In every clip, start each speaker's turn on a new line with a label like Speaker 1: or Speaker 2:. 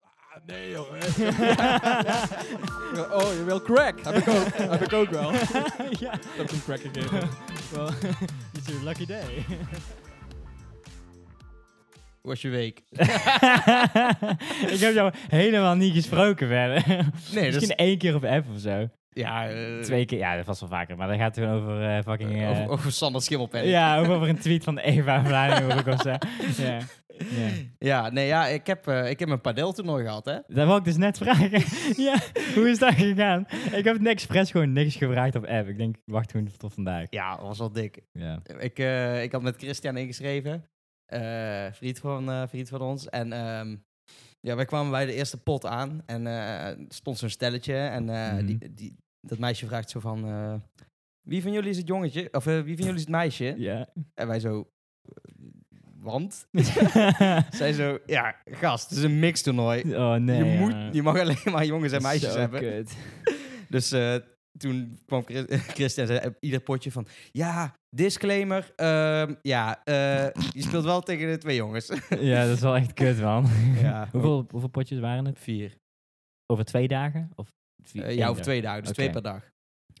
Speaker 1: Ah, nee joh.
Speaker 2: Oh, je wil crack. Heb ik ook, heb ik ook wel. Dat
Speaker 3: ja,
Speaker 2: heb ik een crack gegeven.
Speaker 3: well, it's your lucky day.
Speaker 1: Hoe was je week?
Speaker 3: ik heb jou helemaal niet gesproken verder.
Speaker 1: Nee, dat
Speaker 3: Misschien
Speaker 1: is...
Speaker 3: één keer op app of zo.
Speaker 1: Ja, eh,
Speaker 3: Twee keer, ja, dat was wel vaker. Maar dan gaat het gewoon over eh, fucking...
Speaker 1: eh,
Speaker 3: eh,
Speaker 1: over, over Sander Schimmelpenning.
Speaker 3: ja, ook over een tweet van Eva Vlaanderen of zo. Ja. ja.
Speaker 1: Ja, nee, ja, ik heb, eh, ik heb een padeltoernooi gehad, hè.
Speaker 3: Dat wou ik dus net vragen. ja, hoe is dat gegaan? Ik heb het expres gewoon niks gevraagd op app. Ik denk, wacht gewoon tot vandaag.
Speaker 1: Ja, dat was wel dik.
Speaker 3: Ja.
Speaker 1: Ik, eh, ik had met Christian ingeschreven, eh, vriend, van, eh, vriend van ons. En ehm, ja, wij kwamen bij de eerste pot aan en eh, er stond zo'n stelletje. En eh,
Speaker 3: Mhm.
Speaker 1: die, die, dat meisje vraagt zo van, eh, wie van jullie is het jongetje? Of eh, wie van jullie is het meisje?
Speaker 3: Ja.
Speaker 1: En wij zo, "Eh, want? Zij zo, ja, gast, het is een mixtoernooi.
Speaker 3: oh nee.
Speaker 1: je,
Speaker 3: ja.
Speaker 1: moet, je mag alleen maar jongens en meisjes
Speaker 3: Zo
Speaker 1: hebben.
Speaker 3: kut.
Speaker 1: Dus eh, toen kwam Chris- Christian zei op ieder potje van... Ja, disclaimer. ehm, ja, eh, je speelt wel tegen de twee jongens.
Speaker 3: Ja, dat is wel echt kut, man.
Speaker 1: Ja.
Speaker 3: hoeveel, hoeveel potjes waren het?
Speaker 1: Vier.
Speaker 3: Over twee dagen? Of vier-
Speaker 1: Eh,
Speaker 3: één
Speaker 1: ja, of
Speaker 3: dag?
Speaker 1: twee dagen. Dus
Speaker 3: Oké.
Speaker 1: twee per dag.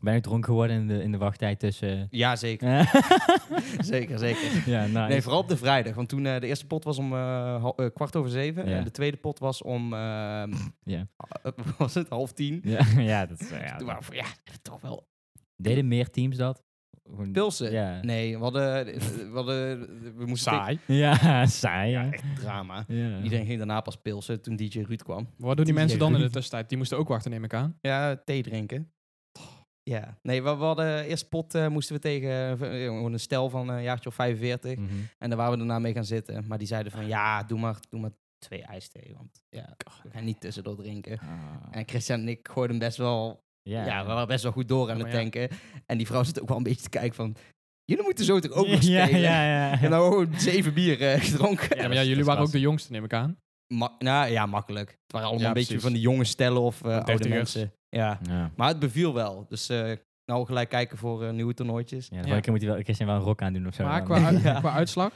Speaker 3: Ben ik dronken geworden in de, in de wachttijd tussen...
Speaker 1: Ja, zeker. zeker, zeker.
Speaker 3: ja, nice.
Speaker 1: Nee, vooral op de vrijdag. Want toen eh, de eerste pot was om eh, hal- eh, kwart over zeven.
Speaker 3: Ja.
Speaker 1: En de tweede pot was om... ehm,
Speaker 3: Ja.
Speaker 1: eh, was het half tien?
Speaker 3: ja, ja, dat is... eh, Ja,
Speaker 1: Toen waren we van, ja, toch wel
Speaker 3: Deden meer teams dat? Gewoon-
Speaker 1: pilsen.
Speaker 3: Ja.
Speaker 1: Nee, we hadden... eh, We, hadden, we moesten...
Speaker 3: Ja, saai. Ja.
Speaker 1: Ja, echt drama.
Speaker 3: Ja.
Speaker 1: Iedereen ging daarna pas pilsen toen DJ Ruud kwam.
Speaker 2: Wat doen die
Speaker 3: Ja,
Speaker 2: mensen dan in de
Speaker 3: goed.
Speaker 2: tussentijd? Die moesten ook wachten, neem ik aan.
Speaker 1: Ja, thee drinken. Ja, nee, we, we hadden eerst pot eh, moesten we tegen eh, een stel van een jaartje of
Speaker 2: Hm.
Speaker 1: 45.
Speaker 3: Mhm.
Speaker 1: En daar waren we daarna mee gaan zitten. Maar die zeiden van ja, doe maar, doe maar twee ijsthee. Want ja, we gaan niet tussendoor drinken.
Speaker 3: Ah.
Speaker 1: En Christian en ik gooiden best wel, ja.
Speaker 3: Ja.
Speaker 1: we waren best wel goed door aan
Speaker 2: Ja,
Speaker 1: het
Speaker 2: maar ja.
Speaker 1: tanken. En die vrouw zit ook wel een beetje te kijken van, jullie moeten zo toch ook nog
Speaker 3: ja,
Speaker 1: spelen?
Speaker 3: ja, ja.
Speaker 1: En nou gewoon zeven bier eh, gedronken.
Speaker 2: Ja,
Speaker 3: dat
Speaker 2: maar ja,
Speaker 3: is-
Speaker 2: jullie
Speaker 3: dat
Speaker 2: waren
Speaker 3: is
Speaker 2: ook de jongste, neem ik aan.
Speaker 1: Ma- nou ja, makkelijk. Het waren allemaal
Speaker 2: Ja,
Speaker 1: een beetje
Speaker 2: precies.
Speaker 1: van die jonge stellen of eh oude
Speaker 2: dertigers.
Speaker 1: mensen. Ja.
Speaker 3: Ja.
Speaker 1: Maar het beviel wel. Dus eh, nou gelijk kijken voor eh, nieuwe toernooitjes.
Speaker 3: Ja, de
Speaker 2: Ja.
Speaker 3: volgende keer moet hij wel, Christian wel een rok aandoen of zo. Dan-
Speaker 2: Maar qua, uit-
Speaker 1: Ja.
Speaker 2: qua uitslag?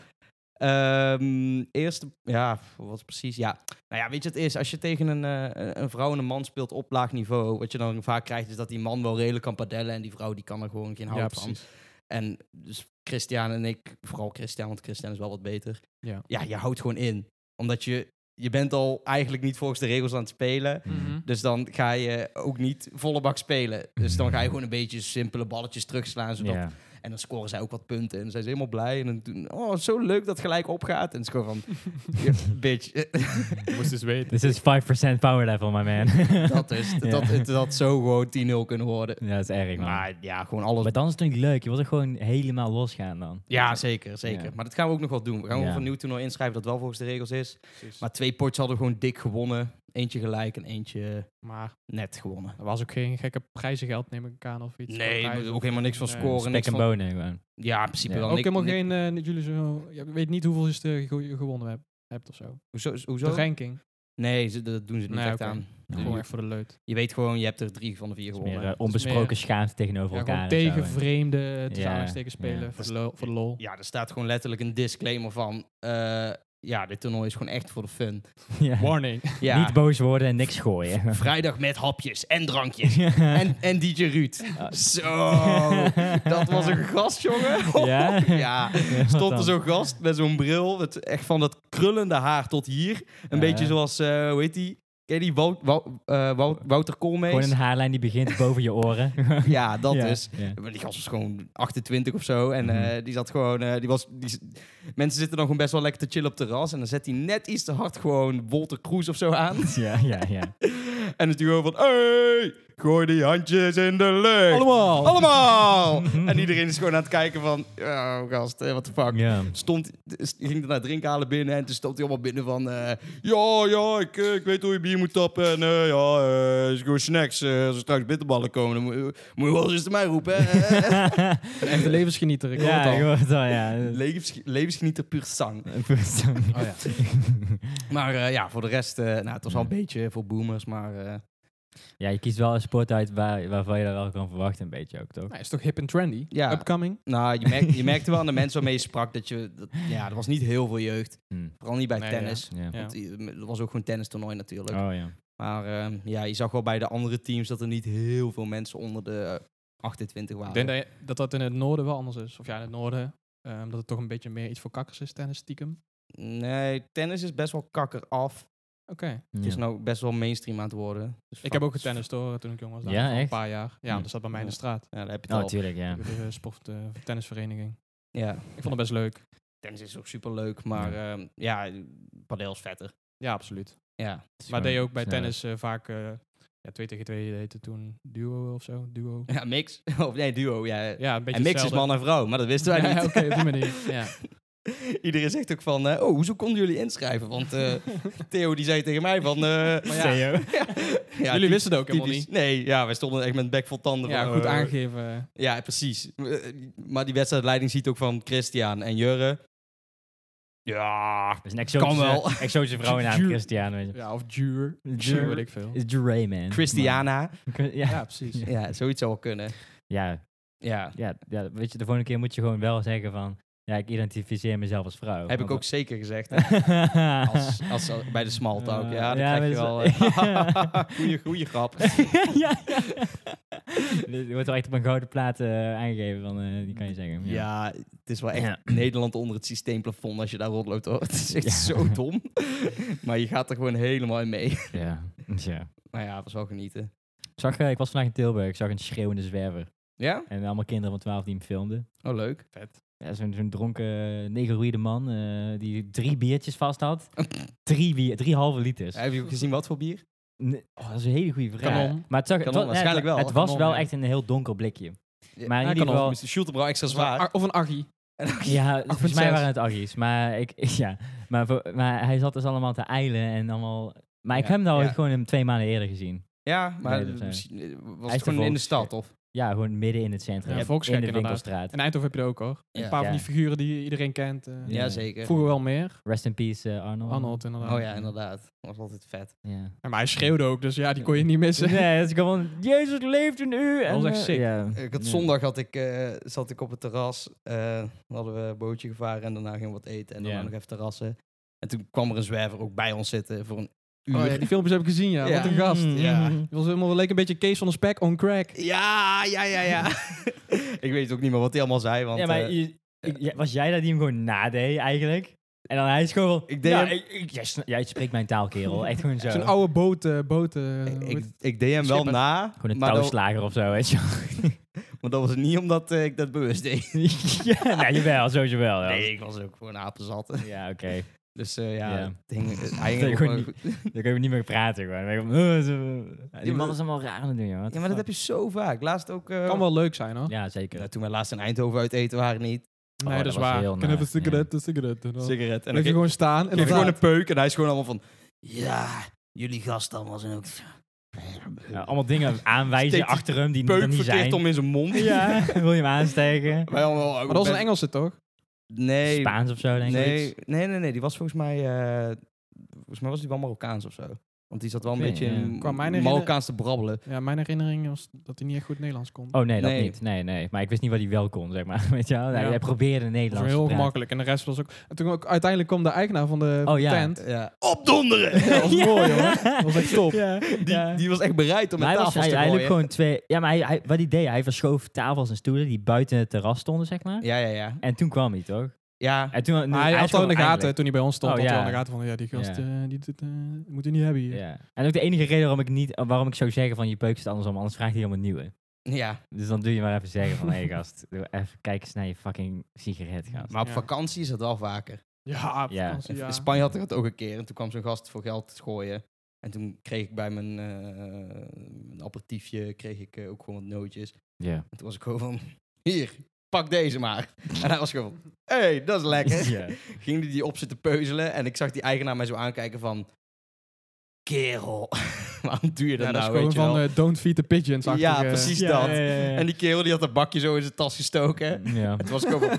Speaker 1: Ehm, eerste, ja, wat is precies? Ja, nou ja, weet je wat het is? Als je tegen een, eh, een vrouw en een man speelt op laag niveau, wat je dan vaak krijgt is dat die man wel redelijk kan padellen en die vrouw die kan er gewoon geen hout
Speaker 2: Ja,
Speaker 1: van.
Speaker 2: Nou, precies.
Speaker 1: En dus Christian en ik, vooral Christian, want Christian is wel wat beter.
Speaker 2: Ja.
Speaker 1: ja je houdt gewoon in. Omdat je, je bent al eigenlijk niet volgens de regels aan het spelen.
Speaker 3: Mhm.
Speaker 1: Dus dan ga je ook niet volle bak spelen. Dus dan ga je gewoon een beetje simpele balletjes terugslaan. Zodat,
Speaker 3: Ja.
Speaker 1: En dan scoren zij ook wat punten. En dan zijn ze helemaal blij. En dan doen, oh, zo leuk dat het gelijk opgaat. En het is gewoon van, "Ja, bitch,
Speaker 2: Je moest dus weten.
Speaker 3: This is 5% power level, my man.
Speaker 1: dat is,
Speaker 3: Ja.
Speaker 1: dat, het dat zou gewoon 10-0 kunnen worden.
Speaker 3: ja, dat is erg, man. Maar,
Speaker 1: Maar ja, gewoon alles.
Speaker 3: dan is het natuurlijk leuk. Je wilt er gewoon helemaal losgaan dan.
Speaker 1: Ja, zeker, zeker.
Speaker 3: Ja.
Speaker 1: Maar dat gaan we ook nog wel doen. We gaan gewoon
Speaker 3: Ja.
Speaker 1: voor een nieuw toernooi inschrijven dat wel volgens de regels is.
Speaker 2: Precies.
Speaker 1: Maar twee potjes hadden we gewoon dik gewonnen. Eentje gelijk en eentje
Speaker 2: Maar
Speaker 1: net gewonnen.
Speaker 2: er was ook geen gekke prijzengeld, neem ik aan, of iets.
Speaker 1: Nee,
Speaker 2: Prijzen
Speaker 1: ook
Speaker 2: of-
Speaker 1: helemaal niks van
Speaker 2: Nee.
Speaker 1: scoren.
Speaker 3: Spek
Speaker 1: niks
Speaker 3: en
Speaker 1: van-
Speaker 3: bonen gewoon.
Speaker 1: Ja, in principe
Speaker 3: Ja.
Speaker 1: wel.
Speaker 2: Ook
Speaker 1: Nik-
Speaker 2: helemaal
Speaker 1: nik-
Speaker 2: geen, eh, jullie zo, je weet niet hoeveel je er ge- gewonnen hebt, hebt of zo.
Speaker 1: Hoezo?
Speaker 2: De
Speaker 1: hoezo?
Speaker 2: ranking.
Speaker 1: Nee, ze, dat doen ze niet
Speaker 2: Nee,
Speaker 1: echt
Speaker 2: oké.
Speaker 1: aan.
Speaker 3: Ja.
Speaker 2: Gewoon
Speaker 1: Je,
Speaker 2: echt voor de leut.
Speaker 1: je weet gewoon, je hebt er drie van de vier
Speaker 3: Het is meer
Speaker 1: gewonnen.
Speaker 3: eh, onbesproken schaamte tegenover
Speaker 2: Ja, gewoon
Speaker 3: elkaar.
Speaker 2: tegen
Speaker 3: en zo.
Speaker 2: vreemden, tussen
Speaker 3: Ja,
Speaker 2: aanhalingstekens
Speaker 3: ja.
Speaker 2: spelen, voor, de lo- voor de lol.
Speaker 1: ja, er staat gewoon letterlijk een disclaimer van... eh, ja, dit toernooi is gewoon echt voor de fun.
Speaker 3: Ja.
Speaker 2: Warning.
Speaker 1: Ja,
Speaker 3: Niet boos worden en niks gooien.
Speaker 1: vrijdag met hapjes en drankjes. en, en DJ Ruud.
Speaker 3: Ah.
Speaker 1: Zo, dat was een gast, jongen.
Speaker 3: Ja?
Speaker 1: ja.
Speaker 3: Ja, wat
Speaker 1: Stond er
Speaker 3: dan?
Speaker 1: zo'n gast met zo'n bril, met echt van dat krullende haar tot hier. Een
Speaker 3: Ja,
Speaker 1: beetje
Speaker 3: ja.
Speaker 1: zoals, eh, hoe heet die? Ken je die Wout, Wou- eh, Wout- Wouter
Speaker 3: Gewoon
Speaker 1: Koolmees?
Speaker 3: een haarlijn die begint boven je oren.
Speaker 1: Ja, dat
Speaker 3: Ja.
Speaker 1: dus.
Speaker 3: Ja.
Speaker 1: Maar Die gast was gewoon 28 of zo. En
Speaker 3: Mhm.
Speaker 1: eh, die zat gewoon. eh, die was, die, z- mensen zitten dan gewoon best wel lekker te chillen op het terras. En dan zet hij net iets te hard gewoon Wolter Kroes of zo aan.
Speaker 3: Ja, ja, ja.
Speaker 1: en dan is hij gewoon van. Hey, gooi die handjes in de lucht.
Speaker 2: Allemaal!
Speaker 1: Allemaal! en iedereen is gewoon aan het kijken van. Oh, gast, wat de fuck.
Speaker 3: Ja.
Speaker 1: Stond, st- ging daarna drinken halen binnen en toen stond hij allemaal binnen van... eh, ja, ja, ik, eh, ik weet hoe je bier moet tappen en eh, ja, eh, is gewoon snacks. eh, als er straks bitterballen komen, dan moet je, moet je wel eens te mij roepen. hè.
Speaker 2: Een echte levensgenieter, ik hoor
Speaker 3: Ja,
Speaker 2: het
Speaker 3: ik
Speaker 2: al.
Speaker 3: hoor het al, ja.
Speaker 1: Levensge- levensgenieter puur sang.
Speaker 2: Oh ja.
Speaker 1: Maar eh, ja, voor de rest, eh, nou, het was al een beetje voor boomers, maar eh,
Speaker 3: Ja, je kiest wel een sport uit waar, waarvan je dat wel kan verwachten een beetje ook, toch?
Speaker 2: Nou, is toch hip en trendy?
Speaker 1: Ja.
Speaker 2: Upcoming?
Speaker 1: Nou, je, merk, je merkte wel aan de mensen waarmee je sprak dat je... Dat, ja, er was niet heel veel jeugd.
Speaker 3: Hm,
Speaker 1: Vooral niet bij
Speaker 2: Nee,
Speaker 1: tennis.
Speaker 3: ja.
Speaker 2: Ja.
Speaker 1: Want i- er was ook gewoon tennistoernooi natuurlijk.
Speaker 3: Oh ja.
Speaker 1: Maar ehm, ja, je zag wel bij de andere teams dat er niet heel veel mensen onder de eh, 28 waren.
Speaker 2: Ik denk dat, je- dat dat in het noorden wel anders is. Of ja, in het noorden. ehm, dat het toch een beetje meer iets voor kakkers is, tennis stiekem.
Speaker 1: Nee, tennis is best wel kakker af.
Speaker 2: Oké.
Speaker 1: Het is
Speaker 3: Ja.
Speaker 1: nou best wel mainstream aan het worden. Dus
Speaker 2: Ik
Speaker 1: fuck.
Speaker 2: heb ook getennist hoor, toen ik jong was. Daar,
Speaker 3: Ja,
Speaker 2: voor Een
Speaker 3: echt?
Speaker 2: paar jaar. Ja,
Speaker 1: Hm.
Speaker 2: dat zat bij mij in de
Speaker 1: Ja.
Speaker 2: straat.
Speaker 1: Ja, daar heb je
Speaker 3: Oh,
Speaker 1: het al.
Speaker 3: tuurlijk, ja.
Speaker 2: De sport, eh, tennisvereniging.
Speaker 1: Ja,
Speaker 2: Ik vond het best leuk.
Speaker 1: tennis is ook super leuk, maar ehm, ja, padel is vetter.
Speaker 2: Ja, absoluut.
Speaker 1: Ja.
Speaker 3: Het is
Speaker 2: Maar
Speaker 3: gewoon
Speaker 2: deed je ook bij
Speaker 3: sneller.
Speaker 2: tennis eh, vaak eh, ja, 2 tegen 2 deed het toen duo of zo. Duo.
Speaker 1: ja, mix. Of nee, duo. Ja.
Speaker 2: Ja, een beetje
Speaker 1: en mix is
Speaker 2: hetzelfde.
Speaker 1: man en vrouw, maar dat wisten wij
Speaker 2: Ja,
Speaker 1: niet.
Speaker 2: oké, op die manier. Ja.
Speaker 1: Iedereen zegt ook van, eh, oh, hoezo konden jullie inschrijven? Want eh, Theo die zei tegen mij van... eh,
Speaker 2: Maar ja,
Speaker 3: Theo.
Speaker 1: ja,
Speaker 2: Jullie
Speaker 1: ty-
Speaker 2: wisten het ook helemaal
Speaker 1: typisch.
Speaker 2: niet.
Speaker 1: Nee, ja, wij stonden echt met een bek vol tanden.
Speaker 2: Ja,
Speaker 1: van,
Speaker 2: goed
Speaker 1: eh,
Speaker 2: aangeven.
Speaker 1: Ja, precies. Eh, Maar die wedstrijdleiding ziet ook van Christian en Jurre. Ja,
Speaker 3: Dat is een
Speaker 1: Kan
Speaker 3: exotische,
Speaker 1: wel.
Speaker 3: exotische vrouwennaam,
Speaker 2: Ju-
Speaker 3: Christian. Weet je.
Speaker 2: Ja, of duur. Duur,
Speaker 3: Duur.
Speaker 2: weet ik veel.
Speaker 3: Is Dre, man.
Speaker 1: Christiana.
Speaker 3: Maar-
Speaker 2: Ja,
Speaker 3: Ja,
Speaker 2: precies.
Speaker 1: Ja, zoiets zou wel kunnen.
Speaker 3: ja,
Speaker 1: Ja,
Speaker 3: ja, ja, weet je, de volgende keer moet je gewoon wel zeggen van... Ja, ik identificeer mezelf als vrouw.
Speaker 1: heb ik ook
Speaker 3: Want-
Speaker 1: zeker gezegd. Als,
Speaker 3: als,
Speaker 1: als, als- bij de small talk.
Speaker 3: Eh,
Speaker 1: Ja, dan
Speaker 3: ja,
Speaker 1: krijg je wel...
Speaker 3: dat is-
Speaker 1: eh, goeie, goeie grap.
Speaker 3: ja, ja. Dit wordt wel echt op een gouden plaat eh, aangegeven, van, eh, die kan je zeggen.
Speaker 1: Ja, het is wel echt
Speaker 3: Ja.
Speaker 1: Nederland onder het systeemplafond als je daar rondloopt. Hoor. Het is echt
Speaker 3: Ja.
Speaker 1: zo dom. maar je gaat er gewoon helemaal in mee.
Speaker 3: ja. ja.
Speaker 1: Maar ja, het was wel genieten.
Speaker 3: Ik, zag, eh, ik was vandaag in Tilburg, ik zag een schreeuwende zwerver.
Speaker 1: Ja?
Speaker 3: En allemaal kinderen van 12 die hem filmden.
Speaker 1: Oh, leuk.
Speaker 2: Vet.
Speaker 3: Ja, Zo'n zo'n dronken, negeroïde man eh, die drie biertjes vast had. Drie, bier, drie halve liters.
Speaker 1: Heb je ook gezien wat voor bier?
Speaker 3: Nee, oh, dat is een hele goede vraag.
Speaker 2: Kanon.
Speaker 3: Maar het, zag, het,
Speaker 1: Kanon,
Speaker 3: wa- nee,
Speaker 1: waarschijnlijk
Speaker 3: het,
Speaker 1: wel.
Speaker 3: het was
Speaker 2: Kanon,
Speaker 3: wel
Speaker 2: ja.
Speaker 3: echt een heel donker blikje. Maar in
Speaker 1: Ja,
Speaker 3: ieder
Speaker 1: kan
Speaker 3: geval...
Speaker 1: nog. Schulte brouw extra zwaar.
Speaker 2: Of een Archie.
Speaker 3: Ja, volgens mij
Speaker 1: zes.
Speaker 3: waren het Arries. Maar, ik, ja, maar, voor- maar hij zat dus allemaal te eilen en allemaal... Maar ik
Speaker 1: Ja,
Speaker 3: heb hem nou
Speaker 1: ja.
Speaker 3: gewoon hem twee maanden eerder gezien.
Speaker 1: Ja, maar
Speaker 3: Nee, dat, eh,
Speaker 1: misschien, eh, was
Speaker 3: is
Speaker 1: het
Speaker 3: de
Speaker 1: gewoon in de
Speaker 3: volks-
Speaker 1: stad, of?
Speaker 3: Ja, gewoon midden in het centrum.
Speaker 2: Ja,
Speaker 3: in
Speaker 2: Volkskerk
Speaker 3: de
Speaker 2: inderdaad.
Speaker 3: winkelstraat.
Speaker 2: In Eindhoven heb je er ook hoor.
Speaker 1: Ja.
Speaker 2: Een paar van
Speaker 3: Ja.
Speaker 2: die figuren die iedereen kent. eh.
Speaker 3: Ja.
Speaker 1: Jazeker.
Speaker 2: Vroeger wel meer.
Speaker 3: Rest in peace, eh, Arnold.
Speaker 2: Arnold inderdaad.
Speaker 1: Oh ja, inderdaad. Dat was altijd vet.
Speaker 3: Ja.
Speaker 2: Ja, maar hij schreeuwde ook, dus ja, die kon je niet missen.
Speaker 3: Nee, dat is gewoon... Jezus leeft in u!
Speaker 2: Dat
Speaker 3: en,
Speaker 2: was echt
Speaker 3: eh,
Speaker 2: sick.
Speaker 3: ja.
Speaker 1: Ik had,
Speaker 3: Ja.
Speaker 1: Zondag had ik, eh, zat ik op het terras. eh, dan hadden we een bootje gevaren en daarna gingen we wat eten. En dan
Speaker 3: Ja.
Speaker 1: nog even terrassen. En toen kwam er een zwerver ook bij ons zitten voor een uur.
Speaker 2: Oh, ja, die filmpjes heb ik gezien, ja.
Speaker 1: Ja.
Speaker 2: Wat een gast.
Speaker 3: Mm,
Speaker 1: ja.
Speaker 3: mm, mm.
Speaker 2: Het was helemaal leek een beetje Kees van de Spek on crack.
Speaker 1: Ja, ja, ja, ja. ik weet ook niet meer wat hij allemaal zei, want
Speaker 3: Ja, maar
Speaker 1: eh,
Speaker 3: je- ik- ja, was jij dat die hem gewoon nadeed eigenlijk? En dan hij is gewoon van...
Speaker 1: Ik deed
Speaker 3: ja,
Speaker 1: hem-
Speaker 3: ik- ik- jij, sna- jij spreekt mijn taal, kerel. Echt gewoon zo.
Speaker 2: Zo'n oude boot. eh, boot eh, hoe
Speaker 1: ik,
Speaker 2: heet-
Speaker 1: ik deed hem wel
Speaker 2: Schipper.
Speaker 1: na,
Speaker 3: Gewoon een
Speaker 1: maar dat,
Speaker 3: touwslager of zo, weet je wel.
Speaker 1: maar dat was niet omdat eh, ik dat bewust deed.
Speaker 3: ja, nou, jawel, sowieso wel. ja.
Speaker 1: Nee, ik was ook gewoon apenzat.
Speaker 3: Ja, oké.
Speaker 1: Dus eh, ja,
Speaker 3: Ja.
Speaker 1: het hing- het- hij hing
Speaker 3: Nee,
Speaker 1: ook
Speaker 3: gewoon
Speaker 1: gewoon
Speaker 3: niet.
Speaker 1: goed.
Speaker 3: Dan kun je niet meer praten. Gewoon. Dan ben je gewoon, "Eh, zo." Ja,
Speaker 1: Ja,
Speaker 3: Die
Speaker 1: maar-
Speaker 3: man is allemaal raar aan het doen, joh. What
Speaker 1: Ja,
Speaker 3: the
Speaker 1: maar dat heb
Speaker 3: fuck?
Speaker 1: je zo vaak. Laatst ook... eh,
Speaker 2: Kan wel leuk zijn hoor.
Speaker 3: Ja, zeker.
Speaker 1: nou, toen we laatst in Eindhoven uit eten waren niet.
Speaker 3: Oh,
Speaker 2: nee, dat
Speaker 3: dat
Speaker 2: is
Speaker 3: was
Speaker 2: waar.
Speaker 3: heel
Speaker 2: Ik kan even een
Speaker 3: naar,
Speaker 2: sigaret, een sigaret. En dan
Speaker 1: Sigaret. En
Speaker 2: bleef je gewoon staan.
Speaker 1: En gewoon een
Speaker 2: inderdaad.
Speaker 1: peuk en hij is gewoon allemaal van... Ja, jullie gast allemaal zijn ook...
Speaker 3: Ja, allemaal dingen aanwijzen
Speaker 1: Steekt die
Speaker 3: achter hem die er
Speaker 1: peuk
Speaker 3: niet
Speaker 1: verkeerd
Speaker 3: zijn.
Speaker 1: om in zijn mond.
Speaker 3: Ja, wil je hem aansteken?
Speaker 1: Wij allemaal,
Speaker 2: Maar dat was een Engelse toch?
Speaker 1: Nee,
Speaker 3: Spaans of zo, denk ik.
Speaker 1: nee, nee, nee, nee. Die was volgens mij... eh, volgens mij was die wel Marokkaans of zo. Want die zat wel een
Speaker 3: Oké,
Speaker 1: beetje in
Speaker 3: ja.
Speaker 2: Qua mijn herinner-
Speaker 1: Marokkaans te brabbelen.
Speaker 2: Ja, mijn herinnering was dat hij niet echt goed Nederlands kon.
Speaker 3: Oh nee, dat
Speaker 1: Nee.
Speaker 3: niet. Nee, nee. Maar ik wist niet wat hij wel kon, zeg maar. Weet je wel?
Speaker 2: Ja.
Speaker 3: Hij probeerde
Speaker 2: Dat
Speaker 3: Nederlands
Speaker 2: was
Speaker 3: te
Speaker 2: heel
Speaker 3: praten.
Speaker 2: gemakkelijk. En de rest was ook... En toen ook, uiteindelijk kwam de eigenaar van de
Speaker 3: Oh, ja.
Speaker 2: tent.
Speaker 1: Ja. Opdonderen!
Speaker 2: Dat was mooi hoor. Dat was echt top.
Speaker 3: Ja,
Speaker 1: Die,
Speaker 3: ja.
Speaker 1: die was echt bereid om
Speaker 3: Maar
Speaker 1: met
Speaker 3: hij, was, hij,
Speaker 1: tafels te
Speaker 3: hij liep
Speaker 1: gooien.
Speaker 3: gewoon twee... Ja, maar hij, hij- wat hij deed, hij verschoof tafels en stoelen die buiten het terras stonden, zeg maar.
Speaker 1: Ja, ja, ja.
Speaker 3: En toen kwam hij, toch?
Speaker 1: Ja,
Speaker 3: En toen,
Speaker 2: Maar
Speaker 3: is
Speaker 2: hij had wel in
Speaker 3: gewoon
Speaker 2: de gaten
Speaker 3: eindelijk-
Speaker 2: toen hij bij ons stond.
Speaker 3: Oh,
Speaker 2: had hij
Speaker 3: ja.
Speaker 2: wel in de gaten van, ja, die gast,
Speaker 3: Ja.
Speaker 2: eh, die doet, eh, moet hij niet hebben hier.
Speaker 3: Ja. En ook de enige reden waarom ik, niet, waarom ik zou zeggen van je peuk zit andersom, anders vraagt hij om een nieuwe.
Speaker 1: ja.
Speaker 3: Dus dan doe je maar even zeggen van, hé hey, gast, doe even kijk eens naar je fucking sigaret, gast.
Speaker 1: Maar op
Speaker 2: Ja.
Speaker 1: vakantie is dat wel vaker.
Speaker 2: Ja, op
Speaker 3: Ja.
Speaker 2: vakantie, ja.
Speaker 1: In Spanje had ik dat ook een keer. En toen kwam zo'n gast voor geld gooien. En toen kreeg ik bij mijn, eh, mijn aperitiefje kreeg ik, eh, ook gewoon wat nootjes.
Speaker 3: Ja.
Speaker 1: En toen was ik gewoon van, hier, pak deze maar. En hij was gewoon van, hey, dat is lekker.
Speaker 3: Ja.
Speaker 1: Ging die die op zitten peuzelen. En ik zag die eigenaar mij zo aankijken van, kerel, waarom doe je dat
Speaker 2: Ja, dat is
Speaker 1: nou,
Speaker 2: gewoon
Speaker 1: weet je
Speaker 2: van
Speaker 1: wel?
Speaker 2: eh, Don't Feed the Pigeons. eh,
Speaker 1: Ja, precies
Speaker 3: Ja,
Speaker 1: dat.
Speaker 3: ja, ja, ja.
Speaker 1: En die kerel die had dat bakje zo in zijn tas gestoken.
Speaker 2: Mm.
Speaker 3: Ja.
Speaker 1: Toen was ik gewoon van,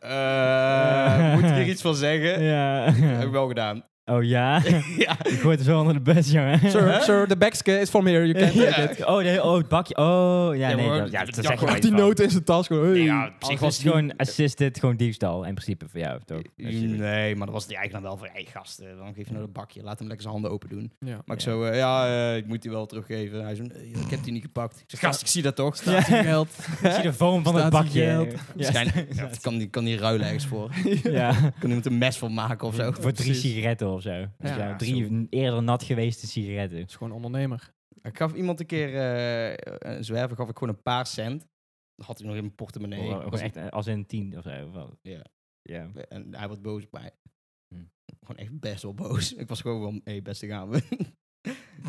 Speaker 1: eh, moet ik hier iets van zeggen?
Speaker 3: Ja.
Speaker 1: Heb ik wel gedaan.
Speaker 3: Oh ja?
Speaker 1: ja.
Speaker 3: Je gooit er zo onder de bus, jongen.
Speaker 1: Hè?
Speaker 2: Sir, sir, the backske is from here. You can
Speaker 1: Ja.
Speaker 2: take it.
Speaker 3: Oh, nee, oh, het bakje. Oh, ja,
Speaker 1: Ja,
Speaker 3: nee.
Speaker 1: maar-
Speaker 3: dat- ja, dat
Speaker 1: Ja,
Speaker 3: zeg je
Speaker 1: gewoon
Speaker 3: nooit
Speaker 2: Die
Speaker 3: van.
Speaker 2: noten in zijn tas. Gewoon, hey.
Speaker 1: Ja, op
Speaker 3: Als was
Speaker 1: zich was
Speaker 3: het
Speaker 1: die-
Speaker 3: gewoon assisted, gewoon diefstal. In principe voor jou, toch? Als je-
Speaker 1: Nee, maar dan was die eigenlijk dan wel van, hé hey, gast, eh, dan geef je nou dat bakje. Laat hem lekker zijn handen open doen.
Speaker 2: Ja.
Speaker 1: Maar ik
Speaker 3: Ja.
Speaker 1: zo, eh, ja, eh, ik moet die wel teruggeven. En hij zo, nee, ik heb die niet gepakt. Ik zeg, gast, ik zie dat toch.
Speaker 2: Staat hier geld.
Speaker 3: Ik zie de vorm van het
Speaker 2: Staat
Speaker 3: bakje.
Speaker 2: hij geld?
Speaker 1: Waarschijnlijk ja, het kan, die, kan die ruilen ergens voor.
Speaker 3: Ja.
Speaker 1: Kan iemand een mes van maken of zo.
Speaker 3: Voor drie
Speaker 2: Precies.
Speaker 3: sigaretten of zo. Dus ja,
Speaker 1: zo.
Speaker 3: drie eerder nat geweeste sigaretten.
Speaker 2: is gewoon ondernemer.
Speaker 1: Ik gaf iemand een keer eh, een zwerver, gaf ik gewoon een paar cent. Dat had ik nog in mijn portemonnee.
Speaker 3: Gewoon-
Speaker 1: Was-
Speaker 3: gewoon echt eh, als in tien of zo. Wel,
Speaker 1: Ja.
Speaker 3: Ja.
Speaker 1: En hij wordt boos op mij.
Speaker 3: Hm.
Speaker 1: Gewoon echt best wel boos. Ik was gewoon van, hé, hey, beste gaan we.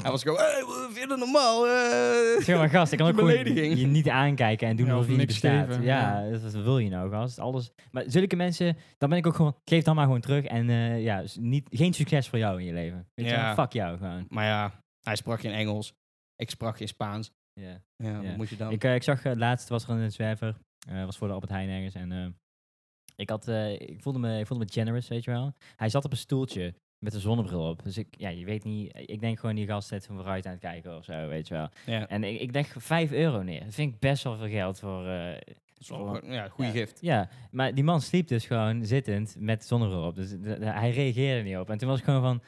Speaker 1: hij was gewoon, hé, hey, wat vind je dat normaal? Eh,
Speaker 3: Zeg maar, gast, ik kan ook gewoon
Speaker 1: Belediging.
Speaker 3: je niet aankijken en doen
Speaker 2: Ja,
Speaker 3: alsof
Speaker 2: of
Speaker 3: je niet
Speaker 2: niks
Speaker 3: bestaat.
Speaker 2: geven,
Speaker 3: ja, dat dat wil je nou, gast. Alles. Maar zulke mensen, dan ben ik ook gewoon, geef dan maar gewoon terug. En eh, ja, s- niet, geen succes voor jou in je leven. Weet je wel,
Speaker 1: Ja.
Speaker 3: Fuck jou gewoon.
Speaker 1: Maar ja, hij sprak geen Engels. Ik sprak geen Spaans.
Speaker 3: Ja.
Speaker 1: Ja,
Speaker 3: Ja.
Speaker 1: wat moet je dan?
Speaker 3: Ik, eh, ik zag eh, laatst was er een zwerver. eh was voor de Albert Heijn ergens. En eh, ik, had, eh, ik, voelde me, ik voelde me generous, weet je wel. Hij zat op een stoeltje met een zonnebril op. Dus ik, ja, je weet niet. Ik denk gewoon die gast zit van vooruit aan het kijken of zo, weet je wel.
Speaker 1: ja,
Speaker 3: En ik, ik leg 5 euro neer. Dat vind ik best wel veel geld voor. eh,
Speaker 1: dat is wel gewoon- ja goede
Speaker 3: Ja.
Speaker 1: gift.
Speaker 3: ja, maar die man sliep dus gewoon zittend met zonnebril op. Dus d- d- hij reageerde niet op. En toen was ik gewoon van.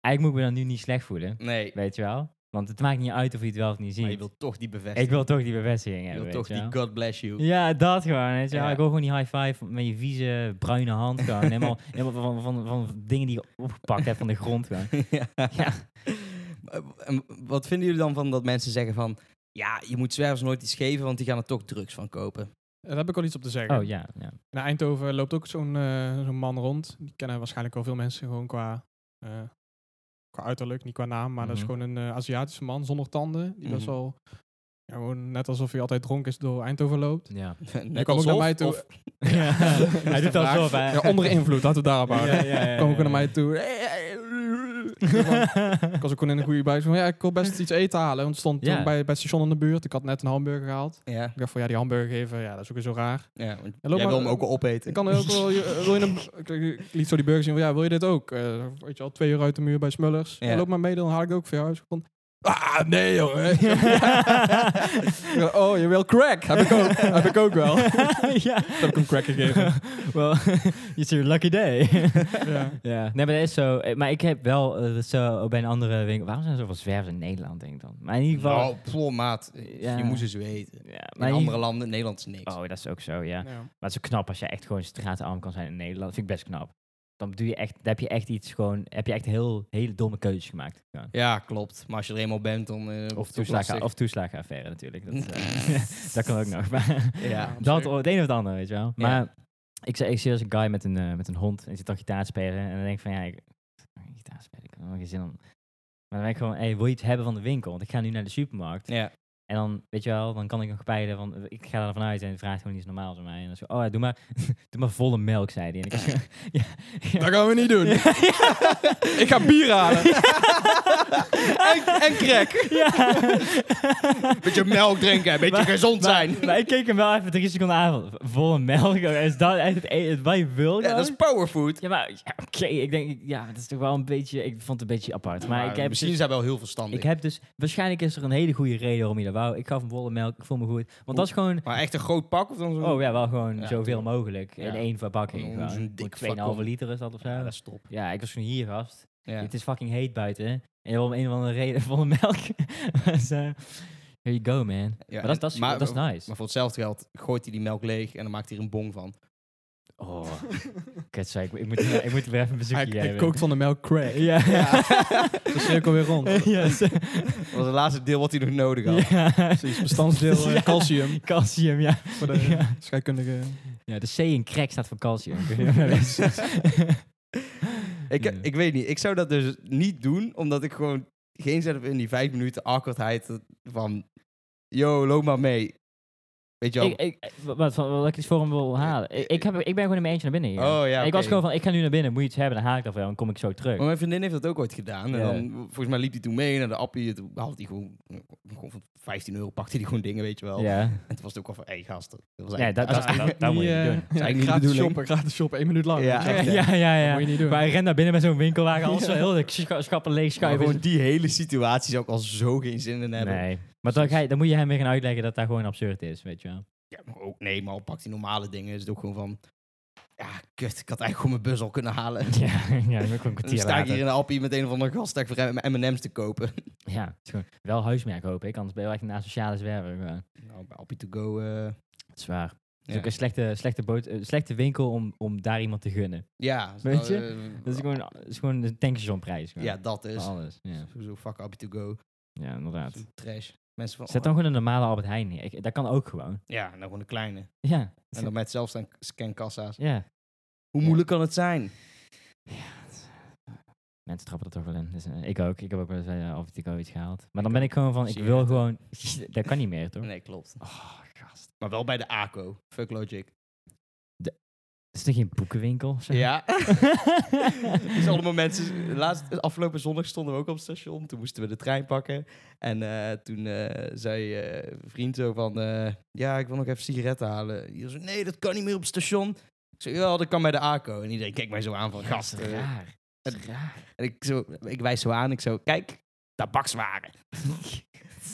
Speaker 3: Eigenlijk moet ik me dan nu niet slecht voelen,
Speaker 1: Nee,
Speaker 3: weet je wel. Want het maakt niet uit of je het wel of niet ziet.
Speaker 1: maar je wilt toch die bevestiging.
Speaker 3: Ik wil toch die bevestiging
Speaker 1: je
Speaker 3: hebben.
Speaker 1: wilt
Speaker 3: weet
Speaker 1: toch
Speaker 3: je
Speaker 1: die
Speaker 3: wel.
Speaker 1: God bless you.
Speaker 3: Ja, dat gewoon. Weet je wel.
Speaker 1: Ja.
Speaker 3: Ik wil gewoon die high five met je vieze bruine hand gewoon. Helemaal, helemaal van, van, van, dingen die je opgepakt hebt van de grond gewoon.
Speaker 1: ja.
Speaker 3: Ja.
Speaker 1: Maar, en Wat vinden jullie dan van dat mensen zeggen van... Ja, je moet zwervers nooit iets geven, want die gaan er toch drugs van kopen.
Speaker 2: Daar heb ik al iets op te zeggen.
Speaker 3: Oh ja, ja.
Speaker 2: In Eindhoven loopt ook zo'n eh, zo'n man rond. Die kennen waarschijnlijk wel veel mensen gewoon qua, eh, qua uiterlijk, niet qua naam. Maar dat is
Speaker 3: Mhm.
Speaker 2: gewoon een eh, Aziatische man zonder tanden. Die best
Speaker 1: Mhm.
Speaker 2: wel, ja, gewoon net alsof hij altijd dronken is door Eindhoven loopt.
Speaker 3: ja.
Speaker 1: Net
Speaker 2: Die kwam ook
Speaker 1: alsof,
Speaker 2: naar mij toe.
Speaker 1: of-
Speaker 3: Hij doet dat zo, hè.
Speaker 2: Dus Ja, onder invloed, laten we het daarop houden.
Speaker 3: Ja, ja, ja, ja,
Speaker 2: Kom ook naar
Speaker 3: ja.
Speaker 2: mij toe. Ik was ook gewoon in een goede buik. Van, ja, ik wil best iets eten halen. Want het stond
Speaker 3: Ja.
Speaker 2: toen bij, bij het station in de buurt. Ik had net een hamburger gehaald.
Speaker 1: Ja,
Speaker 2: Ik dacht van, ja, die hamburger geven, ja, dat is ook weer zo raar.
Speaker 1: ja want
Speaker 2: Ja, loop
Speaker 1: jij
Speaker 2: maar-
Speaker 1: wil hem ook al opeten.
Speaker 2: Ik kan ook wel, je- eh, wil je een, ik- ik- ik liet zo die burger zien van, ja, wil je dit ook? Eh, weet je al, twee uur uit de muur bij Smullers.
Speaker 1: Ja.
Speaker 2: Loop maar mee, dan haal ik het ook voor jou. Dus ik vond, ah, nee, jongen. Ik dacht, oh, je wil crack? Heb ik ook, heb ik ook wel. Toen
Speaker 3: ja.
Speaker 2: heb ik hem crack gegeven.
Speaker 3: Well, it's your lucky day.
Speaker 2: ja.
Speaker 3: Ja, nee, maar dat is zo. Eh, Maar ik heb wel eh, dat zo bij een andere winkel. Waarom zijn er zoveel zwervers in Nederland, denk ik dan? Maar in ieder geval.
Speaker 1: Nou, ploh, maat.
Speaker 3: Ja.
Speaker 1: Je moest ze zo eten.
Speaker 3: ja,
Speaker 1: In
Speaker 3: maar in ieder-
Speaker 1: andere landen, in Nederland is niks.
Speaker 3: Oh, dat is ook zo, ja.
Speaker 2: Ja.
Speaker 3: Maar het is ook knap als je echt gewoon straatarm kan zijn in Nederland. vind ik best knap. Dan doe je echt, dan heb je echt iets gewoon, heb je echt heel, hele domme keuzes gemaakt. Ja.
Speaker 1: Ja, klopt. Maar als je er eenmaal bent, dan... eh, wordt
Speaker 3: Of,
Speaker 1: het ook lastig.
Speaker 3: toeslagen, of toeslagenaffaire natuurlijk. Dat, eh, dat kan ook nog. Maar
Speaker 1: Ja.
Speaker 2: op
Speaker 3: dat,
Speaker 2: zich.
Speaker 3: of het een of het ander, weet je wel.
Speaker 1: Ja.
Speaker 3: Maar ik, zie- ik zie als een guy met een, eh, met een hond en die zit dan gitaar te spelen. En dan denk ik van, ja, ik, gitaar spelen, ik heb er helemaal geen zin om. Maar dan denk ik gewoon, hey, wil je iets hebben van de winkel? Want ik ga nu naar de supermarkt.
Speaker 1: Ja.
Speaker 3: En dan, weet je wel, dan kan ik nog peilen van, eh, ik ga ervan uit en het vraagt gewoon iets normaals aan mij. En dan zo, oh ja, doe maar, doe maar volle melk, zei hij. En ik zo, ja, ja.
Speaker 2: Dat gaan we niet doen. Ik ga bier halen.
Speaker 1: en, en crack.
Speaker 3: Ja.
Speaker 1: Beetje melk drinken, een beetje
Speaker 3: Maar-
Speaker 1: gezond zijn.
Speaker 3: Maar ik keek hem wel even drie seconden aan. van, Volle melk, joh. is dat echt het, e- het wat je wil?
Speaker 1: ja, dat is
Speaker 3: joh?
Speaker 1: powerfood.
Speaker 3: Ja, maar ja, oké, ik denk, ja, dat is toch wel een beetje, ik vond het een beetje apart. Maar, ik heb
Speaker 1: misschien
Speaker 3: dus,
Speaker 1: zijn we wel heel verstandig.
Speaker 3: ik heb dus, waarschijnlijk is er een hele goede reden waarom je dat wou. Ik gaf hem volle melk, ik voel me goed. Want dat is gewoon,
Speaker 1: Maar echt een groot pak of dan zo?
Speaker 3: oh ja, wel gewoon
Speaker 1: Ja,
Speaker 3: zoveel
Speaker 1: tuurlijk.
Speaker 3: mogelijk in
Speaker 1: Ja.
Speaker 3: één
Speaker 1: Gewoon
Speaker 3: verpakking.
Speaker 1: zo'n dik
Speaker 3: Gewoon 2,5
Speaker 1: flacon.
Speaker 3: liter is dat of zo.
Speaker 1: Ja,
Speaker 3: Ja,
Speaker 1: dat is top.
Speaker 3: ik was gewoon hier, gast.
Speaker 1: Ja.
Speaker 3: Het is fucking heet buiten. En je wil om een of andere reden volle melk. dus, eh, here you go, man. maar dat, is- dat, is,
Speaker 1: maar-
Speaker 3: dat is nice.
Speaker 1: Maar voor hetzelfde geld gooit hij die melk leeg en dan maakt hij er een bong van.
Speaker 3: Oh, kut, zei ik, ik, moet, ik moet weer even een bezoekje
Speaker 2: Hij, hij
Speaker 3: geven.
Speaker 2: kookt van de melk crack.
Speaker 3: Ja.
Speaker 1: Ja.
Speaker 2: De cirkel weer rond.
Speaker 3: Ja, zo-
Speaker 1: Dat was het laatste deel wat hij nog nodig had.
Speaker 3: ja.
Speaker 2: Precies, bestandsdeel eh,
Speaker 3: Ja.
Speaker 2: calcium.
Speaker 3: Calcium, ja.
Speaker 2: Voor de
Speaker 3: Ja.
Speaker 2: scheikundige...
Speaker 3: Ja, de C in crack staat voor calcium. Ik weet niet of je dat wist.
Speaker 1: Ik, eh,
Speaker 3: Ja.
Speaker 1: ik weet niet. Ik zou dat dus niet doen, omdat ik gewoon geen zin heb in die vijf minuten awkwardheid van... Yo, loop maar mee. Weet je wel?
Speaker 3: ik, ik, wat, wat, wat ik iets voor hem wil halen. Ik, ik, heb, ik ben gewoon in mijn eentje naar binnen gegaan.
Speaker 1: oh ja,
Speaker 3: Ik
Speaker 1: oké.
Speaker 3: was gewoon van, ik ga nu naar binnen, moet je iets hebben, dan haal ik dat wel, dan kom ik zo terug.
Speaker 1: Maar mijn vriendin heeft dat ook ooit gedaan. En
Speaker 3: Ja.
Speaker 1: dan, volgens mij liep hij toen mee naar de appie. Toen had hij gewoon gewoon voor 15 euro pakte hij gewoon dingen, weet je wel.
Speaker 3: Ja,
Speaker 1: En toen was het ook al van, hé hey, gasten. Oh, Dat was
Speaker 3: ja
Speaker 1: eigenlijk-
Speaker 3: dat, dat, dat, dat, moet je niet doen.
Speaker 1: is
Speaker 2: eh, Ja,
Speaker 1: eigenlijk niet de
Speaker 2: gratis
Speaker 1: bedoeling.
Speaker 2: shoppen, gratis shoppen, één minuut lang.
Speaker 1: Ja,
Speaker 2: Dat is
Speaker 3: Ja,
Speaker 2: echt-
Speaker 1: echt,
Speaker 3: ja, ja.
Speaker 2: Dat moet je niet doen.
Speaker 3: Maar hij rent daar binnen met zo'n winkelwagen, alles zo
Speaker 2: Ja.
Speaker 3: heel de scha- schappen leeg
Speaker 1: Maar
Speaker 3: schuiven.
Speaker 1: gewoon die hele situatie zou ik al zo geen zin in hebben.
Speaker 3: Nee, maar dan, ga je, dan moet je hem weer gaan uitleggen dat dat gewoon absurd is, weet je wel.
Speaker 1: Ja, maar ook, nee, maar al pakt die normale dingen is het ook gewoon van... Ja, kut, ik had eigenlijk gewoon mijn bus al kunnen halen.
Speaker 3: Ja, ja ik ook een
Speaker 1: Dan
Speaker 3: kwartier
Speaker 1: sta ik
Speaker 3: later.
Speaker 1: hier in de appie met een of andere gast dat ik voor M- M&M's te kopen.
Speaker 3: Ja, het is gewoon wel huismerk hoop ik, anders ben je wel echt een asociale zwerver. gewoon.
Speaker 1: Nou, bij Appie to go... eh,
Speaker 3: Dat is waar. Het is
Speaker 1: Ja.
Speaker 3: ook een slechte, slechte, boot, eh, slechte winkel om, om daar iemand te gunnen.
Speaker 1: ja.
Speaker 3: Weet je?
Speaker 1: eh,
Speaker 3: Dat is gewoon, dat is gewoon een tankstationprijs. gewoon.
Speaker 1: Ja, dat
Speaker 3: Voor
Speaker 1: is.
Speaker 3: alles. Ja.
Speaker 1: Sowieso fuck Appie to go.
Speaker 3: ja, inderdaad.
Speaker 1: Trash. Mensen van...
Speaker 3: Zet dan gewoon een normale Albert Heijn neer. Ik- Dat kan ook gewoon.
Speaker 1: Ja, nou gewoon de kleine.
Speaker 3: Ja.
Speaker 1: En dan met zelfs dan scankassa's.
Speaker 3: ja.
Speaker 1: Hoe moeilijk kan het zijn?
Speaker 3: Mensen trappen er toch wel in. Dus, eh, ik ook. Ik heb ook wel eens bij uh, iets gehaald. Maar dan ben ik gewoon van, ik
Speaker 1: Zie je
Speaker 3: wil
Speaker 1: het, hè?
Speaker 3: gewoon... dat kan niet meer, toch?
Speaker 1: Nee, klopt. Oh, gast. Maar wel bij de ACO. Fuck Logic.
Speaker 3: Is het geen boekenwinkel? of zo?
Speaker 1: Ja. dus allemaal mensen. Laatst, afgelopen zondag stonden we ook op het station. Toen moesten we de trein pakken. En eh, toen eh, zei eh, een vriend zo van... eh, ja, ik wil nog even sigaretten halen. Iedereen zo, nee, dat kan niet meer op het station. Ik zei, ja, dat kan bij de ACO. En iedereen keek mij zo aan van,
Speaker 3: Ja,
Speaker 1: gast.
Speaker 3: dat is
Speaker 1: eh.
Speaker 3: raar. Dat is raar.
Speaker 1: En ik, zo, ik wijs zo aan. Ik zo, kijk, tabakswaren.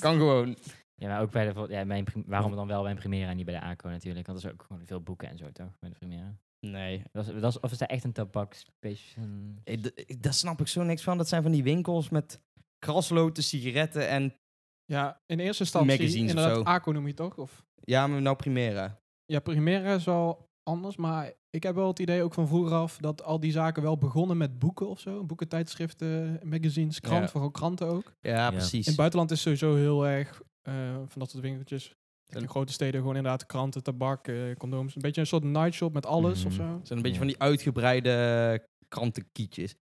Speaker 1: kan gewoon.
Speaker 3: Ja, maar ook bij de... vol- Ja, mijn, prim- waarom dan wel bij een Primera en niet bij de ACO natuurlijk? Want dat is ook gewoon veel boeken en zo, toch? Bij de Primera.
Speaker 1: Nee,
Speaker 3: Dat is, dat is, of is dat echt een tabaksspecial?
Speaker 1: Ik- d- ik- Daar snap ik zo niks van. Dat zijn van die winkels met krasloten, sigaretten en...
Speaker 2: Ja, in eerste instantie
Speaker 1: Magazines of
Speaker 2: inderdaad,
Speaker 1: zo.
Speaker 2: Aco noem je toch? Of,
Speaker 1: Ja, maar nou Primera.
Speaker 2: ja, Primera is wel anders, maar ik heb wel het idee ook van vroeger af dat al die zaken wel begonnen met boeken of zo. Boeken, tijdschriften, magazines, krant,
Speaker 1: Ja.
Speaker 2: vooral kranten ook.
Speaker 1: Ja,
Speaker 3: Ja.
Speaker 1: precies.
Speaker 2: In het buitenland is sowieso heel erg eh, van dat soort winkeltjes. In
Speaker 1: Een-
Speaker 2: grote steden gewoon inderdaad kranten, tabak, eh, condooms. Een beetje een soort nightshop met alles of
Speaker 3: Mhm.
Speaker 2: zo.
Speaker 1: zijn een beetje
Speaker 3: Ja.
Speaker 1: van die uitgebreide krantenkietjes.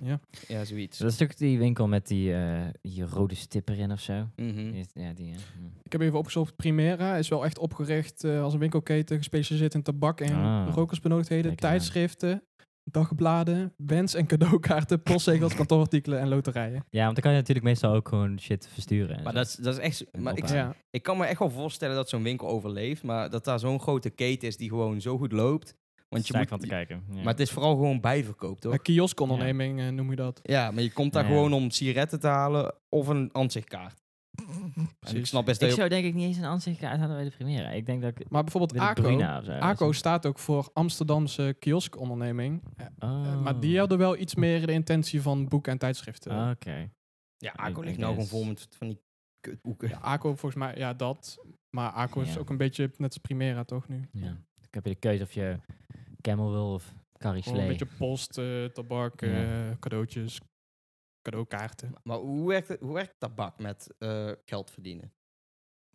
Speaker 2: Ja.
Speaker 1: Ja, zoiets.
Speaker 3: Dat is toch die winkel met die, eh, die rode stip erin of zo?
Speaker 1: Mhm.
Speaker 3: Die- Ja, die... eh, mm.
Speaker 2: Ik heb even opgezocht, Primera is wel echt opgericht eh, als een winkelketen gespecialiseerd in tabak en
Speaker 3: Ah.
Speaker 2: rokersbenodigdheden,
Speaker 3: Kijk aan.
Speaker 2: tijdschriften, dagbladen, wens- en cadeaukaarten, postzegels, kantoorartikelen en loterijen.
Speaker 3: Ja, want dan kan je natuurlijk meestal ook gewoon shit versturen. en
Speaker 1: Maar
Speaker 3: zo.
Speaker 1: dat is, dat is echt... zo-
Speaker 3: Een
Speaker 1: Maar ik,
Speaker 3: opa.
Speaker 2: Ja.
Speaker 1: ik kan me echt wel voorstellen dat zo'n winkel overleeft. Maar dat daar zo'n grote keten is die gewoon zo goed loopt. Want je
Speaker 3: Sta ik
Speaker 1: moet,
Speaker 3: van te kijken. Ja.
Speaker 1: Maar het is vooral gewoon bijverkoop, toch?
Speaker 2: Een kioskonderneming eh, noem je dat.
Speaker 1: Ja, maar je komt daar
Speaker 3: Ja.
Speaker 1: gewoon om sigaretten te halen of een ansichtkaart. En ik
Speaker 2: Precies.
Speaker 1: snap best
Speaker 3: ik
Speaker 1: dat je...
Speaker 3: zou denk ik niet eens een aanzichtkaart hadden bij de Primera. Ik denk dat ik...
Speaker 2: Maar bijvoorbeeld
Speaker 3: Wil ik
Speaker 2: ACO.
Speaker 3: Bruna of zo.
Speaker 2: ACO staat ook voor Amsterdamse kioskonderneming. Eh,
Speaker 3: Oh.
Speaker 2: Maar die eh. hadden wel iets meer de intentie van boeken en tijdschriften.
Speaker 3: Ah, Oké.
Speaker 1: Ja, Aco
Speaker 3: Ik denk
Speaker 1: ligt nou gewoon
Speaker 3: dat
Speaker 1: vol
Speaker 3: is-
Speaker 1: met van die kutboeken.
Speaker 2: Ja, ACO volgens mij, ja dat. Maar ACO is
Speaker 3: Ja.
Speaker 2: ook een beetje net als Primera toch nu?
Speaker 3: Ja. Dan heb je de keuze of je Camel wil of Carrie
Speaker 2: Gewoon een
Speaker 3: Slee.
Speaker 2: beetje post, eh, tabak,
Speaker 3: Ja.
Speaker 2: eh, cadeautjes, cadeaukaarten.
Speaker 1: Maar hoe werkt, het- hoe werkt tabak met eh, geld verdienen?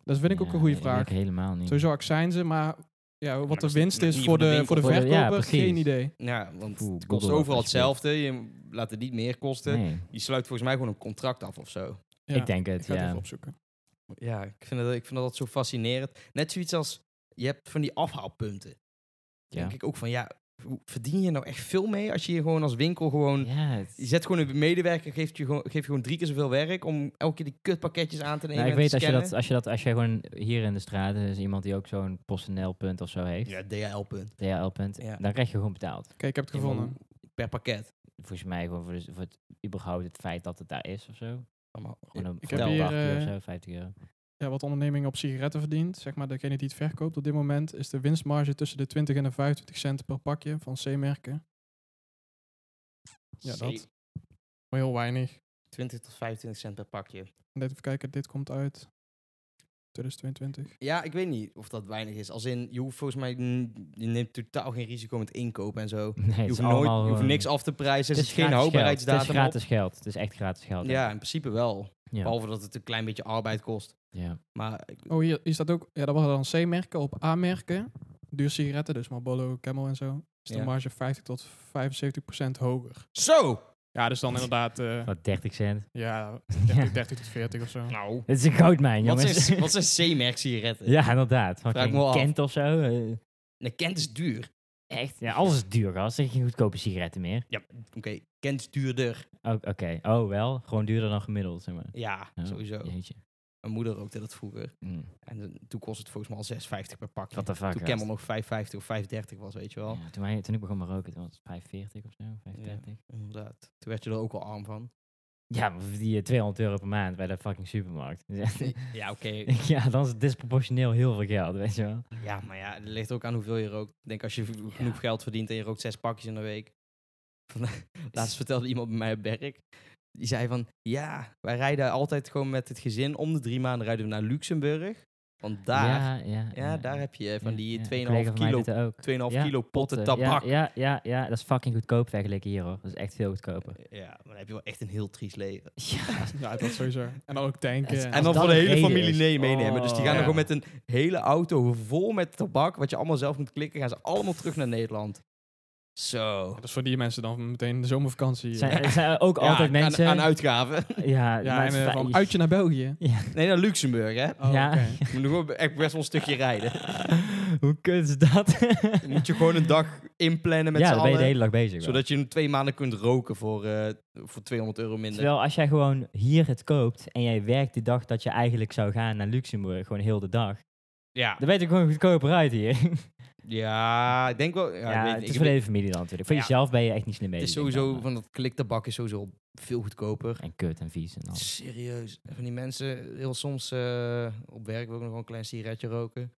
Speaker 2: Dat vind ik
Speaker 3: Ja,
Speaker 2: ook een goede
Speaker 3: nee, dat weet
Speaker 2: vraag.
Speaker 3: ik helemaal niet.
Speaker 2: Sowieso accijnzen, maar ja, wat
Speaker 1: dat
Speaker 2: de
Speaker 1: is niet-
Speaker 2: winst
Speaker 1: niet
Speaker 2: is
Speaker 1: voor
Speaker 2: voor
Speaker 1: de
Speaker 2: de,
Speaker 1: winkel.
Speaker 2: voor de
Speaker 3: Voor de- ja,
Speaker 2: verkoper,
Speaker 3: precies.
Speaker 2: geen idee.
Speaker 1: Ja, want
Speaker 3: Oeh,
Speaker 1: het kost
Speaker 3: Google
Speaker 1: overal
Speaker 3: dat alsjeblieft.
Speaker 1: hetzelfde. Je laat het niet meer kosten.
Speaker 3: Nee,
Speaker 1: Je sluit volgens mij gewoon een contract af of zo.
Speaker 2: Ja,
Speaker 3: ik denk het,
Speaker 2: ik ga het
Speaker 3: ja.
Speaker 2: even opzoeken.
Speaker 1: Ja, ik vind, dat, ik vind dat zo fascinerend. Net zoiets als, je hebt van die afhaalpunten.
Speaker 3: Ja.
Speaker 1: denk ik ook van, ja, hoe- verdien je nou echt veel mee als je hier gewoon als winkel gewoon...
Speaker 3: Ja, het-
Speaker 1: Je zet gewoon een medewerker, geeft je gewoon, geeft je gewoon drie keer zoveel werk om elke keer die kutpakketjes aan te nemen
Speaker 3: Nou, ik
Speaker 1: en te
Speaker 3: weet als je, dat,
Speaker 1: scannen.
Speaker 3: als je dat, als je gewoon hier in de straat eh, is iemand die ook zo'n PostNL-punt of zo heeft,
Speaker 1: Ja, DHL-punt.
Speaker 3: DHL-punt,
Speaker 1: Ja.
Speaker 3: dan krijg je gewoon betaald.
Speaker 2: Kijk, ik heb het gevonden.
Speaker 1: Per pakket.
Speaker 3: Volgens mij gewoon voor, de- voor het, überhaupt het feit dat het daar is of zo.
Speaker 1: Allemaal,
Speaker 3: Gewoon een,
Speaker 2: Ik
Speaker 3: voor
Speaker 2: heb
Speaker 3: een
Speaker 2: hier,
Speaker 3: 8 euro of
Speaker 2: eh,
Speaker 3: zo, 50 euro.
Speaker 2: Ja, wat ondernemingen op sigaretten verdient, zeg maar degene die het verkoopt op dit moment, is de winstmarge tussen de 20 en de 25 cent per pakje van C-merken. Ja, dat. Maar heel weinig.
Speaker 1: 20 tot 25 cent per pakje.
Speaker 2: Net even kijken, dit komt uit 2022.
Speaker 1: Ja, ik weet niet of dat weinig is. Als in, je hoeft volgens mij, mm, je neemt totaal geen risico met inkopen en zo.
Speaker 3: Nee,
Speaker 1: Je
Speaker 3: het is
Speaker 1: hoeft, nooit,
Speaker 3: allemaal
Speaker 1: je hoeft
Speaker 3: gewoon-
Speaker 1: niks af te prijzen. Er
Speaker 3: Het
Speaker 1: zit
Speaker 3: is gratis
Speaker 1: geen
Speaker 3: geld. Het
Speaker 1: houdbaarheidsdatum
Speaker 3: is
Speaker 1: op.
Speaker 3: gratis geld. Het is echt gratis geld.
Speaker 1: Ja, in principe wel.
Speaker 3: ja.
Speaker 1: Behalve dat het een klein beetje arbeid kost.
Speaker 3: ja.
Speaker 1: Maar ik-
Speaker 2: Oh, hier is dat ook. Ja, dat was dan C-merken op A-merken. Duur sigaretten, dus Marlboro, Camel en zo. Is de
Speaker 1: Ja.
Speaker 2: marge 50 tot 75 procent hoger.
Speaker 1: zo!
Speaker 2: Ja, dus dan inderdaad eh,
Speaker 3: Wat 30 cent.
Speaker 2: ja, 30, 30 tot 40 of zo.
Speaker 1: Nou,
Speaker 3: Het is een goudmijn,
Speaker 1: wat
Speaker 3: jongens.
Speaker 1: zijn, wat zijn C-merk sigaretten?
Speaker 3: ja, inderdaad. Van
Speaker 1: Vraag me wel af.
Speaker 3: Kent of zo. eh,
Speaker 1: Nee, Kent is duur.
Speaker 3: echt. Ja, alles is duur, gast. Er zijn geen goedkope sigaretten meer.
Speaker 1: Ja, oké. Kent is duurder.
Speaker 3: Oh, Oké. Oh, wel. Gewoon duurder dan gemiddeld, zeg maar.
Speaker 1: Ja,
Speaker 3: Oh,
Speaker 1: sowieso.
Speaker 3: Jeetje.
Speaker 1: Mijn moeder rookte dat vroeger.
Speaker 3: Mm.
Speaker 1: En eh, toen kost het volgens mij al 6,50 per pakje.
Speaker 3: What the fuck,
Speaker 1: toen
Speaker 3: gast.
Speaker 1: Camel nog 5,50 of 5,30 was, weet je wel.
Speaker 3: Ja, toen, wij- toen ik begon met roken, toen was het 45 of zo, 35.
Speaker 1: Inderdaad. Toen werd je er ook al arm van.
Speaker 3: Ja, maar voor die eh, 200 euro per maand bij de fucking supermarkt.
Speaker 1: Ja, oké.
Speaker 3: ja, dan is het disproportioneel heel veel geld, weet je wel.
Speaker 1: Ja, maar ja, het ligt ook aan hoeveel je rookt. Ik denk als je v-
Speaker 3: Ja.
Speaker 1: genoeg geld verdient en je rookt zes pakjes in de week. Van- eh, Laatst vertelde iemand bij mij op werk. Die zei van, ja, wij rijden altijd gewoon met het gezin. Om de drie maanden rijden we naar Luxemburg. Want daar, ja,
Speaker 3: ja, ja,
Speaker 1: daar heb je eh, van
Speaker 3: ja, ja.
Speaker 1: die
Speaker 3: Een
Speaker 1: 2,5
Speaker 3: collega van mij
Speaker 1: kilo,
Speaker 3: doet dat ook.
Speaker 1: 2,5
Speaker 3: Ja,
Speaker 1: kilo potten
Speaker 3: potten.
Speaker 1: tabak. Ja,
Speaker 3: Ja, ja, ja, ja, dat is fucking goedkoop vergeleken hier hoor. Dat is echt veel goedkoper.
Speaker 1: maar dan heb je wel echt een heel triest leven.
Speaker 3: Ja,
Speaker 2: Ja, dat sowieso. En dan ook tanken.
Speaker 3: Het-
Speaker 2: en-
Speaker 1: En
Speaker 3: Als
Speaker 1: dan
Speaker 3: dat
Speaker 1: voor de
Speaker 3: de
Speaker 1: hele
Speaker 3: reden
Speaker 1: familie
Speaker 3: is.
Speaker 1: nee meenemen. Dus die gaan
Speaker 2: Oh.
Speaker 1: dan gewoon met een hele auto vol met tabak, wat je allemaal zelf moet klikken, gaan ze allemaal terug naar Nederland. Zo.
Speaker 2: Dat is voor die mensen dan meteen de zomervakantie.
Speaker 3: Er
Speaker 2: eh.
Speaker 3: zijn, er zijn ook
Speaker 1: Ja,
Speaker 3: altijd
Speaker 1: aan-
Speaker 3: mensen...
Speaker 1: Aan, uitgaven.
Speaker 3: ja,
Speaker 2: ja,
Speaker 3: maar
Speaker 2: en
Speaker 3: het
Speaker 2: eh,
Speaker 3: is
Speaker 2: van
Speaker 3: fa-
Speaker 2: uitje naar België.
Speaker 3: Ja,
Speaker 1: Nee, naar Luxemburg, hè.
Speaker 2: Oh,
Speaker 3: Ja.
Speaker 2: oké.
Speaker 1: Je moet nog wel echt best wel een stukje rijden.
Speaker 3: Hoe kut is dat?
Speaker 1: Dan moet je gewoon een dag inplannen met
Speaker 3: ja,
Speaker 1: z'n
Speaker 3: dan ben je de
Speaker 1: allen.
Speaker 3: hele dag bezig. wel.
Speaker 1: Zodat je hem twee maanden kunt roken voor, eh, voor 200 euro minder.
Speaker 3: Terwijl als jij gewoon hier het koopt en jij werkt de dag dat je eigenlijk zou gaan naar Luxemburg, gewoon heel de dag,
Speaker 1: Ja.
Speaker 3: dan ben je er gewoon goedkoper uit hier.
Speaker 1: ja, ik denk wel... Ja,
Speaker 3: Ja,
Speaker 1: ik weet,
Speaker 3: het
Speaker 1: ik
Speaker 3: is voor
Speaker 1: weet-
Speaker 3: de hele familie dan natuurlijk. Voor
Speaker 1: Ja.
Speaker 3: jezelf ben je echt niet slim
Speaker 1: het
Speaker 3: bezig.
Speaker 1: is
Speaker 3: denk ik
Speaker 1: sowieso,
Speaker 3: dan,
Speaker 1: van dat kliktabak is sowieso veel goedkoper.
Speaker 3: maar. En kut en vies en al.
Speaker 1: Serieus. Van die mensen, heel soms eh, op werk wil ik nog wel een klein sigaretje roken.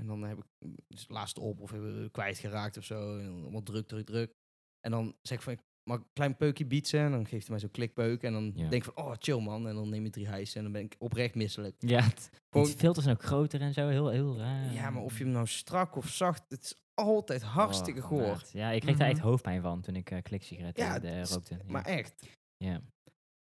Speaker 1: En dan heb ik mm, is het laatste op of hebben we kwijtgeraakt of zo. En dan allemaal druk, druk, druk. En dan zeg ik van, mag ik een klein peukje bietsen? En dan geeft hij mij zo'n klikpeuk. En dan
Speaker 3: Ja.
Speaker 1: denk ik van, oh chill man. En dan neem je drie hijsen en dan ben ik oprecht misselijk.
Speaker 3: Ja, het,
Speaker 1: Gewoon-
Speaker 3: die filters zijn ook groter en zo, heel, heel raar.
Speaker 1: Ja, maar of je hem nou strak of zacht, het is altijd hartstikke
Speaker 3: Oh,
Speaker 1: goor.
Speaker 3: maat. Ja, ik kreeg daar echt
Speaker 2: Mhm.
Speaker 3: hoofdpijn van toen ik eh kliksigaretten
Speaker 1: Ja,
Speaker 3: eh,
Speaker 1: het is-
Speaker 3: rookte. Ja.
Speaker 1: Maar echt,
Speaker 3: ja.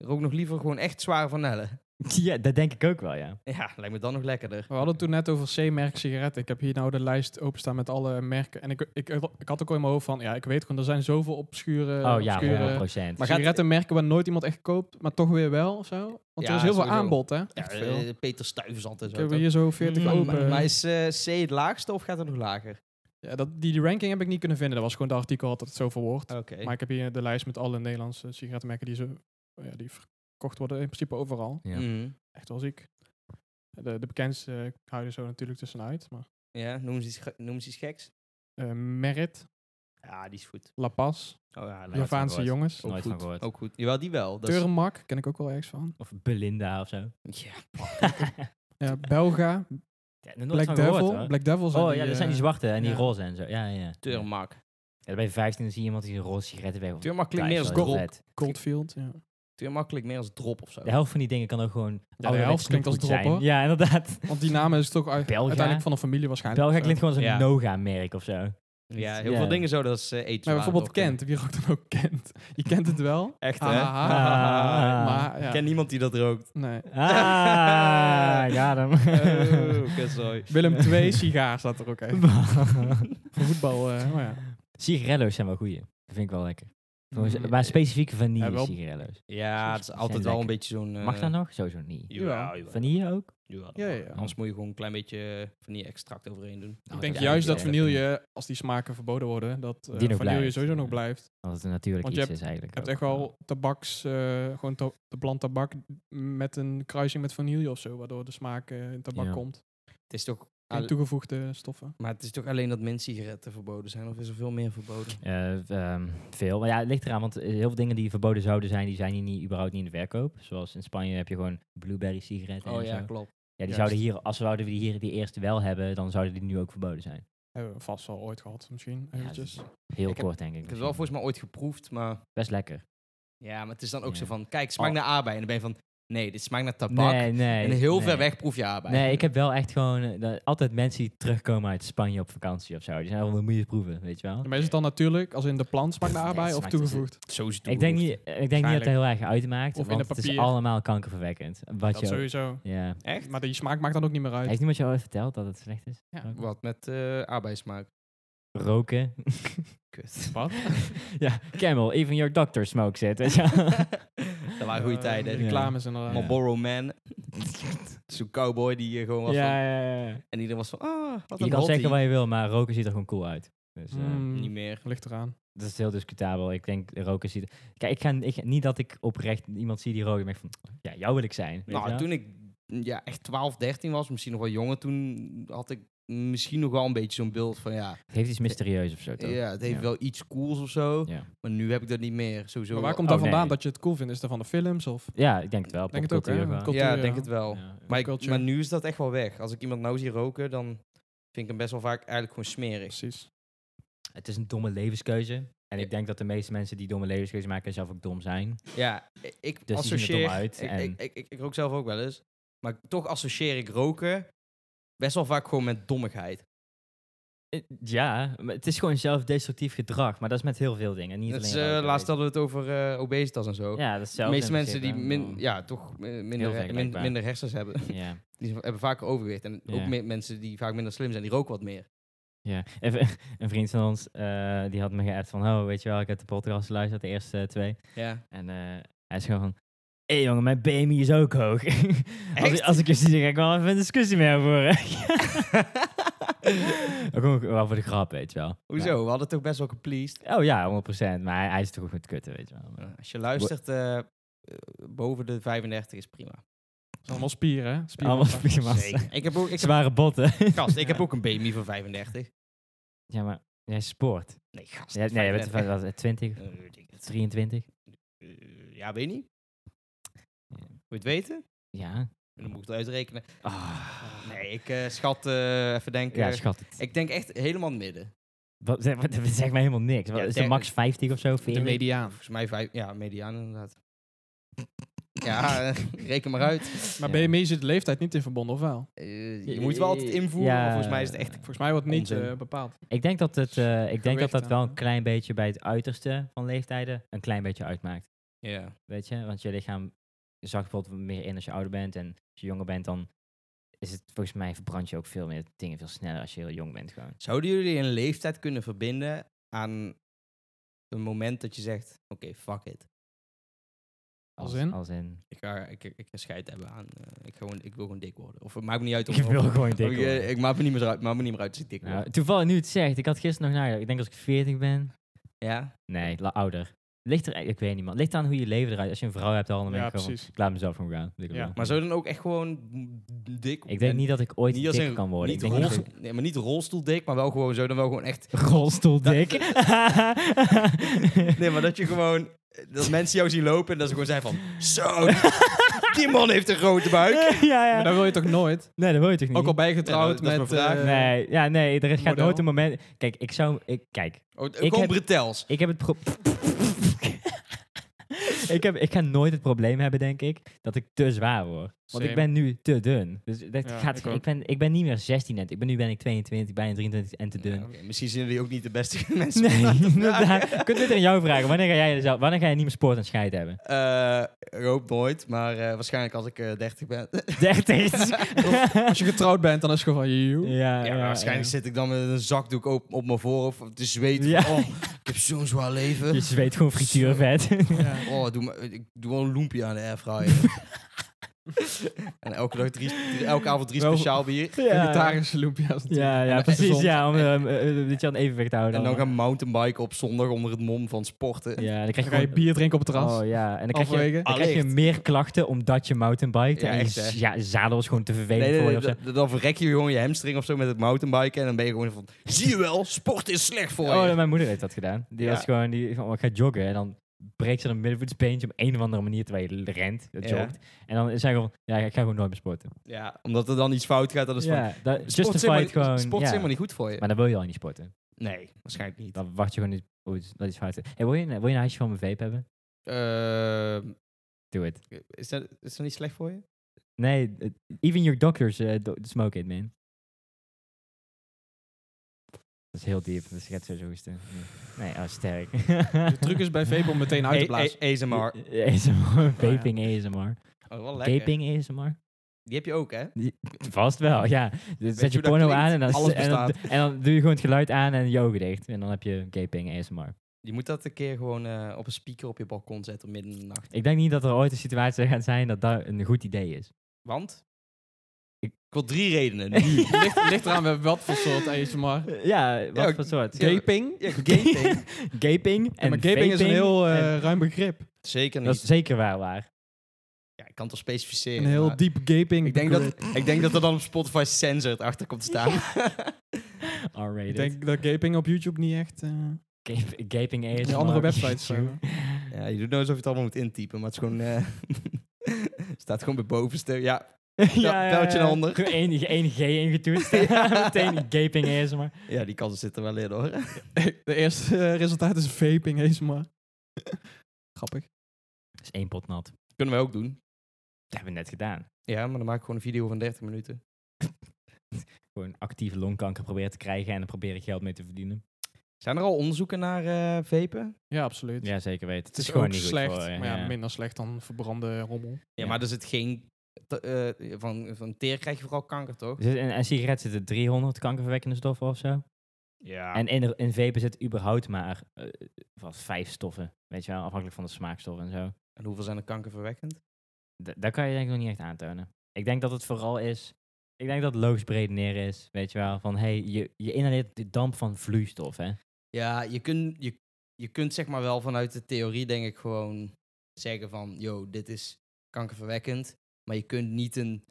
Speaker 1: rook nog liever gewoon echt zware vanellen.
Speaker 3: ja, dat denk ik ook wel, ja.
Speaker 1: Ja, lijkt me dan nog lekkerder.
Speaker 2: We hadden het toen net over C-merk sigaretten. Ik heb hier nou de lijst openstaan met alle merken. En ik, ik, ik had ook al in mijn hoofd van, ja, ik weet gewoon, er zijn zoveel obscure,
Speaker 3: oh ja,
Speaker 2: obscure
Speaker 3: 100%.
Speaker 1: Eh,
Speaker 2: Dus
Speaker 1: Maar gaat-
Speaker 2: sigarettenmerken waar nooit iemand echt koopt, maar toch weer wel of zo. Want
Speaker 1: Ja,
Speaker 2: er is heel veel
Speaker 1: sowieso.
Speaker 2: aanbod, hè.
Speaker 1: Ja,
Speaker 2: Echt veel.
Speaker 1: eh, Peter Stuyvesant en zo.
Speaker 2: Ik heb
Speaker 1: toch?
Speaker 2: hier zo 40
Speaker 1: Maar-
Speaker 2: open.
Speaker 1: Maar, maar is eh, C het laagste of gaat het nog lager?
Speaker 2: Ja, dat, die, die ranking heb ik niet kunnen vinden. Dat was gewoon de artikel had dat het zo verwoord.
Speaker 1: Ah, Oké.
Speaker 2: Maar ik heb hier de lijst met alle eh, dus Nederlandse sigarettenmerken die, ze, ja, die verkocht worden in principe overal.
Speaker 3: Ja.
Speaker 1: Mm.
Speaker 2: Echt wel ziek. De, de bekendste eh, ik hou er zo natuurlijk tussenuit. Maar,
Speaker 1: Ja, noem ze, iets, ge- noem ze iets geks.
Speaker 2: eh, Merit,
Speaker 1: Ja, die is goed.
Speaker 2: La Paz,
Speaker 1: Oh ja,
Speaker 3: nooit van
Speaker 2: Javaanse
Speaker 3: gehoord.
Speaker 2: jongens.
Speaker 3: Nooit
Speaker 1: goed.
Speaker 3: van gehoord.
Speaker 1: Ook goed. Jawel, die wel. Dat Oh, is-
Speaker 2: Turmak, ken ik ook wel ergens van.
Speaker 3: Of Belinda of zo.
Speaker 1: ja.
Speaker 2: Ja, Belga,
Speaker 3: Ja, nooit
Speaker 2: Black
Speaker 3: van
Speaker 2: Devil.
Speaker 3: gehoord, hoor.
Speaker 2: Black Devil zijn
Speaker 3: oh
Speaker 2: die,
Speaker 3: ja, dat
Speaker 2: eh,
Speaker 3: zijn die zwarte en die
Speaker 2: ja.
Speaker 3: roze en zo. Ja, ja, ja. Ja,
Speaker 1: Turmak.
Speaker 3: dan ben je 15 en zie je iemand die een roze sigaretten weg.
Speaker 1: Turmak klinkt meer als
Speaker 2: wel heel
Speaker 1: drop.
Speaker 3: De
Speaker 2: Coldfield. Ja.
Speaker 1: Turmak klinkt meer als drop of zo.
Speaker 3: helft van die dingen kan ook gewoon.
Speaker 2: de
Speaker 3: ouderwets
Speaker 2: helft klinkt als
Speaker 3: snoepgoed
Speaker 2: drop, hoor.
Speaker 3: Ja, inderdaad.
Speaker 2: Want die naam is toch uit-
Speaker 3: Belga?
Speaker 2: uiteindelijk van een familie waarschijnlijk.
Speaker 3: Belga
Speaker 2: of zo.
Speaker 3: klinkt gewoon als een
Speaker 1: Ja.
Speaker 3: Noga-merk of zo.
Speaker 1: Ja, heel
Speaker 3: Ja.
Speaker 1: veel dingen zo, dat is eh eten.
Speaker 2: Maar bijvoorbeeld Kent, wie rookt dan ook Kent? Je kent het wel.
Speaker 1: Echt, hè?
Speaker 2: Ah, ah, ah,
Speaker 3: Ah.
Speaker 2: Maar
Speaker 1: Ik
Speaker 2: ja,
Speaker 1: ken niemand die dat rookt.
Speaker 2: nee.
Speaker 3: Ah, ja, dan.
Speaker 1: Oh, kutzooi.
Speaker 2: Willem 2 sigaar staat er ook even. Voor voetbal, eh maar ja.
Speaker 3: Sigarello's zijn wel goeie. Dat vind ik wel lekker. Volgens-
Speaker 2: Mm,
Speaker 3: maar specifieke vanille
Speaker 2: Ja, wel-
Speaker 3: sigarello's.
Speaker 1: Ja, het is
Speaker 3: Zijn
Speaker 1: altijd wel een
Speaker 3: lekker.
Speaker 1: beetje zo'n... eh,
Speaker 3: Mag dat nog? Sowieso niet.
Speaker 1: Jawel, jawel.
Speaker 3: Vanille ook?
Speaker 1: Jawel, dat
Speaker 2: Ja,
Speaker 1: mag.
Speaker 2: ja, ja.
Speaker 1: Anders moet je gewoon een klein beetje eh, vanille-extract overheen doen.
Speaker 3: Oh,
Speaker 2: Ik denk
Speaker 3: is
Speaker 2: juist dat
Speaker 1: eh,
Speaker 3: eigenlijk erg,
Speaker 2: vanille, als die smaken verboden worden, dat eh,
Speaker 3: Die nog
Speaker 2: vanille
Speaker 3: blijft.
Speaker 2: sowieso nog
Speaker 3: Ja.
Speaker 2: blijft.
Speaker 3: Dat het een natuurlijk
Speaker 2: Want
Speaker 3: iets
Speaker 2: je
Speaker 3: is eigenlijk.
Speaker 2: Je
Speaker 3: ook.
Speaker 2: hebt echt wel tabaks, eh, gewoon to- de plant tabak met een kruising met vanille of zo, waardoor de smaak eh, in tabak
Speaker 3: Ja.
Speaker 2: komt.
Speaker 1: Het is toch...
Speaker 2: En
Speaker 1: al-
Speaker 2: toegevoegde stoffen.
Speaker 1: Maar het is toch alleen dat mint-sigaretten verboden zijn? Of is er veel meer verboden?
Speaker 3: Eh, ehm, veel. Maar ja, het ligt eraan, want eh, heel veel dingen die verboden zouden zijn, die zijn hier niet, überhaupt niet in de verkoop. Zoals in Spanje heb je gewoon blueberry sigaretten
Speaker 1: Oh
Speaker 3: en
Speaker 1: ja,
Speaker 3: zo.
Speaker 1: klopt.
Speaker 3: Ja, die
Speaker 2: Juist.
Speaker 3: zouden hier, als zouden we die hier die eerst wel hebben, dan zouden die nu ook verboden zijn.
Speaker 2: Hebben we vast wel ooit gehad, misschien.
Speaker 3: Ja,
Speaker 2: Eventjes.
Speaker 3: dat is heel
Speaker 1: Ik heb-
Speaker 3: kort denk ik.
Speaker 1: Ik heb het wel
Speaker 3: misschien.
Speaker 1: volgens mij ooit geproefd, maar...
Speaker 3: Best lekker.
Speaker 1: Ja, maar het is dan ook
Speaker 3: Ja.
Speaker 1: zo van... Kijk, smaakt
Speaker 3: Oh.
Speaker 1: naar aardbei. En dan ben je van... Nee, dit smaakt naar tabak.
Speaker 3: Nee, nee.
Speaker 1: en heel
Speaker 3: nee.
Speaker 1: ver weg proef je aardbei.
Speaker 3: Nee, ik heb wel echt gewoon eh, dat- altijd mensen die terugkomen uit Spanje op vakantie of zo. Die zijn wel dan moet je het proeven, weet je wel.
Speaker 2: Maar is het dan natuurlijk, als in de plant smaakt naar
Speaker 3: Nee,
Speaker 2: aardbei,
Speaker 3: het
Speaker 2: of
Speaker 3: smaakt dus-
Speaker 2: toegevoegd?
Speaker 1: Zo is het
Speaker 3: Ik denk, niet, eh,
Speaker 1: toegevoegd.
Speaker 3: ik denk niet dat het heel erg uitmaakt,
Speaker 2: Of in
Speaker 3: want
Speaker 2: een
Speaker 3: het is
Speaker 2: papier.
Speaker 3: allemaal kankerverwekkend. Wat
Speaker 2: Dat
Speaker 3: je, ook-
Speaker 2: sowieso.
Speaker 3: ja.
Speaker 1: Echt?
Speaker 2: Maar die smaak maakt dan ook niet meer uit.
Speaker 3: Heeft niemand je ooit verteld dat het slecht is?
Speaker 2: Ja.
Speaker 3: Roken?
Speaker 1: Wat met eh aardbeismaak?
Speaker 3: Roken.
Speaker 1: Kut.
Speaker 2: Wat?
Speaker 3: ja, Camel, even your doctor smokes it. weet je wel.
Speaker 1: dat waren goede
Speaker 2: Eh,
Speaker 1: tijden.
Speaker 3: ja.
Speaker 2: Reclames eh, inderdaad.
Speaker 3: Ja.
Speaker 1: Marlboro Man. Zo'n cowboy die hier gewoon was van-
Speaker 3: ja, ja, ja.
Speaker 1: En iedereen was van... Ah, wat
Speaker 3: Eh, Je
Speaker 1: een
Speaker 3: kan
Speaker 1: hottie.
Speaker 3: zeggen wat je wil, maar roken ziet er gewoon cool uit. Dus, eh,
Speaker 2: Mm,
Speaker 1: Niet meer.
Speaker 2: Ligt eraan.
Speaker 3: Dat is heel discutabel. Ik denk, roken ziet... Kijk, ik ga, ik, niet dat ik oprecht iemand zie die roken. Maar ik van, ja, jou wil ik zijn. weet je
Speaker 1: Nou,
Speaker 3: wel.
Speaker 1: toen ik ja, echt 12, 13 was, misschien nog wel jonger, toen had ik misschien nog wel een beetje zo'n beeld van ja,
Speaker 3: Het heeft iets mysterieus of zo, toch?
Speaker 1: ja het heeft
Speaker 3: Ja.
Speaker 1: wel iets cools of zo.
Speaker 3: Ja.
Speaker 1: Maar nu heb ik dat niet meer. Sowieso.
Speaker 2: Maar waar komt
Speaker 3: Oh,
Speaker 2: dat vandaan
Speaker 3: nee.
Speaker 2: dat je het cool vindt? Is dat van de films of
Speaker 3: Ja, ik denk het wel.
Speaker 2: Denk het ook, hè?
Speaker 3: popcultuur gewoon.
Speaker 2: Cultuur,
Speaker 1: ja,
Speaker 2: ja.
Speaker 1: denk het wel.
Speaker 3: Ja.
Speaker 1: Maar, ik-
Speaker 2: Popculture.
Speaker 1: maar nu is dat echt wel weg. Als ik iemand nou zie roken, dan vind ik hem best wel vaak eigenlijk gewoon smerig.
Speaker 2: precies?
Speaker 3: Het is een domme levenskeuze. En
Speaker 1: Ja.
Speaker 3: ik denk dat de meeste mensen die domme levenskeuze maken zelf ook dom zijn.
Speaker 1: Ja, i-
Speaker 3: Dus
Speaker 1: ik
Speaker 3: die zien er
Speaker 1: associeer...
Speaker 3: dom uit
Speaker 1: ik,
Speaker 3: en-
Speaker 1: ik, ik, ik, ik rook zelf ook wel eens. Maar toch associeer ik roken best wel vaak gewoon met dommigheid.
Speaker 3: Eh, Ja, maar het is gewoon zelfdestructief gedrag. Maar dat is met heel veel dingen. Niet
Speaker 1: Dat is,
Speaker 3: alleen
Speaker 1: eh,
Speaker 3: roken,
Speaker 1: laatst
Speaker 3: weet
Speaker 1: hadden we het over eh, obesitas en zo.
Speaker 3: je. Ja, dat is Oh.
Speaker 1: de
Speaker 3: zelfs
Speaker 1: meeste
Speaker 3: in
Speaker 1: mensen die
Speaker 3: principe,
Speaker 1: min,
Speaker 3: maar-
Speaker 1: ja, toch eh, minder, he- min-
Speaker 3: vergelijkbaar.
Speaker 1: minder hersens hebben,
Speaker 3: Ja.
Speaker 1: die hebben vaak overgewicht. En ook
Speaker 3: Ja.
Speaker 1: me- mensen die vaak minder slim zijn, die roken wat meer.
Speaker 3: Ja, even, een vriend van ons eh, die had me geappt van, oh, weet je wel, ik heb de podcast geluisterd, de eerste eh, twee.
Speaker 1: Ja.
Speaker 3: En eh, hij is gewoon van, hé jongen, mijn BMI is ook hoog. als, ik,
Speaker 1: Echt?
Speaker 3: als ik je zie, ga ik wel even een discussie mee voeren. gewoon wel voor de grap, weet je wel.
Speaker 1: Hoezo? We hadden het toch best wel gepleased.
Speaker 3: Maar- oh ja, 100%, maar hij, hij is toch ook met kutten, weet je wel. Maar-
Speaker 1: Ja, Als je luistert, eh, eh, boven de 35 is prima.
Speaker 2: Het is allemaal spieren, hè? Spieren.
Speaker 3: Allemaal spiermassa.
Speaker 1: Ik heb ook, ik heb,
Speaker 3: Zware botten.
Speaker 1: gast, ik heb ook een BMI van 35.
Speaker 3: ja, maar jij sport.
Speaker 1: Nee, gast.
Speaker 3: Ja, nee, je bent
Speaker 1: 35.
Speaker 3: van 20,
Speaker 1: Eh, weet ik het.
Speaker 3: 23.
Speaker 1: Eh, ja, weet niet.
Speaker 3: Ja.
Speaker 1: Moet je het weten?
Speaker 3: Ja.
Speaker 1: Dan moet ik het uitrekenen.
Speaker 3: Ah.
Speaker 1: Nee, ik eh, schat, eh, even denken.
Speaker 3: Ja, schat het.
Speaker 1: ik denk echt helemaal in het midden.
Speaker 3: Wat, zeg, wat, zeg maar helemaal niks. Wat,
Speaker 1: Ja,
Speaker 3: is
Speaker 1: der-
Speaker 3: er max 50 of zo?
Speaker 2: De
Speaker 3: 40?
Speaker 2: mediaan.
Speaker 1: Volgens mij vijf, ja, mediaan inderdaad. Ja, eh, reken maar uit.
Speaker 2: Maar
Speaker 3: Ja.
Speaker 2: BMI zit de leeftijd niet in verbonden, of wel?
Speaker 1: Eh, je moet wel altijd invoeren,
Speaker 3: Ja.
Speaker 1: maar volgens mij is het echt...
Speaker 2: Volgens mij wordt niet
Speaker 1: Onzin.
Speaker 2: eh, bepaald.
Speaker 3: Ik denk dat het, eh, ik denk dat,
Speaker 2: Gewicht
Speaker 3: dat wel een
Speaker 2: aan.
Speaker 3: klein beetje bij het uiterste van leeftijden een klein beetje uitmaakt.
Speaker 1: Ja.
Speaker 3: Weet je, want je lichaam zakt bijvoorbeeld meer in als je ouder bent en als je jonger bent, dan is het volgens mij verbrand je ook veel meer dingen veel sneller als je heel jong bent gewoon.
Speaker 1: Zouden jullie een leeftijd kunnen verbinden aan een moment dat je zegt, oké, fuck it.
Speaker 2: Als in?
Speaker 3: Als in.
Speaker 1: Ik ga, ik, ik ga scheid hebben aan, eh, ik, ga gewoon, ik wil gewoon dik worden. Of het maakt me niet uit of
Speaker 3: Ik wil
Speaker 1: of-
Speaker 3: gewoon dik
Speaker 1: of ik, eh,
Speaker 3: worden.
Speaker 1: Ik maak me niet meer uit, maakt me niet meer uit als ik dik word.
Speaker 3: Nou, toevallig nu het zegt, ik had gisteren nog nagedacht. Ik denk als ik 40 ben.
Speaker 1: Ja?
Speaker 3: Nee, la- ouder. Ligt er, e-, ik weet niet man. Ligt aan hoe je leven eruit. Als je een vrouw hebt al, dan ben
Speaker 2: Ja,
Speaker 3: ik gewoon,
Speaker 2: precies.
Speaker 3: ik laat mezelf gewoon gaan. Ik,
Speaker 2: Ja,
Speaker 3: wil.
Speaker 1: Maar zou je dan ook echt gewoon dik...
Speaker 3: ik denk
Speaker 1: en
Speaker 3: niet dat ik ooit
Speaker 1: niet als
Speaker 3: dik
Speaker 1: in-
Speaker 3: kan worden. ik
Speaker 1: Niet
Speaker 3: denk niet
Speaker 1: rolstoel,
Speaker 3: dat ik-
Speaker 1: nee, maar niet rolstoeldik, maar wel gewoon zo. Dan wel gewoon echt...
Speaker 3: rolstoeldik.
Speaker 1: Nee, maar dat je gewoon... eh, Dat mensen jou zien lopen en dat ze gewoon zijn van... Zo, die man heeft een grote buik.
Speaker 3: ja, ja.
Speaker 2: Maar dat wil je toch nooit?
Speaker 3: Nee, dat wil je toch niet?
Speaker 2: Ook al ben je getrouwd
Speaker 1: Nee, dat- dat
Speaker 2: met...
Speaker 1: is mijn vraag.
Speaker 2: eh,
Speaker 3: nee, ja, nee, er gaat
Speaker 2: model.
Speaker 3: nooit een moment... Kijk, ik zou... Ik, kijk,
Speaker 1: Oh, gewoon
Speaker 3: heb-
Speaker 1: bretels.
Speaker 3: ik heb het pro- ik, heb, ik ga nooit het probleem hebben, denk ik, dat ik te zwaar word. Want
Speaker 2: Same.
Speaker 3: ik ben nu te dun. Dus dat
Speaker 2: Ja,
Speaker 3: gaat...
Speaker 2: ik
Speaker 3: Ik,
Speaker 2: ook.
Speaker 3: ben, ik ben niet meer 16 net. Ik ben, nu ben ik 22, bijna 23 en te
Speaker 1: Ja,
Speaker 3: dun.
Speaker 1: oké, misschien zijn jullie ook niet de beste mensen. om dat
Speaker 3: Nee,
Speaker 1: te
Speaker 3: inderdaad.
Speaker 1: vragen.
Speaker 3: Kunt dit aan jou vragen. Wanneer ga jij, zelf- wanneer ga je niet meer sport en scheid hebben?
Speaker 1: Eh, ik hoop nooit, maar eh, waarschijnlijk als ik eh 30 ben.
Speaker 3: 30.
Speaker 2: Als je getrouwd bent, dan is het gewoon van... joe.
Speaker 3: ja,
Speaker 1: Ja, maar waarschijnlijk
Speaker 3: ja.
Speaker 1: zit ik dan met een zakdoek op, op mijn voorhoofd te zweten.
Speaker 3: Ja.
Speaker 1: Oh, ik heb zo'n zwaar leven.
Speaker 3: Je zweet gewoon frituurvet.
Speaker 2: Ja.
Speaker 1: Oh, doe maar, ik doe wel een loempje aan de airfryer. en elke, dag drie, drie- elke avond drie
Speaker 2: Wel-
Speaker 1: speciaal bier.
Speaker 2: Vegetarische loempia's natuurlijk.
Speaker 3: Ja, ja
Speaker 1: En
Speaker 3: precies.
Speaker 1: gezond.
Speaker 3: Ja, om eh, eh, eh, dit je aan evenwicht te houden.
Speaker 1: En dan
Speaker 3: allemaal.
Speaker 1: gaan mountainbiken op zondag onder het mom van sporten.
Speaker 3: ja, dan krijg
Speaker 2: Dan
Speaker 3: je,
Speaker 2: ga je
Speaker 3: gewoon-
Speaker 2: bier drinken op het terras.
Speaker 3: Oh ja, en dan krijg, je,
Speaker 2: Halverwege.
Speaker 3: dan krijg je
Speaker 1: Allicht.
Speaker 3: meer klachten omdat je mountainbiked.
Speaker 1: Ja,
Speaker 3: en je,
Speaker 1: echt, hè?
Speaker 3: z- ja, zadel is gewoon te vervelend
Speaker 1: Nee, nee,
Speaker 3: voor
Speaker 1: nee,
Speaker 3: je. of zo.
Speaker 1: dan- dan verrek je gewoon je hamstring of zo met het mountainbiken. En dan ben je gewoon van, zie je wel, sport is slecht voor
Speaker 3: Oh,
Speaker 1: je.
Speaker 3: mijn moeder heeft dat gedaan. Die
Speaker 1: Ja.
Speaker 3: was gewoon, die van, oh, ik ga joggen. En dan breekt ze een middenvoetsbeentje op een of andere manier terwijl je rent,
Speaker 1: Ja.
Speaker 3: jogt. En dan is hij gewoon, ja, ik ga gewoon nooit meer sporten.
Speaker 1: Ja, omdat er dan iets fout gaat, dat is van...
Speaker 3: ja, dat,
Speaker 1: Sport is,
Speaker 3: justified
Speaker 1: helemaal,
Speaker 3: gewoon.
Speaker 1: sport is
Speaker 3: ja.
Speaker 1: helemaal niet goed voor je.
Speaker 3: Maar dan wil je al niet sporten.
Speaker 1: Nee, waarschijnlijk niet.
Speaker 3: Dan wacht je gewoon niet. Oh, dat is fout. Hey, wil, je, een- wil je een huisje van mijn vape hebben?
Speaker 1: Ehm,
Speaker 3: Doe het.
Speaker 1: is, dat, is dat niet slecht voor je?
Speaker 3: Nee, eh, even your doctors eh, do- smoke it, man. Dat is heel diep, dus je gaat sowieso hoesten. Nee, oh, sterk.
Speaker 2: De truc is bij vape om meteen
Speaker 1: Nou,
Speaker 2: uit te blazen.
Speaker 1: ASMR.
Speaker 3: ASMR, vaping ASMR.
Speaker 1: Oh, wel lekker.
Speaker 3: Vaping ASMR?
Speaker 1: Die heb je ook, hè?
Speaker 3: Vast wel, ja. Dus zet je
Speaker 1: hoe dat
Speaker 3: porno
Speaker 1: klinkt?
Speaker 3: aan en dan,
Speaker 1: Alles
Speaker 3: en, dan,
Speaker 1: bestaat.
Speaker 3: en dan doe je gewoon het geluid aan en je ogen dicht. En dan heb je gaping ASMR.
Speaker 1: Je moet dat een keer gewoon eh, op een speaker op je balkon zetten midden in de nacht.
Speaker 3: Ik denk niet dat er ooit een situatie gaat zijn dat dat een goed idee is.
Speaker 1: Want?
Speaker 3: Ik-
Speaker 1: Ik wil drie redenen. Nu.
Speaker 2: Ligt, ligt eraan wat voor soort ASMR.
Speaker 3: Ja, wat
Speaker 1: Ja,
Speaker 3: voor soort?
Speaker 1: ja,
Speaker 2: Gaping.
Speaker 1: ja, gaping.
Speaker 3: Gaping en
Speaker 2: maar gaping is een
Speaker 3: vaping
Speaker 2: heel eh,
Speaker 3: en-
Speaker 2: ruim begrip.
Speaker 1: Zeker
Speaker 3: Dat
Speaker 1: niet.
Speaker 3: is zeker waar waar.
Speaker 1: Ja, ik kan het wel specificeren.
Speaker 2: Een heel
Speaker 1: maar
Speaker 2: diep gaping.
Speaker 1: ik denk,
Speaker 2: grid.
Speaker 1: dat, ik denk dat er dan op Spotify censored achter komt te staan.
Speaker 2: ik
Speaker 3: R-rated.
Speaker 2: denk dat gaping op YouTube niet echt... eh,
Speaker 3: Gape- Gaping ASMR.
Speaker 2: die andere websites
Speaker 3: YouTube.
Speaker 2: zijn.
Speaker 1: Ja, je doet nou alsof je het allemaal moet intypen, maar het is gewoon... eh, staat gewoon bij bovenste. Ja,
Speaker 3: ja, ja,
Speaker 1: pijltje
Speaker 3: ja.
Speaker 1: naar onder.
Speaker 3: Gewoon één- één G ingetoetst.
Speaker 1: Ja.
Speaker 3: Meteen gaping ASMR.
Speaker 1: ja die kans zit er wel in hoor.
Speaker 2: De eerste eh, resultaat is vaping, eens maar. Grappig.
Speaker 3: Dat is één pot nat.
Speaker 1: Kunnen we ook doen.
Speaker 3: Dat hebben we net gedaan.
Speaker 1: Ja, maar dan maak ik gewoon een video van 30 minuten.
Speaker 3: Gewoon actieve longkanker proberen te krijgen en dan proberen geld mee te verdienen.
Speaker 1: Zijn er al onderzoeken naar eh vapen?
Speaker 2: Ja, absoluut.
Speaker 3: Ja, zeker weten.
Speaker 2: Het is, gewoon niet
Speaker 3: goed
Speaker 2: slecht,
Speaker 3: voor je,
Speaker 2: maar ja,
Speaker 3: ja.
Speaker 2: minder slecht dan verbrande rommel.
Speaker 1: Ja,
Speaker 3: Ja.
Speaker 1: maar er zit geen... te- eh, van, van teer krijg je vooral kanker, toch?
Speaker 3: Er zit Dus in een sigaret zitten 300 kankerverwekkende stoffen of zo.
Speaker 1: Ja.
Speaker 3: En in, in vapen zit überhaupt maar eh, vast vijf stoffen. Weet je wel, afhankelijk van de smaakstof en zo.
Speaker 1: En hoeveel zijn er kankerverwekkend?
Speaker 3: Da- dat kan je denk ik nog niet echt aantonen. Ik denk dat het vooral is... Ik denk dat het logisch breed neer is, weet je wel. Van, hey, je, je inhaleert de damp van vloeistof, hè.
Speaker 1: Ja, je, kun, je, je kunt zeg maar wel vanuit de theorie denk ik gewoon zeggen van... Yo, dit is kankerverwekkend. Maar je kunt niet een...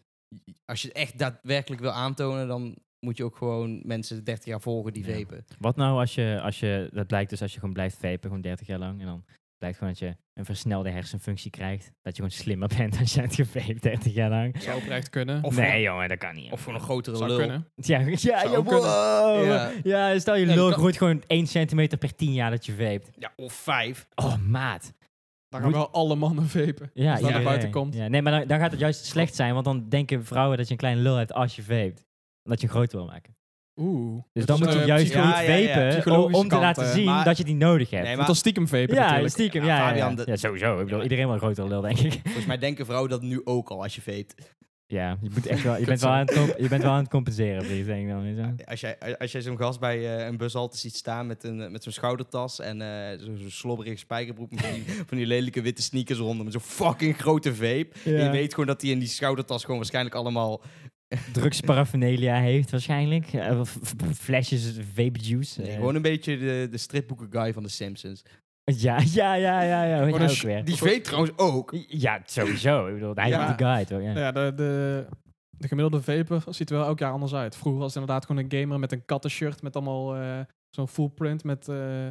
Speaker 1: Als je het echt daadwerkelijk wil aantonen, dan moet je ook gewoon mensen 30 jaar volgen die
Speaker 3: Ja.
Speaker 1: vapen.
Speaker 3: Wat nou als je, als je, dat blijkt dus als je gewoon blijft vapen, gewoon 30 jaar lang, en dan blijkt gewoon dat je een versnelde hersenfunctie krijgt, dat je gewoon slimmer bent als je hebt gevaped 30 jaar lang.
Speaker 2: Zou oprecht kunnen.
Speaker 1: Of
Speaker 3: nee, jongen, dat kan niet.
Speaker 1: Of voor een grotere
Speaker 2: zou
Speaker 1: lul.
Speaker 2: kunnen.
Speaker 3: Ja, ja,
Speaker 2: Zou
Speaker 3: ja,
Speaker 2: kunnen.
Speaker 3: wow.
Speaker 1: Ja.
Speaker 3: ja. stel je
Speaker 1: Ja,
Speaker 3: lul
Speaker 1: dat-
Speaker 3: groeit gewoon 1 centimeter per 10 jaar dat je vaped.
Speaker 1: Ja, of vijf.
Speaker 3: Oh, maat.
Speaker 2: Dan gaan
Speaker 3: Moet-
Speaker 2: wel alle mannen vapen.
Speaker 3: Ja,
Speaker 2: Als dat
Speaker 1: naar
Speaker 3: iedereen.
Speaker 2: buiten komt.
Speaker 3: Ja, nee, maar dan, dan gaat het juist slecht zijn, want dan denken vrouwen dat je een klein lul hebt als je vaped. Omdat je hem groot wil maken.
Speaker 2: Oeh.
Speaker 3: Dus
Speaker 2: Het
Speaker 3: dan
Speaker 2: is eh,
Speaker 3: moet
Speaker 2: een
Speaker 3: je juist
Speaker 2: psycho-
Speaker 3: gewoon
Speaker 1: ja, ja, ja.
Speaker 3: vapen om-
Speaker 2: Psychologische
Speaker 3: om te
Speaker 2: kant,
Speaker 3: laten
Speaker 2: eh,
Speaker 3: zien
Speaker 1: maar-
Speaker 3: dat je die nodig hebt.
Speaker 1: Nee,
Speaker 2: Het
Speaker 1: maar
Speaker 2: was stiekem vapen
Speaker 3: Ja,
Speaker 2: natuurlijk.
Speaker 3: stiekem.
Speaker 1: Ja,
Speaker 3: Ja, ja,
Speaker 1: Fabian,
Speaker 3: ja.
Speaker 1: dat-
Speaker 3: Ja, sowieso. Ik bedoel,
Speaker 1: Ja.
Speaker 3: iedereen wil een grotere lul, denk ik.
Speaker 1: Volgens mij denken vrouwen dat nu ook al als je vapet.
Speaker 3: Ja, je, moet echt wel, je,
Speaker 2: Kut
Speaker 3: bent,
Speaker 2: zo.
Speaker 3: wel aan het comp- je bent wel aan het compenseren, vriend, denk ik dan. weet je wel.
Speaker 1: Als jij, als jij zo'n gast bij eh, een bushalte ziet staan met, een, eh, met zo'n schoudertas en eh, zo- zo'n slobberige spijkerbroek met van die, van die lelijke witte sneakers eronder met zo'n fucking grote vape. En je weet gewoon dat hij in die schoudertas gewoon waarschijnlijk allemaal...
Speaker 3: Drugsparaphernalia heeft waarschijnlijk. Eh, of f- f- flesjes vape juice.
Speaker 1: Nee,
Speaker 3: eh.
Speaker 1: gewoon een beetje de, de stripboeken guy van de Simpsons.
Speaker 3: Ja, ja, ja, ja. ja. Weet
Speaker 2: Gewoon
Speaker 3: je
Speaker 2: een
Speaker 3: ook
Speaker 2: sh-
Speaker 3: weer.
Speaker 1: Die vape trouwens ook.
Speaker 3: Ja, sowieso. Ik bedoel, hij
Speaker 2: Ja.
Speaker 3: is de guy, toch? Ja.
Speaker 2: Nou ja, de, de, de gemiddelde vaper ziet er wel elk jaar anders uit. Vroeger was het inderdaad gewoon een gamer met een kattenshirt met allemaal eh, zo'n full print met eh,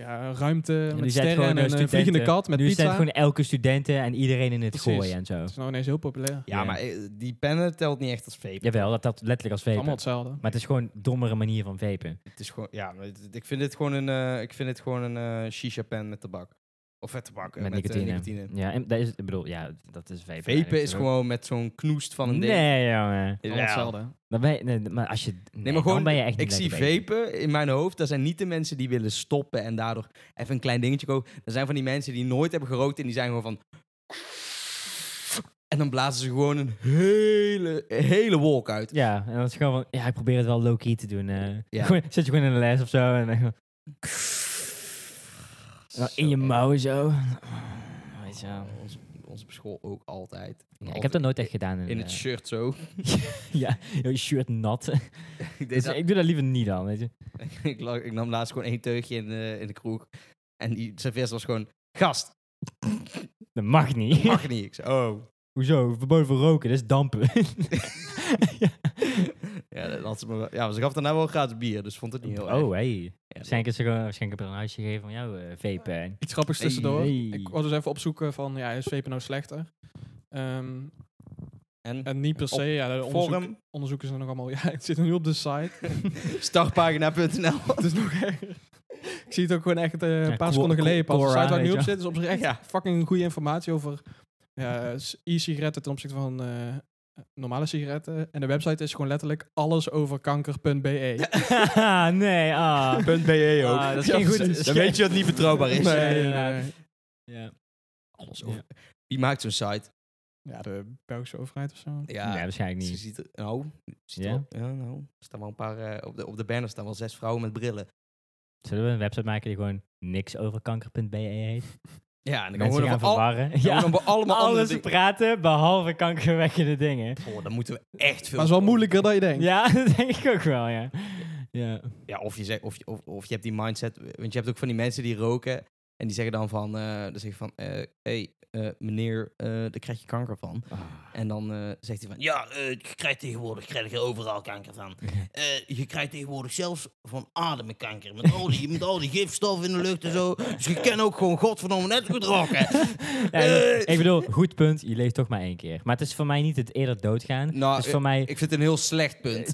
Speaker 2: ja, ruimte,
Speaker 3: En nu
Speaker 2: met
Speaker 3: zijn het
Speaker 2: sterren en
Speaker 3: gewoon, eh,
Speaker 2: een
Speaker 3: studenten.
Speaker 2: vliegende kat met
Speaker 3: nu
Speaker 2: pizza.
Speaker 3: zijn het gewoon elke studenten en iedereen in het
Speaker 2: Precies.
Speaker 3: gooien en zo.
Speaker 2: Dat is nou ineens heel populair.
Speaker 1: Ja,
Speaker 3: Ja.
Speaker 1: maar eh, die pennen telt niet echt als vape.
Speaker 3: Jawel, dat dat letterlijk als vapen.
Speaker 2: Allemaal hetzelfde.
Speaker 3: Maar het is gewoon een dommere manier van vapen.
Speaker 1: Het is gewoon, ja, maar het- ik vind dit gewoon een, eh, ik vind dit gewoon een eh, shisha pen met tabak. Of met tabak, eh,
Speaker 3: Met,
Speaker 1: eh,
Speaker 3: nicotine. Ja, en dat is, ik bedoel, ja, dat is vapen.
Speaker 1: Vapen
Speaker 3: eigenlijk,
Speaker 1: is
Speaker 3: toch?
Speaker 1: gewoon met zo'n knoest van een ding.
Speaker 3: Nee, jongen.
Speaker 1: Ja.
Speaker 2: Allemaal hetzelfde.
Speaker 3: Dan ben je, nee, maar als je, nee,
Speaker 1: maar gewoon,
Speaker 3: dan ben je echt
Speaker 1: Ik
Speaker 3: niet
Speaker 1: zie
Speaker 3: lekker bezig.
Speaker 1: vapen in mijn hoofd. Dat zijn niet de mensen die willen stoppen en daardoor even een klein dingetje kopen. Dat zijn van die mensen die nooit hebben gerookt en die zijn gewoon van... En dan blazen ze gewoon een hele, hele wolk uit.
Speaker 3: Ja, en dan is het gewoon van, ja, ik probeer het wel low-key te doen. eh.
Speaker 1: Ja.
Speaker 3: Gewoon, zet je gewoon in de les of zo. En dan, gewoon- en dan
Speaker 1: Zo
Speaker 3: in je
Speaker 1: erg.
Speaker 3: mouw zo. Weet je wel.
Speaker 1: Oh, ons, ons op school ook altijd.
Speaker 3: Ja, ik heb dat nooit echt gedaan. In,
Speaker 1: In het
Speaker 3: eh,
Speaker 1: shirt zo.
Speaker 3: ja, joh, je shirt nat.
Speaker 1: ik, deed
Speaker 3: Dus
Speaker 1: dat-
Speaker 3: ik doe dat liever niet dan, weet je.
Speaker 1: ik, lag- ik nam laatst gewoon één teugje in de, in de kroeg. En die serveerster was gewoon... Gast,
Speaker 3: Dat mag niet.
Speaker 1: mag niet. Ik zei, oh.
Speaker 3: Hoezo? Verboden voor roken, dat is dampen. ja.
Speaker 1: Ja, dat had ze, me wel- ja, maar ze gaf daarna wel gratis bier, dus vond het niet heel erg.
Speaker 3: Oh, hey.
Speaker 1: Ja,
Speaker 3: Waarschijnlijk, is er gewoon, waarschijnlijk heb je dan een huisje gegeven van jou, eh vapen.
Speaker 2: Iets grappigs tussendoor.
Speaker 3: Nee.
Speaker 2: Ik was dus even opzoeken van, ja, is vapen nou slechter? Ehm,
Speaker 1: En,
Speaker 2: en niet per se, ja, de Eh, onderzoek,
Speaker 1: forum,
Speaker 2: onderzoeken zijn nog allemaal... Ja, het zit nu op de site.
Speaker 1: startpagina.nl.
Speaker 2: Het is nog erger. Ik zie het ook gewoon echt eh, een
Speaker 3: Ja,
Speaker 2: paar
Speaker 3: Quora-
Speaker 2: seconden geleden pas. De
Speaker 3: Quora,
Speaker 2: site waar ik nu
Speaker 3: weet
Speaker 2: op
Speaker 3: je
Speaker 2: zit is op zich echt
Speaker 1: Ja.
Speaker 2: fucking goede informatie over ja, s- e-sigaretten ten opzichte van eh, normale sigaretten. En de website is gewoon letterlijk allesoverkanker.be.
Speaker 3: nee, ah.
Speaker 1: .be
Speaker 3: ook. Ah, dat is geen goed- dat is
Speaker 1: Dan
Speaker 3: geen-
Speaker 1: weet je dat het niet betrouwbaar is.
Speaker 3: Nee.
Speaker 2: nee.
Speaker 3: Ja.
Speaker 1: Alles over. Wie maakt zo'n site?
Speaker 2: Ja, de Belgische overheid of zo.
Speaker 1: Ja,
Speaker 3: nee, waarschijnlijk
Speaker 1: ze
Speaker 3: niet.
Speaker 1: ziet er, nou, ziet
Speaker 3: Ja?
Speaker 1: er wel- ja, nou, er staan wel een paar, eh, op, de, op de banner staan wel zes vrouwen met brillen.
Speaker 3: Zullen we een website maken die gewoon niksoverkanker.be E heet?
Speaker 1: Ja, en dan gaan we
Speaker 3: Mensen
Speaker 1: gewoon
Speaker 3: gaan
Speaker 1: over al-
Speaker 3: verwarren.
Speaker 1: dan
Speaker 3: Ja,
Speaker 1: gaan we allemaal andere
Speaker 3: alles
Speaker 1: dingen-
Speaker 3: praten behalve kankerwekkende dingen.
Speaker 1: Goh, dan moeten we echt veel...
Speaker 2: Maar het is wel moeilijker dan je denkt.
Speaker 3: Ja, dat denk ik ook wel, ja. Ja,
Speaker 1: Ja, of je, zegt, of, je- of, of je hebt die mindset, want je hebt ook van die mensen die roken En die zeggen dan van, eh dan zeg je van, eh, hey, eh, meneer, eh daar krijg je kanker van.
Speaker 3: Ah.
Speaker 1: En dan eh, zegt hij van, ja, eh, je krijgt tegenwoordig krijg je overal kanker van. Eh, je krijgt tegenwoordig zelfs van ademkanker. Met al, die, met al die gifstof in de lucht en zo. Dus je kan ook gewoon godverdomme net zo goed rocken.
Speaker 3: Ja,
Speaker 1: Eh.
Speaker 3: ik bedoel, goed punt, je leeft toch maar één keer. Maar het is voor mij niet het eerder doodgaan.
Speaker 1: Nou,
Speaker 3: het, is voor mij,
Speaker 1: Ik vind het een heel slecht punt.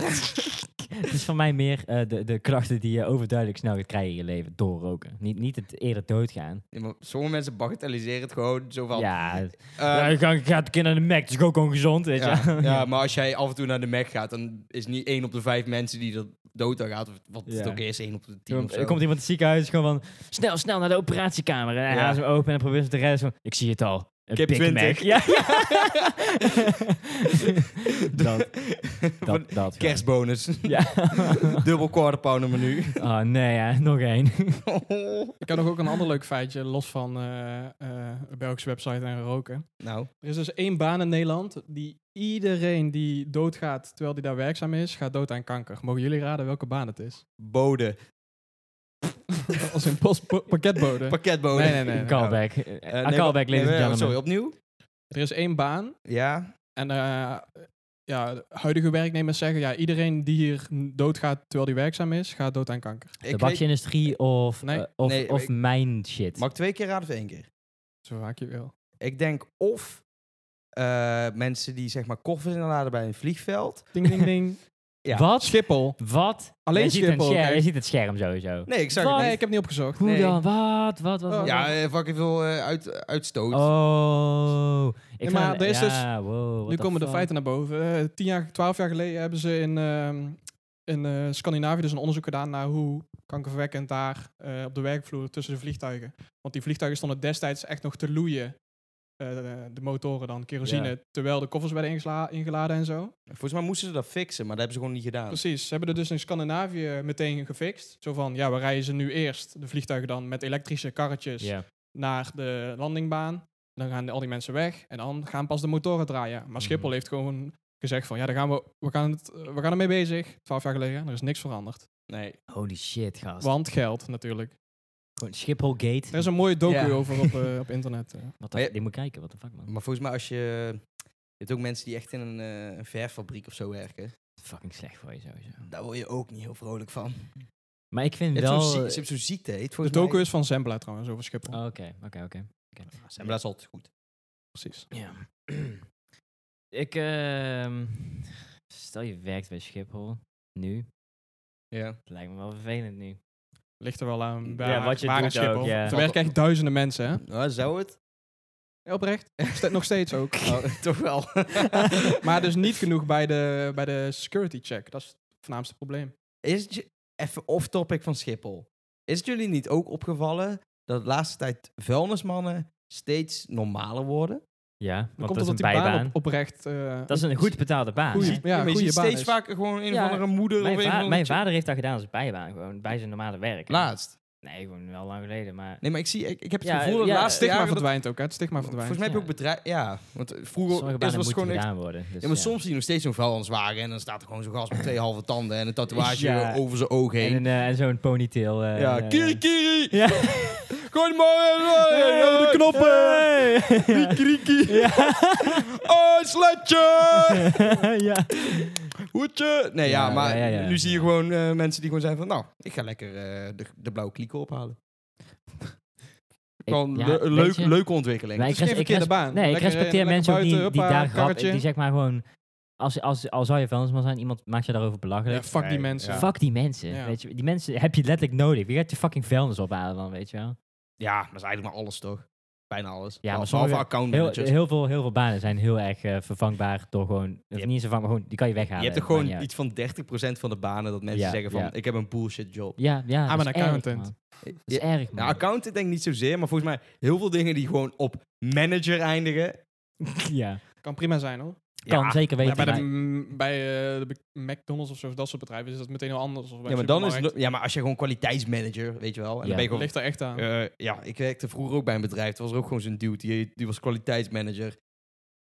Speaker 3: het is voor mij meer eh, de, de krachten die je overduidelijk snel gaat krijgen in je leven door roken. Niet, niet het eerder doodgaan.
Speaker 1: Ja, maar sommige mensen bagatelliseren het gewoon zo van...
Speaker 3: ja,
Speaker 1: eh,
Speaker 3: je gaat, gaat een keer naar de Mac, dat is ook ongezond, weet je
Speaker 1: ja,
Speaker 3: wel.
Speaker 1: ja, maar als jij af en toe naar de Mac gaat, dan is niet één op de vijf mensen die er dood aan gaat. Of wat het
Speaker 3: Ja.
Speaker 1: ook is, één op de tien
Speaker 3: Er
Speaker 1: of zo.
Speaker 3: komt iemand in het ziekenhuis gewoon van, snel, snel naar de operatiekamer. En hij
Speaker 1: Ja.
Speaker 3: haalt hem open en probeert hem te redden. Zo, ik zie het al. Een
Speaker 1: Ik heb
Speaker 3: Big
Speaker 1: 20.
Speaker 3: Mac. Ja, ja. dat,
Speaker 1: Van
Speaker 3: dat, dat.
Speaker 1: Kerstbonus.
Speaker 3: Ja.
Speaker 1: Dubbel quarter pounder menu.
Speaker 3: Oh nee, hè, nog één.
Speaker 2: Ik heb nog ook een ander leuk feitje, los van eh, eh, een Belgische website en roken.
Speaker 1: nou,
Speaker 2: Er is dus één baan in Nederland die iedereen die doodgaat terwijl die daar werkzaam is, gaat dood aan kanker. Mogen jullie raden welke baan het is?
Speaker 1: bode.
Speaker 2: Als een post po- pakketbode.
Speaker 1: Pakketbode.
Speaker 2: nee, nee, nee. nee.
Speaker 3: callback.
Speaker 1: Eh,
Speaker 3: Een
Speaker 1: nee,
Speaker 3: callback,
Speaker 1: nee,
Speaker 3: ladies
Speaker 1: nee,
Speaker 3: and gentlemen.
Speaker 1: Sorry, opnieuw?
Speaker 2: Er is één baan
Speaker 1: Ja.
Speaker 2: en eh, ja, de huidige werknemers zeggen, ja, iedereen die hier doodgaat terwijl die werkzaam is, gaat dood aan kanker.
Speaker 1: Ik weet,
Speaker 3: Tabaksindustrie of,
Speaker 2: Nee.
Speaker 3: eh, of,
Speaker 1: Nee,
Speaker 3: of
Speaker 1: ik-
Speaker 3: mijn shit.
Speaker 1: mag ik twee keer raden of één keer?
Speaker 2: Zo vaak je wil.
Speaker 1: Ik denk of eh, mensen die zeg maar koffers inladen bij een vliegveld.
Speaker 2: Ding, ding, ding.
Speaker 1: ja.
Speaker 3: Wat?
Speaker 2: Schiphol.
Speaker 3: Wat?
Speaker 2: Alleen
Speaker 3: je ziet, een
Speaker 2: Schiphol,
Speaker 3: scherm-
Speaker 2: kijk.
Speaker 3: je ziet het scherm sowieso.
Speaker 1: Nee, ik zag
Speaker 3: Wat?
Speaker 1: het
Speaker 2: Nee,
Speaker 1: niet.
Speaker 2: ik heb niet opgezocht.
Speaker 3: Hoe
Speaker 1: nee.
Speaker 3: dan? Wat? Wat? Wat? wat,
Speaker 1: Ja,
Speaker 3: wat?
Speaker 1: eh, fucking veel eh, uit, uitstoot.
Speaker 3: Oh. Ik
Speaker 2: Nee,
Speaker 3: ga-
Speaker 2: maar er is dus-
Speaker 3: ja, wow, what
Speaker 2: Nu
Speaker 3: the
Speaker 2: komen de
Speaker 3: fuck?
Speaker 2: feiten naar boven. Eh, Tien jaar, twaalf jaar geleden hebben ze in, ehm, in eh, Scandinavië dus een onderzoek gedaan naar hoe kankerverwekkend daar eh, op de werkvloer tussen de vliegtuigen. Want die vliegtuigen stonden destijds echt nog te loeien. Eh, de, de motoren dan, kerosine,
Speaker 3: Ja.
Speaker 2: terwijl de koffers werden ingesla- ingeladen en zo.
Speaker 1: Volgens mij moesten ze dat fixen, maar dat hebben ze gewoon niet gedaan.
Speaker 2: Precies, ze hebben er dus in Scandinavië meteen gefixt. Zo van, ja, we rijden ze nu eerst, de vliegtuigen dan, met elektrische karretjes
Speaker 1: dus.
Speaker 3: Ja.
Speaker 2: naar de landingbaan. Dan gaan al die mensen weg en dan gaan pas de motoren draaien. Maar Schiphol
Speaker 3: Mhm.
Speaker 2: heeft gewoon gezegd van ja, daar gaan we, we, gaan het, we gaan ermee bezig. Twaalf jaar geleden, er is niks veranderd.
Speaker 1: Nee.
Speaker 3: Holy shit, gast.
Speaker 2: Want geld natuurlijk.
Speaker 3: Gewoon Schiphol Gate.
Speaker 2: Er is een mooie docu
Speaker 1: Ja.
Speaker 2: over op, eh, op internet. eh.
Speaker 3: Wat
Speaker 1: Maar
Speaker 3: de
Speaker 1: je-
Speaker 3: fuck? Die moet kijken, wat de fuck, man.
Speaker 1: Maar volgens mij als je... Je hebt ook mensen die echt in een eh, een verffabriek of zo werken.
Speaker 3: Fucking slecht voor je sowieso.
Speaker 1: Daar word je ook niet heel vrolijk van.
Speaker 3: Maar ik vind
Speaker 1: Je hebt zo'n
Speaker 3: wel... eh,
Speaker 1: zie- je hebt zo'n ziekte. Heet
Speaker 2: De docu is van Zembla trouwens over Schiphol.
Speaker 3: Oh, Oké, oké, oké. oké.
Speaker 1: Maar dat is altijd goed.
Speaker 2: Precies.
Speaker 3: Ja. ik, ehm, stel je werkt bij Schiphol nu.
Speaker 1: Ja.
Speaker 3: Het lijkt me wel vervelend nu.
Speaker 2: Ligt er wel aan waar,
Speaker 3: Ja, wat je
Speaker 2: waar
Speaker 3: doet
Speaker 2: in Schiphol.
Speaker 3: ook, ja.
Speaker 2: Er werken echt duizenden mensen, hè?
Speaker 1: Nou, zou het?
Speaker 2: Ja, oprecht. Ste- Nog steeds ook.
Speaker 1: Oh, toch wel.
Speaker 2: Maar dus niet genoeg bij de, bij de security check. Dat is het voornaamste probleem.
Speaker 1: Is het je- even off-topic van Schiphol. Is het jullie niet ook opgevallen dat de laatste tijd vuilnismannen steeds normaler worden?
Speaker 3: Ja, want
Speaker 2: Dan
Speaker 3: dat
Speaker 2: komt
Speaker 3: is
Speaker 2: omdat
Speaker 3: een
Speaker 2: die baan
Speaker 3: bijbaan.
Speaker 2: op, oprecht... eh,
Speaker 3: dat is een goed betaalde baan.
Speaker 2: Goeie.
Speaker 3: hè?
Speaker 2: Ja,
Speaker 1: maar je
Speaker 2: goeie
Speaker 1: ziet
Speaker 2: baan
Speaker 1: steeds
Speaker 2: is.
Speaker 1: vaker gewoon een
Speaker 3: Ja,
Speaker 1: of andere moeder
Speaker 3: Mijn,
Speaker 1: of een
Speaker 3: va-
Speaker 1: of andere
Speaker 3: mijn
Speaker 1: chick.
Speaker 3: vader heeft dat gedaan als bijbaan, gewoon bij zijn normale werk.
Speaker 1: Laatst.
Speaker 3: Nee, gewoon wel lang geleden, maar...
Speaker 1: Nee, maar ik, zie, ik, ik heb het
Speaker 3: Ja,
Speaker 1: gevoel dat de
Speaker 3: ja,
Speaker 2: het
Speaker 1: laatste
Speaker 2: stigma
Speaker 1: jaren... dat-
Speaker 2: verdwijnt ook, hè? Het stigma verdwijnt.
Speaker 1: Volgens mij heb
Speaker 3: Ja.
Speaker 1: je ook bedrijf... Ja, want eh,
Speaker 3: Sommige
Speaker 1: vroeger is,
Speaker 3: banen
Speaker 1: was het
Speaker 3: moeten
Speaker 1: gewoon echt...
Speaker 3: gedaan worden. Dus
Speaker 1: Ja, maar soms zie je nog steeds zo'n vuilniswagen en dan staat er gewoon zo'n gast met twee halve tanden en een tatoeage
Speaker 3: Ja.
Speaker 1: over zijn oog
Speaker 3: En,
Speaker 1: heen.
Speaker 3: een, eh, en zo'n ponytail. eh,
Speaker 1: ja,
Speaker 3: en, eh,
Speaker 1: kiri kiri!
Speaker 3: Ja.
Speaker 1: Gooi maar eh, de knoppen!
Speaker 3: Hey.
Speaker 1: Kriki!
Speaker 3: Ja.
Speaker 1: Oh, een sletje!
Speaker 3: ja.
Speaker 1: Hoedje! Nee, ja,
Speaker 3: Ja,
Speaker 1: maar
Speaker 3: ja, ja, ja.
Speaker 1: nu zie je gewoon eh, mensen die gewoon zijn van... Nou, ik ga lekker eh, de, de blauwe klieken ophalen. Gewoon
Speaker 3: Ja,
Speaker 1: le-
Speaker 3: weet
Speaker 1: leuk,
Speaker 3: je-
Speaker 1: leuke ontwikkeling.
Speaker 3: Maar ik,
Speaker 2: Dus geen
Speaker 3: res- ik,
Speaker 2: verkeerde
Speaker 3: res-
Speaker 2: baan.
Speaker 3: Nee, ik
Speaker 2: Lekker, eh,
Speaker 3: respecteer
Speaker 2: lekker
Speaker 3: mensen ook die,
Speaker 2: buiten,
Speaker 3: die
Speaker 2: hoppa,
Speaker 3: daar grap,
Speaker 2: karretje.
Speaker 3: die zeg maar gewoon... Als, als, al zou je vuilnisman zijn, iemand maakt je daarover belachelijk.
Speaker 2: Ja, fuck die
Speaker 1: Nee,
Speaker 2: mensen.
Speaker 1: ja.
Speaker 3: Fuck die mensen,
Speaker 2: Ja.
Speaker 3: weet je. Die mensen heb je letterlijk nodig. Wie gaat je fucking vuilnis ophalen dan, weet je wel?
Speaker 1: Ja, dat is eigenlijk maar alles, toch? Bijna alles.
Speaker 3: maar
Speaker 1: Behalve
Speaker 3: sommige- Heel,
Speaker 1: accountmanagers.
Speaker 3: heel, veel, heel veel banen zijn heel erg eh, vervangbaar door gewoon... Of
Speaker 1: Je hebt-
Speaker 3: niet eens vervangbaar, gewoon die kan je weghalen.
Speaker 1: Je hebt er
Speaker 3: Maakt
Speaker 1: gewoon
Speaker 3: niet uit.
Speaker 1: iets van 30% van de banen dat mensen
Speaker 3: Ja,
Speaker 1: zeggen van...
Speaker 3: ja.
Speaker 1: Ik heb een bullshit job.
Speaker 3: Ja, ja.
Speaker 2: I'm
Speaker 3: dat
Speaker 2: an
Speaker 3: is erg,
Speaker 2: accountant.
Speaker 3: man.
Speaker 1: Ja,
Speaker 3: Dat is erg, man.
Speaker 1: nou, accountant denk ik niet zozeer, maar volgens mij heel veel dingen die gewoon op manager eindigen.
Speaker 3: ja.
Speaker 2: Kan prima zijn hoor.
Speaker 3: Kan zeker weten.
Speaker 2: Ja, bij de,
Speaker 3: maar-
Speaker 2: m- bij, eh, de be- McDonald's of zo, dat soort bedrijven, is dat meteen heel anders. Of bij
Speaker 1: Ja, maar
Speaker 2: een
Speaker 1: dan is het
Speaker 2: supermarkt.
Speaker 1: no- ja, maar als je gewoon kwaliteitsmanager, weet je wel. En
Speaker 3: Ja.
Speaker 1: dan ben je gewoon
Speaker 2: ligt er echt aan.
Speaker 1: Eh, ja, ik werkte vroeger ook bij een bedrijf. Er was er ook gewoon zo'n dude, die, die was kwaliteitsmanager.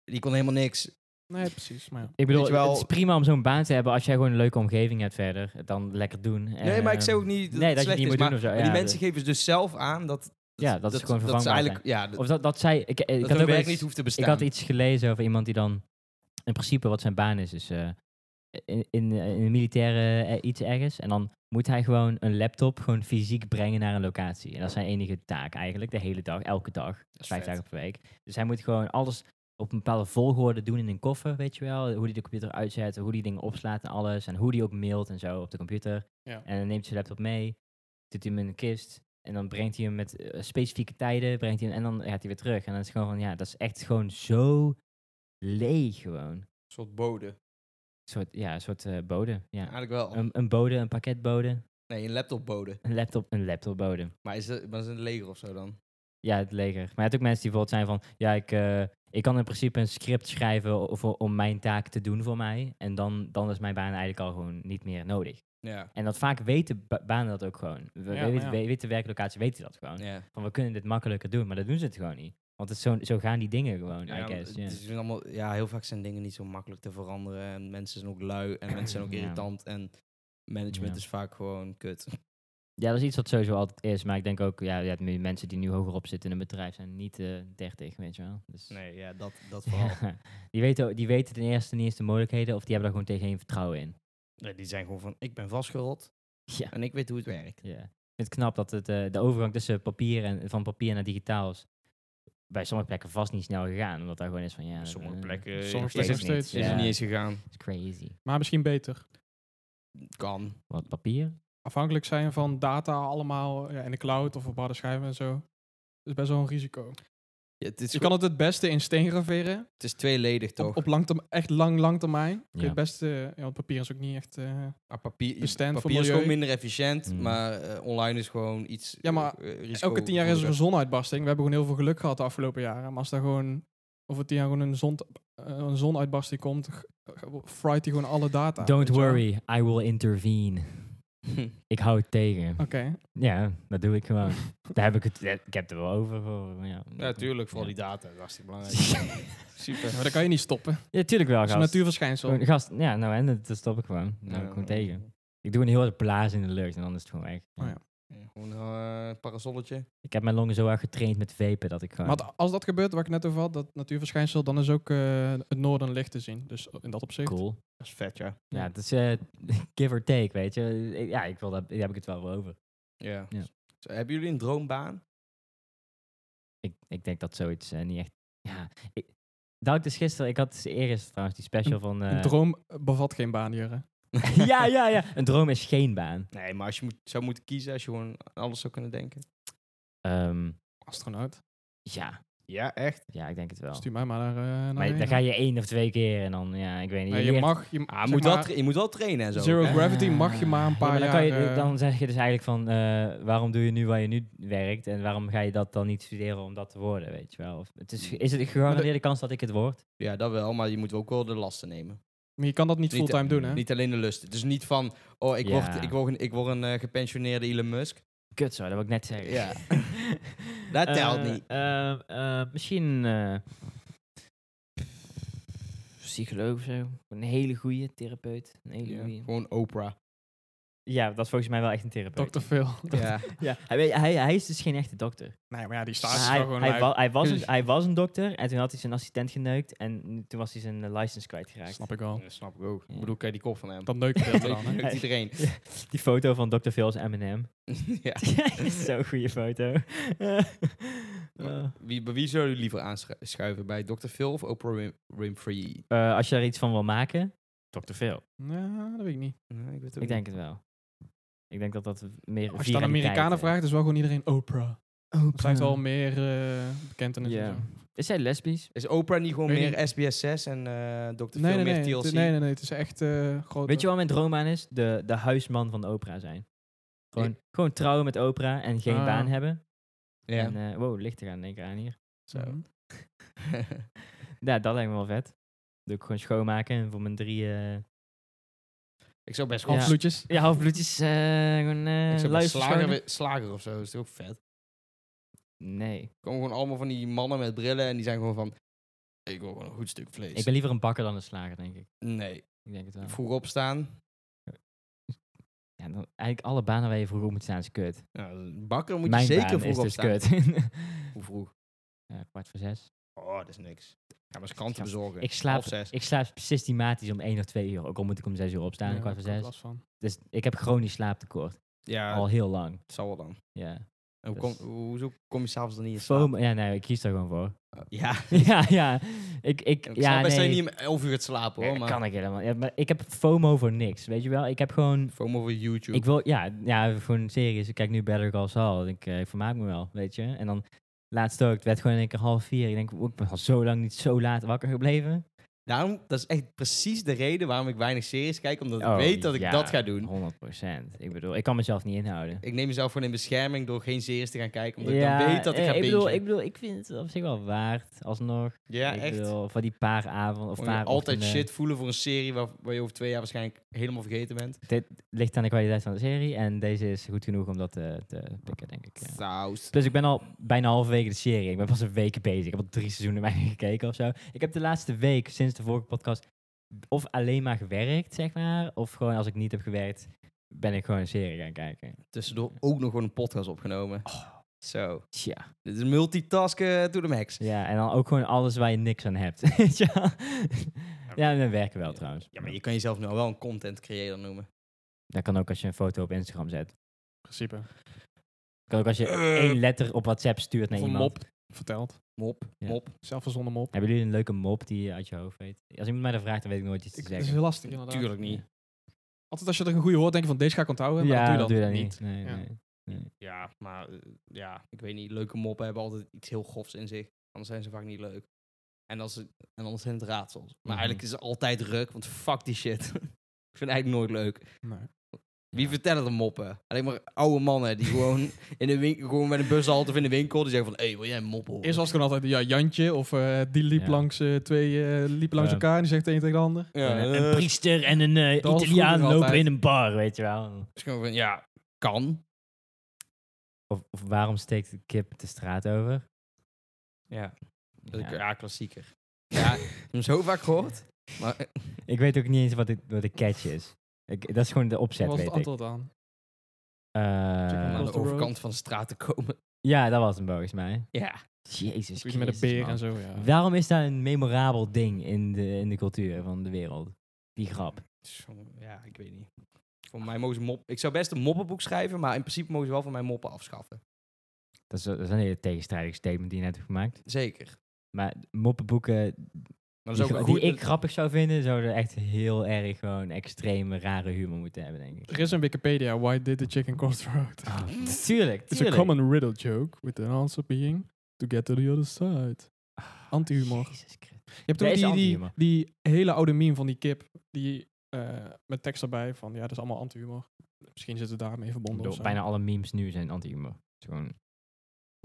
Speaker 1: Die kon helemaal niks.
Speaker 2: Nee, precies. Maar ja.
Speaker 3: Ik bedoel,
Speaker 1: Weet je wel-
Speaker 3: het is prima om zo'n baan te hebben als jij gewoon een leuke omgeving hebt verder. Dan lekker doen.
Speaker 1: Nee, maar ik
Speaker 3: Eh,
Speaker 1: zei ook niet dat
Speaker 3: nee,
Speaker 1: het
Speaker 3: dat je het niet
Speaker 1: slecht is,
Speaker 3: moet
Speaker 1: maar,
Speaker 3: doen of zo.
Speaker 1: maar
Speaker 3: Ja,
Speaker 1: die mensen
Speaker 3: dat-
Speaker 1: geven dus zelf aan dat,
Speaker 3: Ja, dat is gewoon
Speaker 1: dat is
Speaker 3: vervangbaar
Speaker 1: eigenlijk, ja, dat,
Speaker 3: Of dat, dat zij... Ik, ik
Speaker 1: dat
Speaker 3: had
Speaker 1: hun
Speaker 3: ook
Speaker 1: werk
Speaker 3: iets-
Speaker 1: niet hoeft te
Speaker 3: Ik
Speaker 1: bestaan.
Speaker 3: had iets gelezen over iemand die dan in principe wat zijn baan is. Dus eh, in, in, in een militaire eh, iets ergens. En dan moet hij gewoon een laptop gewoon fysiek brengen naar een locatie. En dat is zijn enige taak eigenlijk. De hele dag, elke dag.
Speaker 1: Dat is
Speaker 3: Vijf
Speaker 1: vet.
Speaker 3: dagen per week. Dus hij moet gewoon alles op een bepaalde volgorde doen in een koffer, weet je wel. Hoe hij de computer uitzet, hoe hij dingen opslaat en alles. En hoe hij ook mailt en zo op de computer.
Speaker 2: Ja.
Speaker 3: En dan neemt hij zijn laptop mee, doet hij hem in een kist. En dan brengt hij hem met eh, specifieke tijden, brengt hij hem, en dan gaat hij weer terug. En dan is het gewoon van, ja, dat is echt gewoon zo leeg gewoon. Een
Speaker 1: Een soort bode.
Speaker 3: soort, ja, een soort eh, bode, ja.
Speaker 1: Eigenlijk wel.
Speaker 3: Een, een bode, een pakketbode,
Speaker 1: Nee, een laptopbode.
Speaker 3: een laptop, een laptopbode.
Speaker 1: Maar is het, maar is het een leger of zo dan?
Speaker 3: Ja, het leger. Maar je hebt ook mensen die bijvoorbeeld zijn van... Ja, ik, eh, ik kan in principe een script schrijven o- voor, om mijn taak te doen voor mij. En dan, dan is mijn baan eigenlijk al gewoon niet meer nodig.
Speaker 1: Ja.
Speaker 3: En dat vaak weten ba- banen dat ook gewoon. We, we-
Speaker 2: Ja,
Speaker 3: we-
Speaker 2: ja.
Speaker 3: we- weten de werklocatie weten dat gewoon.
Speaker 1: Ja.
Speaker 3: Van we kunnen dit makkelijker doen, maar dat doen ze het gewoon niet. Want het is zo, zo gaan die dingen gewoon,
Speaker 1: Ja,
Speaker 3: I
Speaker 1: want
Speaker 3: guess.
Speaker 1: het
Speaker 3: ja.
Speaker 1: is allemaal, ja, heel vaak zijn dingen niet zo makkelijk te veranderen. En mensen zijn ook lui en mensen zijn ook
Speaker 3: Ja.
Speaker 1: irritant. En management
Speaker 3: Ja.
Speaker 1: is vaak gewoon kut.
Speaker 3: Ja, dat is iets wat sowieso altijd is. Maar ik denk ook, ja, ja de mensen die nu hogerop zitten in een bedrijf zijn niet eh 30, weet je wel. Dus,
Speaker 1: Nee, ja, dat, dat vooral.
Speaker 3: die, weten, ook- die weten ten eerste niet eens de mogelijkheden of die hebben daar gewoon tegen geen vertrouwen in.
Speaker 1: Nee, die zijn gewoon van, ik ben vastgerot
Speaker 3: Ja.
Speaker 1: en ik weet hoe het werkt.
Speaker 3: Ja. Ik vind het knap dat het, eh, de overgang tussen papier en, van papier naar digitaal is bij sommige plekken vast niet snel gegaan. Omdat daar gewoon is van ja.
Speaker 1: Sommige
Speaker 3: eh,
Speaker 1: plekken
Speaker 3: is
Speaker 2: sommige
Speaker 3: het
Speaker 2: plekken
Speaker 3: niet.
Speaker 2: nog steeds.
Speaker 1: Is
Speaker 3: Ja,
Speaker 1: er niet eens gegaan.
Speaker 3: is crazy.
Speaker 2: Maar misschien beter.
Speaker 1: Kan.
Speaker 3: Wat papier?
Speaker 2: Afhankelijk zijn van data allemaal ja, in de cloud of op harde schijven en zo. is best wel een risico.
Speaker 1: Ja, het, is
Speaker 2: Je kan het het beste in steen graveren.
Speaker 1: het is tweeledig toch?
Speaker 2: Op, op lang term- echt lang, lang termijn. Kun je
Speaker 3: Ja.
Speaker 2: het beste... eh, Ja, want papier is ook niet echt... eh,
Speaker 1: Ah, papier
Speaker 2: Bestemd voor
Speaker 1: papier is gewoon
Speaker 2: milieu.
Speaker 1: minder efficiënt,
Speaker 3: Mm.
Speaker 1: maar eh, online is gewoon iets.
Speaker 2: Ja, maar
Speaker 1: eh, risico-
Speaker 2: elke tien jaar is er een
Speaker 1: gevoeliger.
Speaker 2: zonuitbarsting. We hebben gewoon heel veel geluk gehad de afgelopen jaren. Maar als daar gewoon over tien jaar gewoon een, zon, eh, een zonuitbarsting komt, g- g- fright die gewoon alle data.
Speaker 3: Don't
Speaker 2: weet je wel.
Speaker 3: worry, I will intervene. ik hou het tegen.
Speaker 2: Oké.
Speaker 3: Ja, dat doe ik gewoon. daar heb ik het. eh, Ik heb het er wel over voor. maar Ja,
Speaker 1: Ja, tuurlijk, voor
Speaker 3: Ja.
Speaker 1: die data. Dat is hartstikke belangrijk. Super.
Speaker 2: Maar dat kan je niet stoppen. Het
Speaker 3: Ja, tuurlijk wel,
Speaker 2: is een
Speaker 3: gast.
Speaker 2: natuurverschijnsel.
Speaker 3: Gewoon, gast, ja, nou en dat, dat stop ik gewoon. Daar hou ik gewoon tegen. Ik doe een heel harde blaas in de lucht en dan is het gewoon weg.
Speaker 2: Oh ja.
Speaker 1: Ja, Gewoon een eh, parasolletje.
Speaker 3: Ik heb mijn longen zo erg getraind met vapen dat ik gewoon.
Speaker 2: Maar het- als dat gebeurt, waar ik net over had, dat natuurverschijnsel, dan is ook eh, het noorden licht te zien. Dus in dat opzicht.
Speaker 3: cool.
Speaker 1: Dat is vet, ja.
Speaker 3: Ja, het is eh, give or take, weet je. Ik- Ja, ik wil dat, daar heb ik het wel voor over.
Speaker 1: Ja.
Speaker 3: Ja.
Speaker 1: Zo, hebben jullie een droombaan?
Speaker 3: Ik, ik denk dat zoiets eh, niet echt... Ja, ik, dat ik dus gisteren... Ik had dus eerst trouwens die special van... eh,
Speaker 2: Een droom bevat geen baan, Jurre.
Speaker 3: ja, ja, ja. Een droom is geen baan.
Speaker 1: Nee, maar als je moet, zou moeten kiezen, als je gewoon aan alles zou kunnen denken.
Speaker 3: Ehm,
Speaker 2: Astronaut.
Speaker 3: ja,
Speaker 1: Ja, echt?
Speaker 3: ja, ik denk het wel.
Speaker 2: Stuur mij maar naar. eh, naar
Speaker 3: Maar
Speaker 2: beneden.
Speaker 3: dan ga je één of twee keer en dan... Ja, ik weet niet.
Speaker 2: Nee, je
Speaker 3: leert-
Speaker 2: mag. Je,
Speaker 1: Ah,
Speaker 2: zeg
Speaker 1: moet wel
Speaker 2: maar,
Speaker 1: tra- je moet wel trainen en zo.
Speaker 2: Zero
Speaker 1: hè?
Speaker 2: gravity mag je maar een
Speaker 3: Eh, Ja,
Speaker 2: paar
Speaker 3: dan Kan
Speaker 2: jaar,
Speaker 3: je,
Speaker 2: eh,
Speaker 3: dan zeg je dus eigenlijk van... eh, waarom doe je nu waar je nu werkt? En waarom ga je dat dan niet studeren om dat te worden, weet je wel? Of, het is, is het een gegarandeerde kans dat ik het word?
Speaker 1: Ja, dat wel, maar je moet ook wel de lasten nemen.
Speaker 2: Maar je kan dat niet
Speaker 1: Niet,
Speaker 3: eh,
Speaker 2: fulltime doen, hè?
Speaker 1: Niet alleen de lusten. Dus niet van, oh, ik,
Speaker 3: Ja.
Speaker 1: word, ik, word een, ik word een eh, gepensioneerde Elon Musk.
Speaker 3: Kut zo, dat wil ik net zeggen.
Speaker 1: Ja. Dat telt
Speaker 3: Eh,
Speaker 1: niet.
Speaker 3: eh, eh, misschien eh psycholoog of zo. Een hele goede therapeut. Een hele
Speaker 1: Ja,
Speaker 3: goeie.
Speaker 1: Gewoon Oprah.
Speaker 3: Ja, dat is volgens mij wel echt een therapeut.
Speaker 2: Dr. Phil.
Speaker 1: Ja.
Speaker 3: Ja, hij, weet- hij, hij is dus geen echte dokter.
Speaker 2: Nee, maar ja, die
Speaker 3: Maar
Speaker 2: staat
Speaker 3: hij,
Speaker 2: gewoon
Speaker 3: hij,
Speaker 2: live.
Speaker 3: wa- hij, was een, hij was een dokter en toen had hij zijn assistent geneukt en toen was hij zijn eh, license kwijtgeraakt.
Speaker 2: Snap ik wel.
Speaker 1: Dat snap ik ook.
Speaker 3: Ja.
Speaker 1: Ik bedoel, kijk die kop van hem.
Speaker 2: Dat neukbeeld dan, hè?
Speaker 1: Neukt iedereen.
Speaker 3: Die foto van Dr. Phil's M&M.
Speaker 1: ja.
Speaker 3: is Zo'n goede foto. Eh,
Speaker 1: Wie, bij wie zou je liever aanschuiven? Bij Dr. Phil of Oprah Win- Winfrey?
Speaker 3: eh, als je daar iets van wil maken, Dr. Phil.
Speaker 2: Ja, dat weet ik niet.
Speaker 1: Nee, ik weet het ook
Speaker 3: Ik denk
Speaker 1: niet.
Speaker 3: het wel. Ik denk dat dat meer. eh,
Speaker 2: Als je dan Amerikanen vraagt, is wel gewoon iedereen Oprah. Zij heeft wel meer eh bekentenis
Speaker 3: Ja.
Speaker 2: en zo.
Speaker 3: Is zij lesbisch?
Speaker 1: Is Oprah niet gewoon
Speaker 2: Weet
Speaker 1: meer
Speaker 2: niet.
Speaker 1: SBS6 en eh Dr. Phil
Speaker 2: Nee, nee,
Speaker 1: meer
Speaker 2: nee.
Speaker 1: TLC?
Speaker 2: Het- Nee, nee, nee. Het is echt eh groot.
Speaker 3: Weet je wat mijn droom aan is? De, de huisman van Oprah zijn. Gewoon, gewoon trouwen met Oprah en geen
Speaker 2: Ah.
Speaker 3: baan hebben.
Speaker 1: Ja.
Speaker 3: En, eh, wow, licht er aan in één keer aan hier.
Speaker 1: Zo.
Speaker 3: Mhm. Ja, dat lijkt me wel vet. Doe ik gewoon schoonmaken en voor mijn drie... eh,
Speaker 1: ik zou best gewoon...
Speaker 2: Halfbloedjes.
Speaker 3: ja, halfbloedjes. eh gewoon
Speaker 1: Ik
Speaker 3: eh
Speaker 1: zou best
Speaker 3: luiers
Speaker 1: slager,
Speaker 3: verschonen.
Speaker 1: wi- slager of zo, dat is toch ook vet?
Speaker 3: Nee.
Speaker 1: komen gewoon allemaal van die mannen met brillen en die zijn gewoon van... Ik wil gewoon een goed stuk vlees.
Speaker 3: Ik ben liever een bakker dan een slager, denk ik.
Speaker 1: Nee,
Speaker 3: Ik denk het wel.
Speaker 1: vroeg opstaan.
Speaker 3: Ja, dan, eigenlijk alle banen waar je vroeg op moet staan is kut.
Speaker 1: Ja, bakker moet
Speaker 3: Mijn
Speaker 1: je
Speaker 3: baan
Speaker 1: zeker
Speaker 3: is
Speaker 1: vroeg op
Speaker 3: dus
Speaker 1: staan.
Speaker 3: kut.
Speaker 1: Hoe vroeg?
Speaker 3: Ja, kwart voor zes.
Speaker 1: Oh, dat is niks. Ja, maar eens kranten
Speaker 3: Ik
Speaker 1: bezorgen.
Speaker 3: Ik slaap,
Speaker 1: Half zes.
Speaker 3: ik slaap systematisch om één of twee uur. Ook al moet ik om zes uur opstaan,
Speaker 2: Ja,
Speaker 3: kwart voor
Speaker 2: ik had
Speaker 3: zes.
Speaker 2: last van.
Speaker 3: Dus ik heb chronisch slaaptekort.
Speaker 1: Ja,
Speaker 3: Al heel lang.
Speaker 1: het zal wel dan.
Speaker 3: Ja.
Speaker 1: En hoe
Speaker 3: Oh. Dus-
Speaker 1: kom, hoezo kom je s'avonds dan niet in slaap?
Speaker 3: Foam, ja, nee, ik kies daar gewoon voor.
Speaker 1: Ja, ik
Speaker 3: ja, ja. Ik, ik,
Speaker 1: snap
Speaker 3: ja,
Speaker 1: best dat
Speaker 3: nee.
Speaker 1: je niet om 11 uur gaat slapen
Speaker 3: Nee,
Speaker 1: hoor,
Speaker 3: dat
Speaker 1: maar...
Speaker 3: kan ik helemaal. Ja, maar ik heb FOMO voor niks, weet je wel? Ik heb gewoon...
Speaker 1: Foam over YouTube.
Speaker 3: Ik wil, ja, ja, voor een serie. Ik kijk nu Better Call Saul. Ik, eh, ik vermaak me wel, weet je? En dan laatst ook. Het werd gewoon in één keer half vier. Ik denk, oeh, ik ben al zo lang niet zo laat wakker gebleven.
Speaker 1: Daarom, dat is echt precies de reden waarom ik weinig series kijk. Omdat
Speaker 3: Oh,
Speaker 1: ik weet dat ik
Speaker 3: ja,
Speaker 1: dat ga doen.
Speaker 3: 100 Ik bedoel, ik kan mezelf niet inhouden.
Speaker 1: Ik neem mezelf gewoon in bescherming door geen series te gaan kijken. Omdat
Speaker 3: ja,
Speaker 1: ik dan weet dat ik
Speaker 3: eh,
Speaker 1: ga
Speaker 3: ik
Speaker 1: bingen.
Speaker 3: bedoel, ik bedoel, ik vind het op zich wel waard, alsnog.
Speaker 1: ja,
Speaker 3: ik
Speaker 1: echt.
Speaker 3: Bedoel, van die paar avonden of
Speaker 1: Gewoon je
Speaker 3: paar
Speaker 1: altijd
Speaker 3: ochtenden.
Speaker 1: shit voelen voor een serie waar, waar je over twee jaar waarschijnlijk helemaal vergeten bent.
Speaker 3: Dit ligt aan de kwaliteit van de serie. En deze is goed genoeg om dat eh, te pikken, denk ik. ja.
Speaker 1: Saus.
Speaker 3: Plus Dus ik ben al bijna halverwege de serie. Ik ben pas een week bezig. Ik heb al drie seizoenen bijna gekeken of zo. Ik heb de laatste week, sinds de vorige podcast, of alleen maar gewerkt, zeg maar. Of gewoon als ik niet heb gewerkt, ben ik gewoon een serie gaan kijken.
Speaker 1: Tussendoor ook nog gewoon een podcast opgenomen.
Speaker 3: Oh.
Speaker 1: Zo.
Speaker 3: Tja.
Speaker 1: Dit is multitasken to the max.
Speaker 3: Ja, en dan ook gewoon alles waar je niks aan hebt. Weet je wel? ja, we werken wel trouwens.
Speaker 1: Ja, maar je kan jezelf nou wel een content creator noemen.
Speaker 3: Dat kan ook als je een foto op Instagram zet.
Speaker 2: In principe.
Speaker 3: kan ook als je
Speaker 1: Eh.
Speaker 3: één letter op WhatsApp stuurt naar
Speaker 2: Of een
Speaker 3: iemand.
Speaker 2: mop verteld.
Speaker 1: Mop,
Speaker 3: Ja.
Speaker 1: mop.
Speaker 2: Zelfverzonnen mop.
Speaker 3: Hebben jullie een leuke mop die je uit je hoofd weet? Als iemand mij dat vraagt, dan weet ik nooit iets te
Speaker 2: Ik, dat is
Speaker 3: zeggen.
Speaker 2: heel lastig inderdaad.
Speaker 1: Tuurlijk niet.
Speaker 2: Altijd als je er een goede hoort, denk je van deze ga ik onthouden. Maar
Speaker 3: ja,
Speaker 2: dat doe je dan niet.
Speaker 3: Nee,
Speaker 2: Ja.
Speaker 3: nee.
Speaker 1: Ja, maar eh, ja, ik weet niet. Leuke moppen hebben altijd iets heel gofs in zich. Anders zijn ze vaak niet leuk. En, als ze, en anders zijn het raadsels. Maar
Speaker 3: Mhm.
Speaker 1: eigenlijk is het altijd ruk, want fuck die shit. ik vind het eigenlijk nooit leuk.
Speaker 2: Nee.
Speaker 1: Wie vertellen de moppen? Alleen maar oude mannen die gewoon, in de winkel, gewoon bij een bushalte of in de winkel... die zeggen van, hé, hey, wil jij een mop horen?
Speaker 2: Eerst was het gewoon altijd ja, Jantje of eh, die liep
Speaker 3: Ja.
Speaker 2: langs eh, twee, eh, liepen langs
Speaker 3: Ja.
Speaker 2: elkaar en die zegt de een tegen de ander.
Speaker 1: ja,
Speaker 3: Een-
Speaker 1: eh,
Speaker 3: een priester en een eh,
Speaker 2: dat was
Speaker 3: Italiaan
Speaker 2: vroeger
Speaker 3: lopen in
Speaker 2: altijd.
Speaker 3: een bar, weet je wel.
Speaker 1: is gewoon van, ja, kan.
Speaker 3: Of, of waarom steekt de kip de straat over?
Speaker 1: Ja, dat
Speaker 3: Ja.
Speaker 1: is- ja klassieker. Ja, ik heb hem zo vaak gehoord. Maar eh,
Speaker 3: Ik weet ook niet eens wat, dit, wat de catch is. Ik, dat is gewoon de
Speaker 2: Daar
Speaker 3: opzet,
Speaker 2: was
Speaker 3: weet
Speaker 2: het
Speaker 3: ik.
Speaker 2: antwoord aan.
Speaker 3: Eh,
Speaker 2: Chicken
Speaker 1: om aan
Speaker 2: Cross
Speaker 1: de
Speaker 2: the road.
Speaker 1: overkant van de straat te komen.
Speaker 3: ja, dat was hem volgens mij.
Speaker 1: Ja,
Speaker 3: Jezus
Speaker 2: Iets met een
Speaker 3: Christus,
Speaker 2: beer
Speaker 3: man.
Speaker 2: en zo, ja.
Speaker 3: Waarom is dat een memorabel ding in de, in de cultuur van de wereld? Die grap.
Speaker 1: Zo, ja, ik weet niet. Voor mij mogen ze mop... Ik zou best een moppenboek schrijven, maar in principe mogen ze wel van mijn moppen afschaffen.
Speaker 3: Dat is, dat is een hele tegenstrijdig statement die je net hebt gemaakt.
Speaker 1: Zeker.
Speaker 3: Maar moppenboeken
Speaker 1: Maar dat
Speaker 3: die,
Speaker 1: is ook
Speaker 3: gra-
Speaker 1: een
Speaker 3: die
Speaker 1: goed...
Speaker 3: ik grappig zou vinden, zouden echt heel erg gewoon extreme, rare humor moeten hebben, denk ik.
Speaker 2: Er is een Wikipedia, why did the chicken cross the road?
Speaker 3: Ah, tuurlijk,
Speaker 2: It's a
Speaker 3: tuurlijk.
Speaker 2: common riddle joke with an answer being to get to the other side. Anti-humor.
Speaker 3: Ah, Jezus Christus.
Speaker 2: Je hebt
Speaker 3: Dat
Speaker 2: ook
Speaker 3: is
Speaker 2: die, die,
Speaker 3: anti-humor.
Speaker 2: die hele oude meme van die kip, die eh, met tekst erbij van ja, dat is allemaal anti-humor. Misschien zit het daarmee
Speaker 3: Ik
Speaker 2: verbonden
Speaker 3: bedoel,
Speaker 2: of zo.
Speaker 3: bijna alle memes nu zijn anti-humor. Het is gewoon...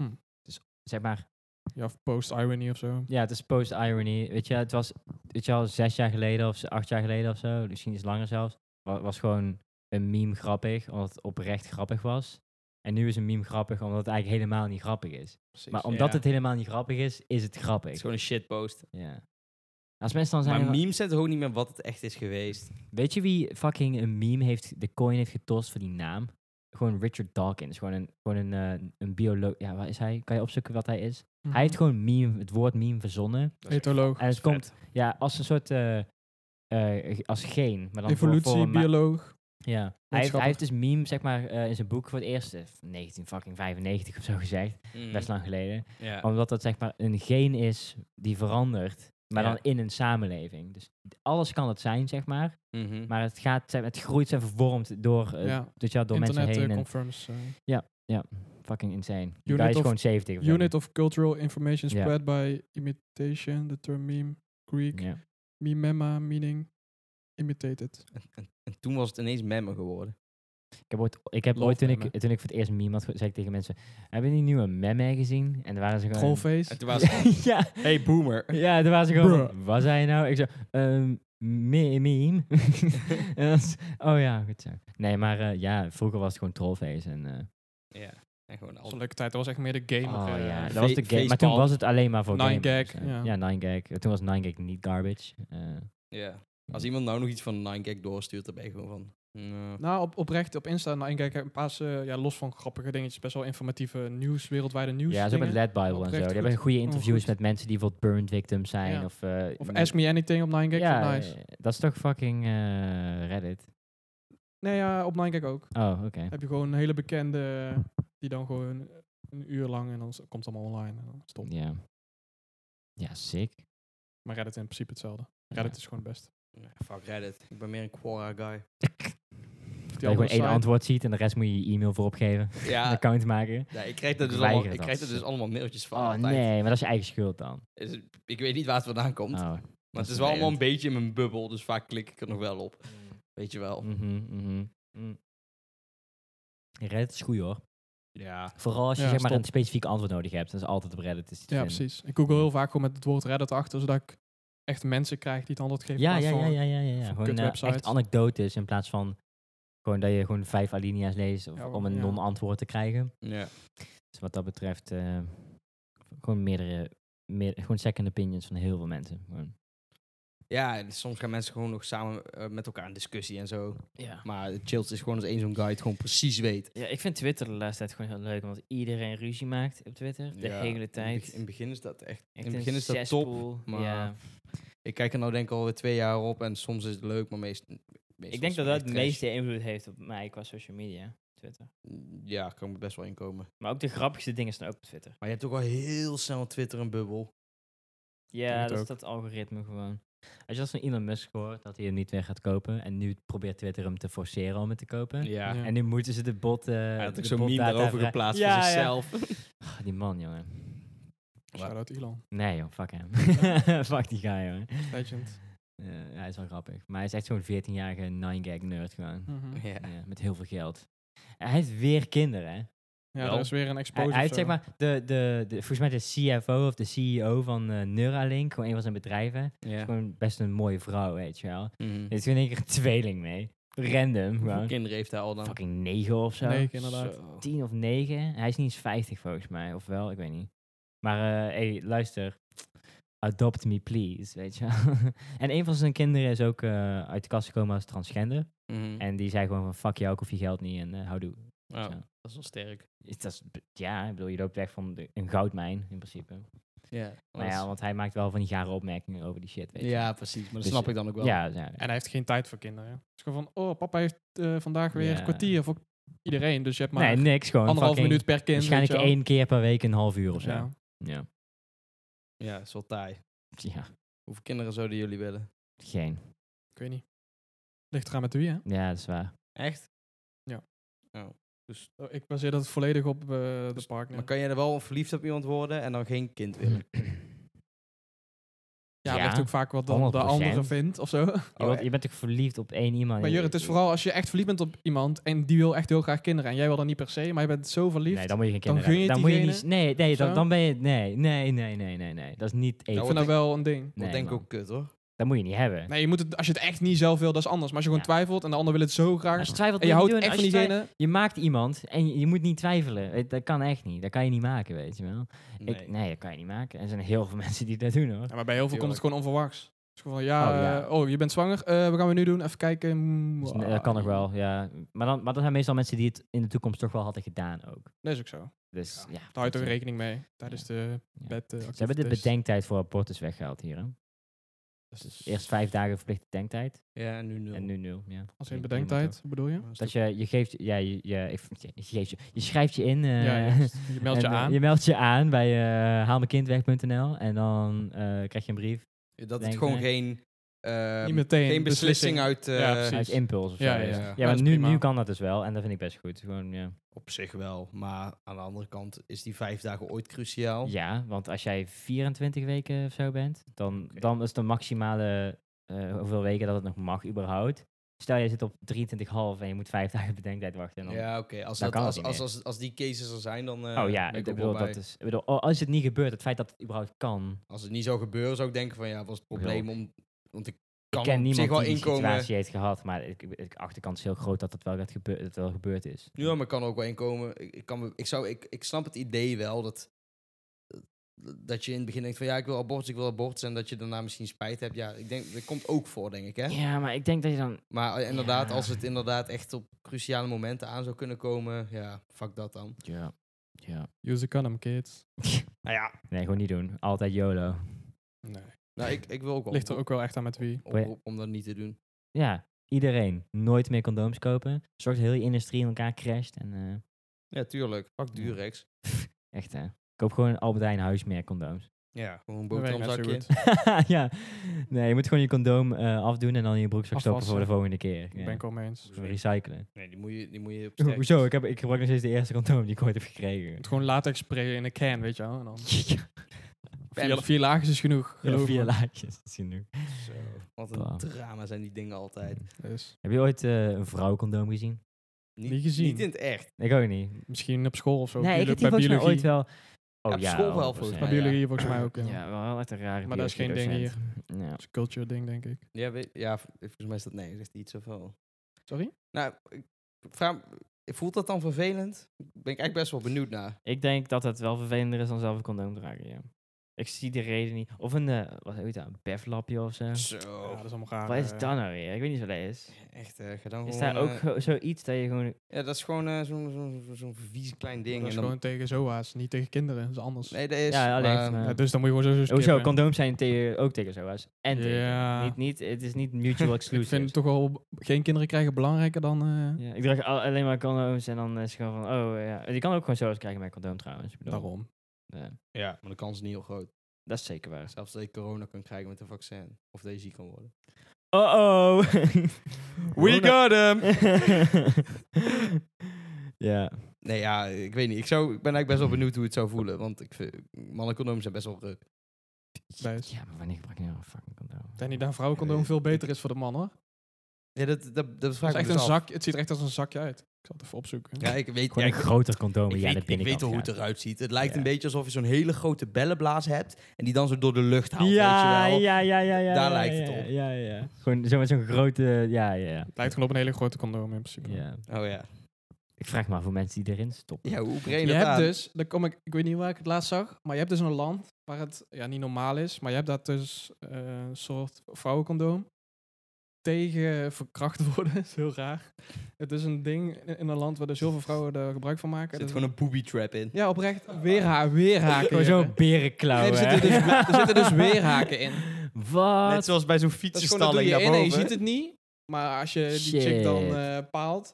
Speaker 2: Hm.
Speaker 3: Dus zeg maar,
Speaker 2: Ja, of post-irony of zo.
Speaker 3: ja, het is post-irony. Weet je, het was, weet je al zes jaar geleden of z- acht jaar geleden of zo, misschien iets langer zelfs, was, was gewoon een meme grappig, omdat het oprecht grappig was. En nu is een meme grappig, omdat het eigenlijk helemaal niet grappig is.
Speaker 2: Dus
Speaker 3: Maar omdat het helemaal niet grappig is, is het
Speaker 1: Het is
Speaker 3: grappig.
Speaker 1: gewoon een shitpost.
Speaker 3: Ja. Als mensen dan zijn...
Speaker 1: Maar memes zetten ook niet meer wat het echt is geweest.
Speaker 3: Weet je wie fucking een meme heeft, de coin heeft getost voor die naam? Gewoon Richard Dawkins. Gewoon een, gewoon een, eh, een bioloog. Ja, wat is hij? Kan je opzoeken wat hij is? Hij heeft gewoon meme, het woord meme verzonnen.
Speaker 2: Mhm. Etoloog,
Speaker 3: En het komt ja, als een soort. eh, eh, als geen. Maar dan voor- voor een ma-
Speaker 2: evolutiebioloog.
Speaker 3: ja. Hij heeft,
Speaker 2: wetenschapper.
Speaker 3: hij heeft dus meme, zeg maar, eh, in zijn boek voor het eerst, eh, 1995 of zo gezegd,
Speaker 1: Mm.
Speaker 3: best lang geleden.
Speaker 1: Ja.
Speaker 3: Omdat dat zeg maar een geen is die verandert, maar
Speaker 1: Ja.
Speaker 3: dan in een samenleving. Dus alles kan het zijn, zeg maar.
Speaker 1: Mhm.
Speaker 3: Maar het, gaat, zeg maar, het groeit en vervormt door, eh,
Speaker 2: Hm. Ja,
Speaker 3: dus ja, door mensen
Speaker 2: internet
Speaker 3: heen.
Speaker 2: eh,
Speaker 3: en
Speaker 2: confirms. eh,
Speaker 3: fucking insane. Die
Speaker 2: Unit
Speaker 3: guy is
Speaker 2: of-
Speaker 3: gewoon 70 of zo.
Speaker 2: Unit of cultural information
Speaker 3: Ja.
Speaker 2: spread by imitation, the term meme, Greek,
Speaker 3: Ja.
Speaker 2: mimema, meaning imitated.
Speaker 1: En toen was het ineens memme geworden.
Speaker 3: Ik heb ooit, ik heb
Speaker 2: Love
Speaker 3: ooit toen, ik,
Speaker 2: meme,
Speaker 3: toen ik voor het eerst een meme had, ge- zei ik tegen mensen... Hebben jullie nu een meme gezien? En daar waren ze gewoon...
Speaker 1: En
Speaker 2: Trollface.
Speaker 1: toen was het...
Speaker 3: ja,
Speaker 1: Hey, boomer.
Speaker 3: ja, daar waren ze gewoon...
Speaker 2: Bruh.
Speaker 3: Wat zei je nou? Ik zei... ehm me- meme? en dan is- oh ja, goed zo. Nee, maar eh, ja, vroeger was het gewoon trollface. En, eh,
Speaker 1: Ja. En gewoon
Speaker 2: Dat was
Speaker 1: al...
Speaker 2: een leuke tijd, dat was echt meer de gamer.
Speaker 3: oh
Speaker 2: eh,
Speaker 3: ja,
Speaker 1: Fe-
Speaker 3: dat was de game. Maar toen
Speaker 1: facepalm.
Speaker 3: was het alleen maar voor
Speaker 2: Nine
Speaker 3: gamers,
Speaker 2: gag,
Speaker 3: eh.
Speaker 2: ja.
Speaker 3: Ja, Nine Gag. Toen was Nine Gag niet garbage. eh.
Speaker 1: Ja. Als iemand nou nog iets van 9gag doorstuurt, dan ben je gewoon van... Ja.
Speaker 2: Nou, op, oprecht op Insta. Nou, en kijk, een paar, eh, ja, los van grappige dingetjes, best wel informatieve nieuws, wereldwijde nieuws.
Speaker 3: Ja, zo
Speaker 2: dingen.
Speaker 3: met Led Bible en
Speaker 2: Oprecht
Speaker 3: zo. Die
Speaker 2: goed. Oh,
Speaker 3: hebben goede interviews
Speaker 2: goed.
Speaker 3: met mensen die bijvoorbeeld burned victims zijn.
Speaker 2: Ja.
Speaker 3: Of, eh,
Speaker 2: Of
Speaker 3: m-
Speaker 2: Ask Me Anything op 9gag.
Speaker 3: Ja,
Speaker 2: nice.
Speaker 3: eh, dat is toch fucking eh, Reddit.
Speaker 2: Nee, ja, op 9gag ook.
Speaker 3: Oh, oké.
Speaker 2: Heb je gewoon een hele bekende eh, die dan gewoon een uur lang en dan s- komt het allemaal online. En dan stop.
Speaker 3: Ja. Ja, sick.
Speaker 2: Maar Reddit is in principe hetzelfde. Reddit is gewoon het best.
Speaker 1: Fuck Reddit. Ik ben meer een Quora guy.
Speaker 3: Dat je
Speaker 2: Of die
Speaker 3: gewoon één
Speaker 2: andere site.
Speaker 3: antwoord ziet en de rest moet je je e-mail voor opgeven. Een
Speaker 1: Ja,
Speaker 3: account maken.
Speaker 1: nee, ik krijg daar dus,
Speaker 3: Ik
Speaker 1: allemaal,
Speaker 3: weiger
Speaker 1: ik
Speaker 3: dat.
Speaker 1: krijg daar dus allemaal mailtjes van.
Speaker 3: Oh
Speaker 1: altijd.
Speaker 3: nee, maar dat is je eigen schuld dan.
Speaker 1: Dus ik weet niet waar het vandaan komt.
Speaker 3: Oh.
Speaker 1: maar
Speaker 3: dat
Speaker 1: het
Speaker 3: is
Speaker 1: is wel allemaal een
Speaker 3: vervelend.
Speaker 1: beetje in mijn bubbel. Dus vaak klik ik er nog wel op. Weet je wel.
Speaker 3: Mhm, mhm, mm. Reddit is goed hoor.
Speaker 1: Ja.
Speaker 3: Vooral als je
Speaker 2: Ja,
Speaker 3: zeg maar
Speaker 2: stop.
Speaker 3: een specifiek antwoord nodig hebt. Dat is altijd op Reddit. Is die te
Speaker 2: Ja,
Speaker 3: vinden.
Speaker 2: precies. Ik google heel vaak gewoon met het woord Reddit achter, zodat ik echt mensen krijg die het antwoord geven.
Speaker 3: Ja,
Speaker 2: in
Speaker 3: ja,
Speaker 2: plaats
Speaker 3: ja,
Speaker 2: van-
Speaker 3: ja, ja, ja. ja.
Speaker 2: van
Speaker 3: Gewoon eh,
Speaker 2: kutwebsites.
Speaker 3: echt anekdotes in plaats van gewoon dat je gewoon vijf alinea's leest of,
Speaker 2: Ja,
Speaker 3: om een
Speaker 2: ja.
Speaker 3: non-antwoord te krijgen.
Speaker 1: Ja.
Speaker 3: Dus wat dat betreft, eh, gewoon meerdere, meer, gewoon second opinions van heel veel mensen. Gewoon.
Speaker 1: ja, en soms gaan mensen gewoon nog samen eh, met elkaar in discussie en zo.
Speaker 3: Ja.
Speaker 1: Maar het chillst is gewoon als één zo'n guy het gewoon precies weet.
Speaker 3: ja, ik vind Twitter de laatste tijd gewoon heel leuk, omdat iedereen ruzie maakt op Twitter. De
Speaker 1: Ja, in
Speaker 3: hele
Speaker 1: het
Speaker 3: tijd.
Speaker 1: beg- In het begin is dat echt... in het begin is dat top. maar-
Speaker 3: ja.
Speaker 1: ja. Ik kijk er nou denk ik alweer twee jaar op. En soms is het leuk, maar meest, meestal
Speaker 3: Ik denk
Speaker 1: is
Speaker 3: dat
Speaker 1: het
Speaker 3: dat
Speaker 1: echt
Speaker 3: het
Speaker 1: trash.
Speaker 3: meeste invloed heeft op mij qua social media. Twitter.
Speaker 1: Ja, kan me best wel inkomen.
Speaker 3: Maar ook de grappigste dingen staan ook op Twitter.
Speaker 1: Maar je hebt ook wel heel snel op Twitter een bubbel.
Speaker 2: Denk
Speaker 3: Ja,
Speaker 2: het
Speaker 3: dat is
Speaker 2: ook.
Speaker 3: dat algoritme gewoon. Als je als van Elon Musk hoort dat hij hem niet weer gaat kopen. En nu probeert Twitter hem te forceren om het te kopen.
Speaker 1: Ja.
Speaker 2: Ja.
Speaker 3: En nu moeten ze de bot. eh
Speaker 1: Hij
Speaker 3: ja,
Speaker 1: had ook zo'n meme daarover geplaatst
Speaker 3: Ja,
Speaker 1: voor
Speaker 3: ja.
Speaker 1: zichzelf.
Speaker 3: die man, jongen.
Speaker 2: Shout-out Elon.
Speaker 3: Nee, joh, fuck hem. fuck die guy, jongen.
Speaker 2: Legend.
Speaker 3: Eh, hij is wel grappig. Maar hij is echt zo'n 14-jarige 9-gag nerd gewoon.
Speaker 2: Mhm.
Speaker 1: Ja.
Speaker 3: Ja, met heel veel geld. En hij heeft weer kinderen, hè?
Speaker 2: Ja,
Speaker 1: Wel.
Speaker 2: er is weer een
Speaker 3: Hij,
Speaker 2: exposure.
Speaker 3: hij heeft
Speaker 2: of zo.
Speaker 3: zeg maar de, de, de, volgens mij de CFO of de CEO van eh, Neuralink, gewoon een van zijn bedrijven.
Speaker 1: Ja.
Speaker 3: Gewoon best een mooie vrouw, weet je wel. Er
Speaker 1: Mhm.
Speaker 3: is gewoon in één keer een tweeling mee. Random,
Speaker 1: Hoeveel
Speaker 3: gewoon.
Speaker 1: kinderen heeft hij al dan?
Speaker 3: Fucking negen of zo.
Speaker 2: Nee, inderdaad.
Speaker 1: Zo.
Speaker 3: Tien of negen. Hij is niet eens vijftig volgens mij, of wel, ik weet niet. Maar eh hey, luister. Adopt me please, weet je wel. en een van zijn kinderen is ook eh, uit de kast gekomen als transgender.
Speaker 1: Mhm.
Speaker 3: En die zei gewoon van fuck jou, ik hoef je geld niet en eh, houdoe.
Speaker 1: Oh,
Speaker 3: Zo.
Speaker 1: dat is wel sterk.
Speaker 3: Is dat, ja, ik bedoel, je loopt weg van de- een goudmijn in principe.
Speaker 1: Ja,
Speaker 3: Maar ja, want hij maakt wel van die gare opmerkingen over die shit, weet je.
Speaker 1: ja, precies. Maar dat
Speaker 3: Dus,
Speaker 1: snap ik dan ook wel.
Speaker 3: Ja, ja.
Speaker 2: En hij heeft geen tijd voor kinderen. Het is gewoon van, oh, papa heeft eh, vandaag weer
Speaker 3: Ja.
Speaker 2: een kwartier voor iedereen. Dus je hebt maar
Speaker 3: nee, niks gewoon.
Speaker 2: anderhalf
Speaker 3: fucking-
Speaker 2: minuut per kind.
Speaker 3: Waarschijnlijk
Speaker 2: weet je wel.
Speaker 3: één keer per week een half uur of zo. Ja.
Speaker 2: Ja.
Speaker 3: ja.
Speaker 1: ja, dat is wel taai. Hoeveel kinderen zouden jullie willen?
Speaker 3: geen.
Speaker 2: Ik weet niet. Ligt eraan met wie, hè?
Speaker 3: Ja, dat is waar.
Speaker 1: Echt?
Speaker 2: Oh, Ik baseer dat volledig op eh, de
Speaker 1: Dus-
Speaker 2: partner.
Speaker 1: Maar kan je er wel verliefd op iemand worden en dan geen kind willen?
Speaker 2: ja,
Speaker 3: Ja,
Speaker 2: het ligt ook vaak wat dan
Speaker 3: 100%.
Speaker 2: de andere vindt of zo.
Speaker 3: Je,
Speaker 1: Oh, eh.
Speaker 3: wordt- je bent toch verliefd op één iemand?
Speaker 2: Maar Jur, het is vooral als je echt verliefd bent op iemand en die wil echt heel graag kinderen. En jij wil dan niet per se, maar je bent zo verliefd.
Speaker 3: Nee, dan moet je geen
Speaker 2: Dan
Speaker 3: kinderen.
Speaker 2: gun je het
Speaker 3: moet je niet.
Speaker 2: diegene
Speaker 3: Nee, nee, dan,
Speaker 2: zo?
Speaker 3: dan ben je. Nee, nee, nee, nee, nee, nee. Dat is niet
Speaker 2: ik
Speaker 3: even.
Speaker 2: vind dat wel een ding.
Speaker 1: Dat
Speaker 3: Mhm. Nee,
Speaker 1: denk Nou, ik
Speaker 3: man.
Speaker 1: ook kut hoor.
Speaker 3: Dat moet je niet hebben.
Speaker 2: Nee, je moet het, als je het echt niet zelf wil, dat is anders. Maar als je gewoon
Speaker 3: Ja.
Speaker 2: twijfelt en de ander wil het zo graag.
Speaker 3: Als je twijfelt,
Speaker 2: en je
Speaker 3: moet
Speaker 2: houdt
Speaker 3: doen.
Speaker 2: echt
Speaker 3: Als
Speaker 2: van
Speaker 3: je twijfelt-
Speaker 2: diegene.
Speaker 3: Je maakt iemand en je, je moet niet twijfelen. Het- Dat kan echt niet. Dat kan je niet maken, weet je wel. Nee, ik, nee dat kan je niet maken. Er zijn heel veel mensen die dat doen hoor.
Speaker 2: Ja, maar bij heel veel komt het
Speaker 1: Tuurlijk.
Speaker 2: gewoon onverwachts. Het is gewoon van, ja,
Speaker 3: Oh,
Speaker 2: eh, oh,
Speaker 3: ja.
Speaker 2: je bent zwanger. Eh wat gaan we nu doen? Even kijken. Mm,
Speaker 3: Dus, nee, dat kan nog
Speaker 2: ah,
Speaker 3: wel, ja. Maar, dan, maar dat zijn meestal mensen die het in de toekomst toch wel hadden gedaan ook.
Speaker 2: Dat is ook zo.
Speaker 3: Dus ja.
Speaker 2: Daar
Speaker 3: dat-
Speaker 2: houdt toch rekening mee tijdens de
Speaker 3: Ja.
Speaker 2: bed. eh,
Speaker 3: Ze hebben de
Speaker 2: activities.
Speaker 3: bedenktijd voor abortus weggehaald hier. Hè? Dus eerst vijf dagen verplichte bedenktijd.
Speaker 1: Ja, en nu nul.
Speaker 3: En nu nul. Ja.
Speaker 2: Als in
Speaker 3: Ja,
Speaker 2: bedenktijd,
Speaker 3: iemand
Speaker 2: bedoel je?
Speaker 1: Ja,
Speaker 3: ook. Dus Dat je, je geeft, ja, je, je, ik- je, geeft je, je schrijft je in. eh,
Speaker 2: ja, juist. je meldt je
Speaker 3: en, eh,
Speaker 2: aan.
Speaker 3: je meldt je aan bij eh haalmijnkindweg.nl en dan eh, krijg je een brief
Speaker 1: dat
Speaker 3: denk
Speaker 1: het
Speaker 3: ik,
Speaker 1: gewoon
Speaker 3: nee.
Speaker 1: geen, ehm,
Speaker 2: Niet meteen.
Speaker 1: geen beslissing uit... eh,
Speaker 2: Ja, precies.
Speaker 3: uit impuls of zo.
Speaker 2: Ja,
Speaker 3: is
Speaker 2: ja,
Speaker 3: het.
Speaker 1: ja.
Speaker 2: Ja,
Speaker 3: maar
Speaker 2: dat is
Speaker 3: nu,
Speaker 2: prima.
Speaker 3: nu kan dat dus wel en dat vind ik best goed. Gewoon, ja.
Speaker 1: op zich wel, maar aan de andere kant is die vijf dagen ooit cruciaal.
Speaker 3: ja, want als jij 24 weken of zo bent, dan,
Speaker 1: Oké.
Speaker 3: dan is de maximale eh, hoeveel weken dat het nog mag überhaupt. Stel, je zit op 23,5 en je moet vijf dagen bedenktijd wachten. En dan,
Speaker 1: Ja, oké. Als,
Speaker 3: Dan
Speaker 1: dat-
Speaker 3: kan
Speaker 1: als,
Speaker 3: het
Speaker 1: als,
Speaker 3: niet
Speaker 1: als, als die cases er zijn, dan eh,
Speaker 3: oh ja,
Speaker 1: ben
Speaker 3: ik
Speaker 1: ik ook
Speaker 3: bedoel,
Speaker 1: wel bij.
Speaker 3: dat is, ik bedoel, oh, als het niet gebeurt, het feit dat het überhaupt kan.
Speaker 1: Als het niet zou gebeuren, zou ik denken van ja, was het probleem om... Want ik kan
Speaker 3: Ik ken
Speaker 1: op zich
Speaker 3: niemand
Speaker 1: wel
Speaker 3: die die
Speaker 1: inkomen...
Speaker 3: situatie heeft gehad, maar ik, ik, de achterkant is heel groot dat het wel, gaat gebeur, dat het wel gebeurd is.
Speaker 1: Ja, maar ik kan er ook wel inkomen. Ik, ik, kan, me- ik, zou, ik, ik snap het idee wel dat... dat je in het begin denkt van ja, ik wil abortus, ik wil abortus. En dat je daarna misschien spijt hebt. Ja, ik denk, dat komt ook voor, denk ik. Hè?
Speaker 3: Ja, maar ik denk dat je dan...
Speaker 1: Maar eh, inderdaad,
Speaker 3: Ja.
Speaker 1: als het inderdaad echt op cruciale momenten aan zou kunnen komen, ja, fuck dat dan.
Speaker 3: Ja. Ja.
Speaker 2: Use the condom, kids.
Speaker 1: Nou ja,
Speaker 3: Nee, gewoon niet doen. Altijd YOLO.
Speaker 2: Nee.
Speaker 1: nou, ik, ik wil ook wel
Speaker 2: Ligt er ook wel echt aan met wie.
Speaker 3: Oh
Speaker 1: oproep om dat niet te doen.
Speaker 3: Ja, iedereen. Nooit meer condooms kopen. Zorgt dat heel je industrie in elkaar crasht. En eh,
Speaker 1: Ja, tuurlijk. Fuck
Speaker 3: Ja.
Speaker 1: Durex.
Speaker 3: echt, hè. Koop gewoon een Albert Heijn huismerk condooms.
Speaker 1: Ja, gewoon een
Speaker 2: Dat werkt
Speaker 1: boterhamzakje.
Speaker 2: net zo goed.
Speaker 3: ja. Nee, je moet gewoon je condoom eh, afdoen en dan in je broekzak stoppen
Speaker 2: Afwassen.
Speaker 3: voor de volgende keer.
Speaker 2: Ik
Speaker 3: Ja.
Speaker 2: ben ik wel mee eens.
Speaker 3: Gewoon Recyclen.
Speaker 1: Nee, die moet je, die moet je op sterk-
Speaker 3: Hoezo? Ik, heb, ik gebruik nog steeds de eerste condoom die ik ooit heb gekregen.
Speaker 2: Het gewoon latex sprayen in een can, weet je wel. En dan
Speaker 3: Ja,
Speaker 2: vier, vier laagjes is genoeg. geloof me.
Speaker 3: vier laadjes. Dat is genoeg.
Speaker 1: Zo. Wat een
Speaker 3: Ah.
Speaker 1: drama zijn die dingen altijd.
Speaker 2: Dus
Speaker 3: Heb je ooit eh, een vrouwcondoom gezien?
Speaker 1: Niet,
Speaker 2: Niet gezien.
Speaker 1: Niet in het echt.
Speaker 3: Ik ook niet.
Speaker 2: misschien op school of zo.
Speaker 3: nee, ik
Speaker 2: Biolo-
Speaker 3: heb die volgens mij
Speaker 2: biologie.
Speaker 3: ooit wel... Oh
Speaker 1: Ja, op
Speaker 3: ja.
Speaker 1: school wel
Speaker 3: oh,
Speaker 1: volgens
Speaker 3: ja,
Speaker 1: mij,
Speaker 2: Bij
Speaker 3: ja.
Speaker 2: biologie volgens mij ook. Ja.
Speaker 3: Ja, wel echt een rare
Speaker 2: Maar dat is geen ding
Speaker 3: biologiedocent. Ja.
Speaker 2: Dat is een culture ding, denk ik.
Speaker 1: Ja, weet, ja, v- volgens mij is dat nee, zegt hij iets zoveel.
Speaker 2: Sorry?
Speaker 1: Nou, ik ik vraag, voelt dat dan vervelend? Ben ik eigenlijk best wel benieuwd naar.
Speaker 3: Ik denk dat het wel vervelender is dan zelf een condoom dragen, ja. Ik zie de reden niet. Of een, eh, wat heet dat, een beflapje of zo.
Speaker 1: Zo.
Speaker 2: Ja, dat is allemaal raar.
Speaker 3: Wat is
Speaker 2: eh,
Speaker 3: dat nou weer? Ik weet niet wat dat is.
Speaker 1: Echt, eh, ga dan
Speaker 3: Is
Speaker 1: gewoon,
Speaker 3: daar ook
Speaker 1: eh,
Speaker 3: zo- zoiets dat je gewoon...
Speaker 1: ja, dat is gewoon eh, zo'n zo'n zo'n vies klein ding.
Speaker 2: Dat
Speaker 1: en
Speaker 2: is
Speaker 1: dan-
Speaker 2: gewoon tegen zoa's, niet tegen kinderen. Dat is anders.
Speaker 1: Nee, dat is...
Speaker 3: Ja, alleen,
Speaker 1: maar-
Speaker 3: maar-
Speaker 2: Ja, dus dan moet je gewoon sowieso
Speaker 3: Hoezo,
Speaker 2: skippen.
Speaker 3: Oh, condooms zijn tegen, ook tegen zoals. En tegen.
Speaker 2: Ja.
Speaker 3: Niet, niet, het is niet mutual
Speaker 2: Ik
Speaker 3: exclusive.
Speaker 2: vind toch wel geen kinderen krijgen belangrijker dan... eh,
Speaker 3: Ja, ik draag al- alleen maar condooms en dan is het gewoon van, oh ja. Je kan ook gewoon zoals krijgen met condoom trouwens. Ik bedoel,
Speaker 2: Daarom.
Speaker 3: ja,
Speaker 1: ja, maar de kans is niet heel groot.
Speaker 3: dat is zeker waar.
Speaker 1: Zelfs dat je corona kan krijgen met een vaccin. Of dat je ziek kan worden.
Speaker 3: Oh-oh!
Speaker 1: We got him!
Speaker 3: ja.
Speaker 1: Nee, ja, ik weet niet. Ik, zou, ik ben eigenlijk best wel benieuwd hoe het zou voelen. Want ik vind, mannencondoms zijn best wel eh, ruk.
Speaker 2: Wijs.
Speaker 3: Ja, maar wanneer gebruik je nou een fucking condoom?
Speaker 2: Ik denk niet dat een vrouwencondoom veel beter is voor de man, hoor.
Speaker 1: Ja, dat, dat, dat
Speaker 2: Het,
Speaker 1: vraag ik
Speaker 2: is echt
Speaker 1: me
Speaker 2: een
Speaker 1: dus af.
Speaker 2: zak, het ziet er echt als een zakje uit. Ik zal het even opzoeken.
Speaker 1: Ja, ik weet...
Speaker 3: Gewoon
Speaker 1: ja,
Speaker 3: een groter condoom.
Speaker 1: Ik
Speaker 3: ja,
Speaker 1: weet,
Speaker 3: dat
Speaker 1: ik weet wel hoe het eruit ziet. Het lijkt
Speaker 3: Ja.
Speaker 1: een beetje alsof je zo'n hele grote bellenblaas hebt en die dan zo door de lucht haalt.
Speaker 3: Ja,
Speaker 1: weet je wel.
Speaker 3: ja, ja, ja, ja.
Speaker 1: Daar
Speaker 3: ja,
Speaker 1: lijkt het
Speaker 3: ja,
Speaker 1: op.
Speaker 3: Ja, ja. Gewoon zo met zo'n grote... Ja, ja, ja.
Speaker 2: Het lijkt gewoon op een hele grote condoom in principe.
Speaker 3: ja.
Speaker 1: Oh ja.
Speaker 3: Ik vraag me af hoe mensen die erin stoppen.
Speaker 1: Ja, hoe breed
Speaker 2: Je
Speaker 1: dat
Speaker 2: hebt
Speaker 1: aan?
Speaker 2: dus, daar kom ik, ik weet niet waar ik het laatst zag, maar je hebt dus een land waar het ja, niet normaal is, maar je hebt daar dus eh, een soort vrouwencondoom tegen verkracht worden. Dat is heel raar. Het is een ding in in een land waar dus heel veel vrouwen er gebruik van maken.
Speaker 1: Er zit
Speaker 2: Dat is-
Speaker 1: gewoon een booby trap in.
Speaker 2: Ja, oprecht. Weerha weerhaken.
Speaker 3: Gewoon
Speaker 2: Jeppe.
Speaker 3: zo'n berenklauw,
Speaker 2: Nee, er
Speaker 3: hè?
Speaker 2: zitten dus bla- er zitten dus weerhaken in.
Speaker 3: Wat?
Speaker 1: zoals bij zo'n
Speaker 2: Dat is gewoon, dat doe je in en je ziet het niet, maar als je die chick dan
Speaker 3: Shit.
Speaker 2: eh, paalt,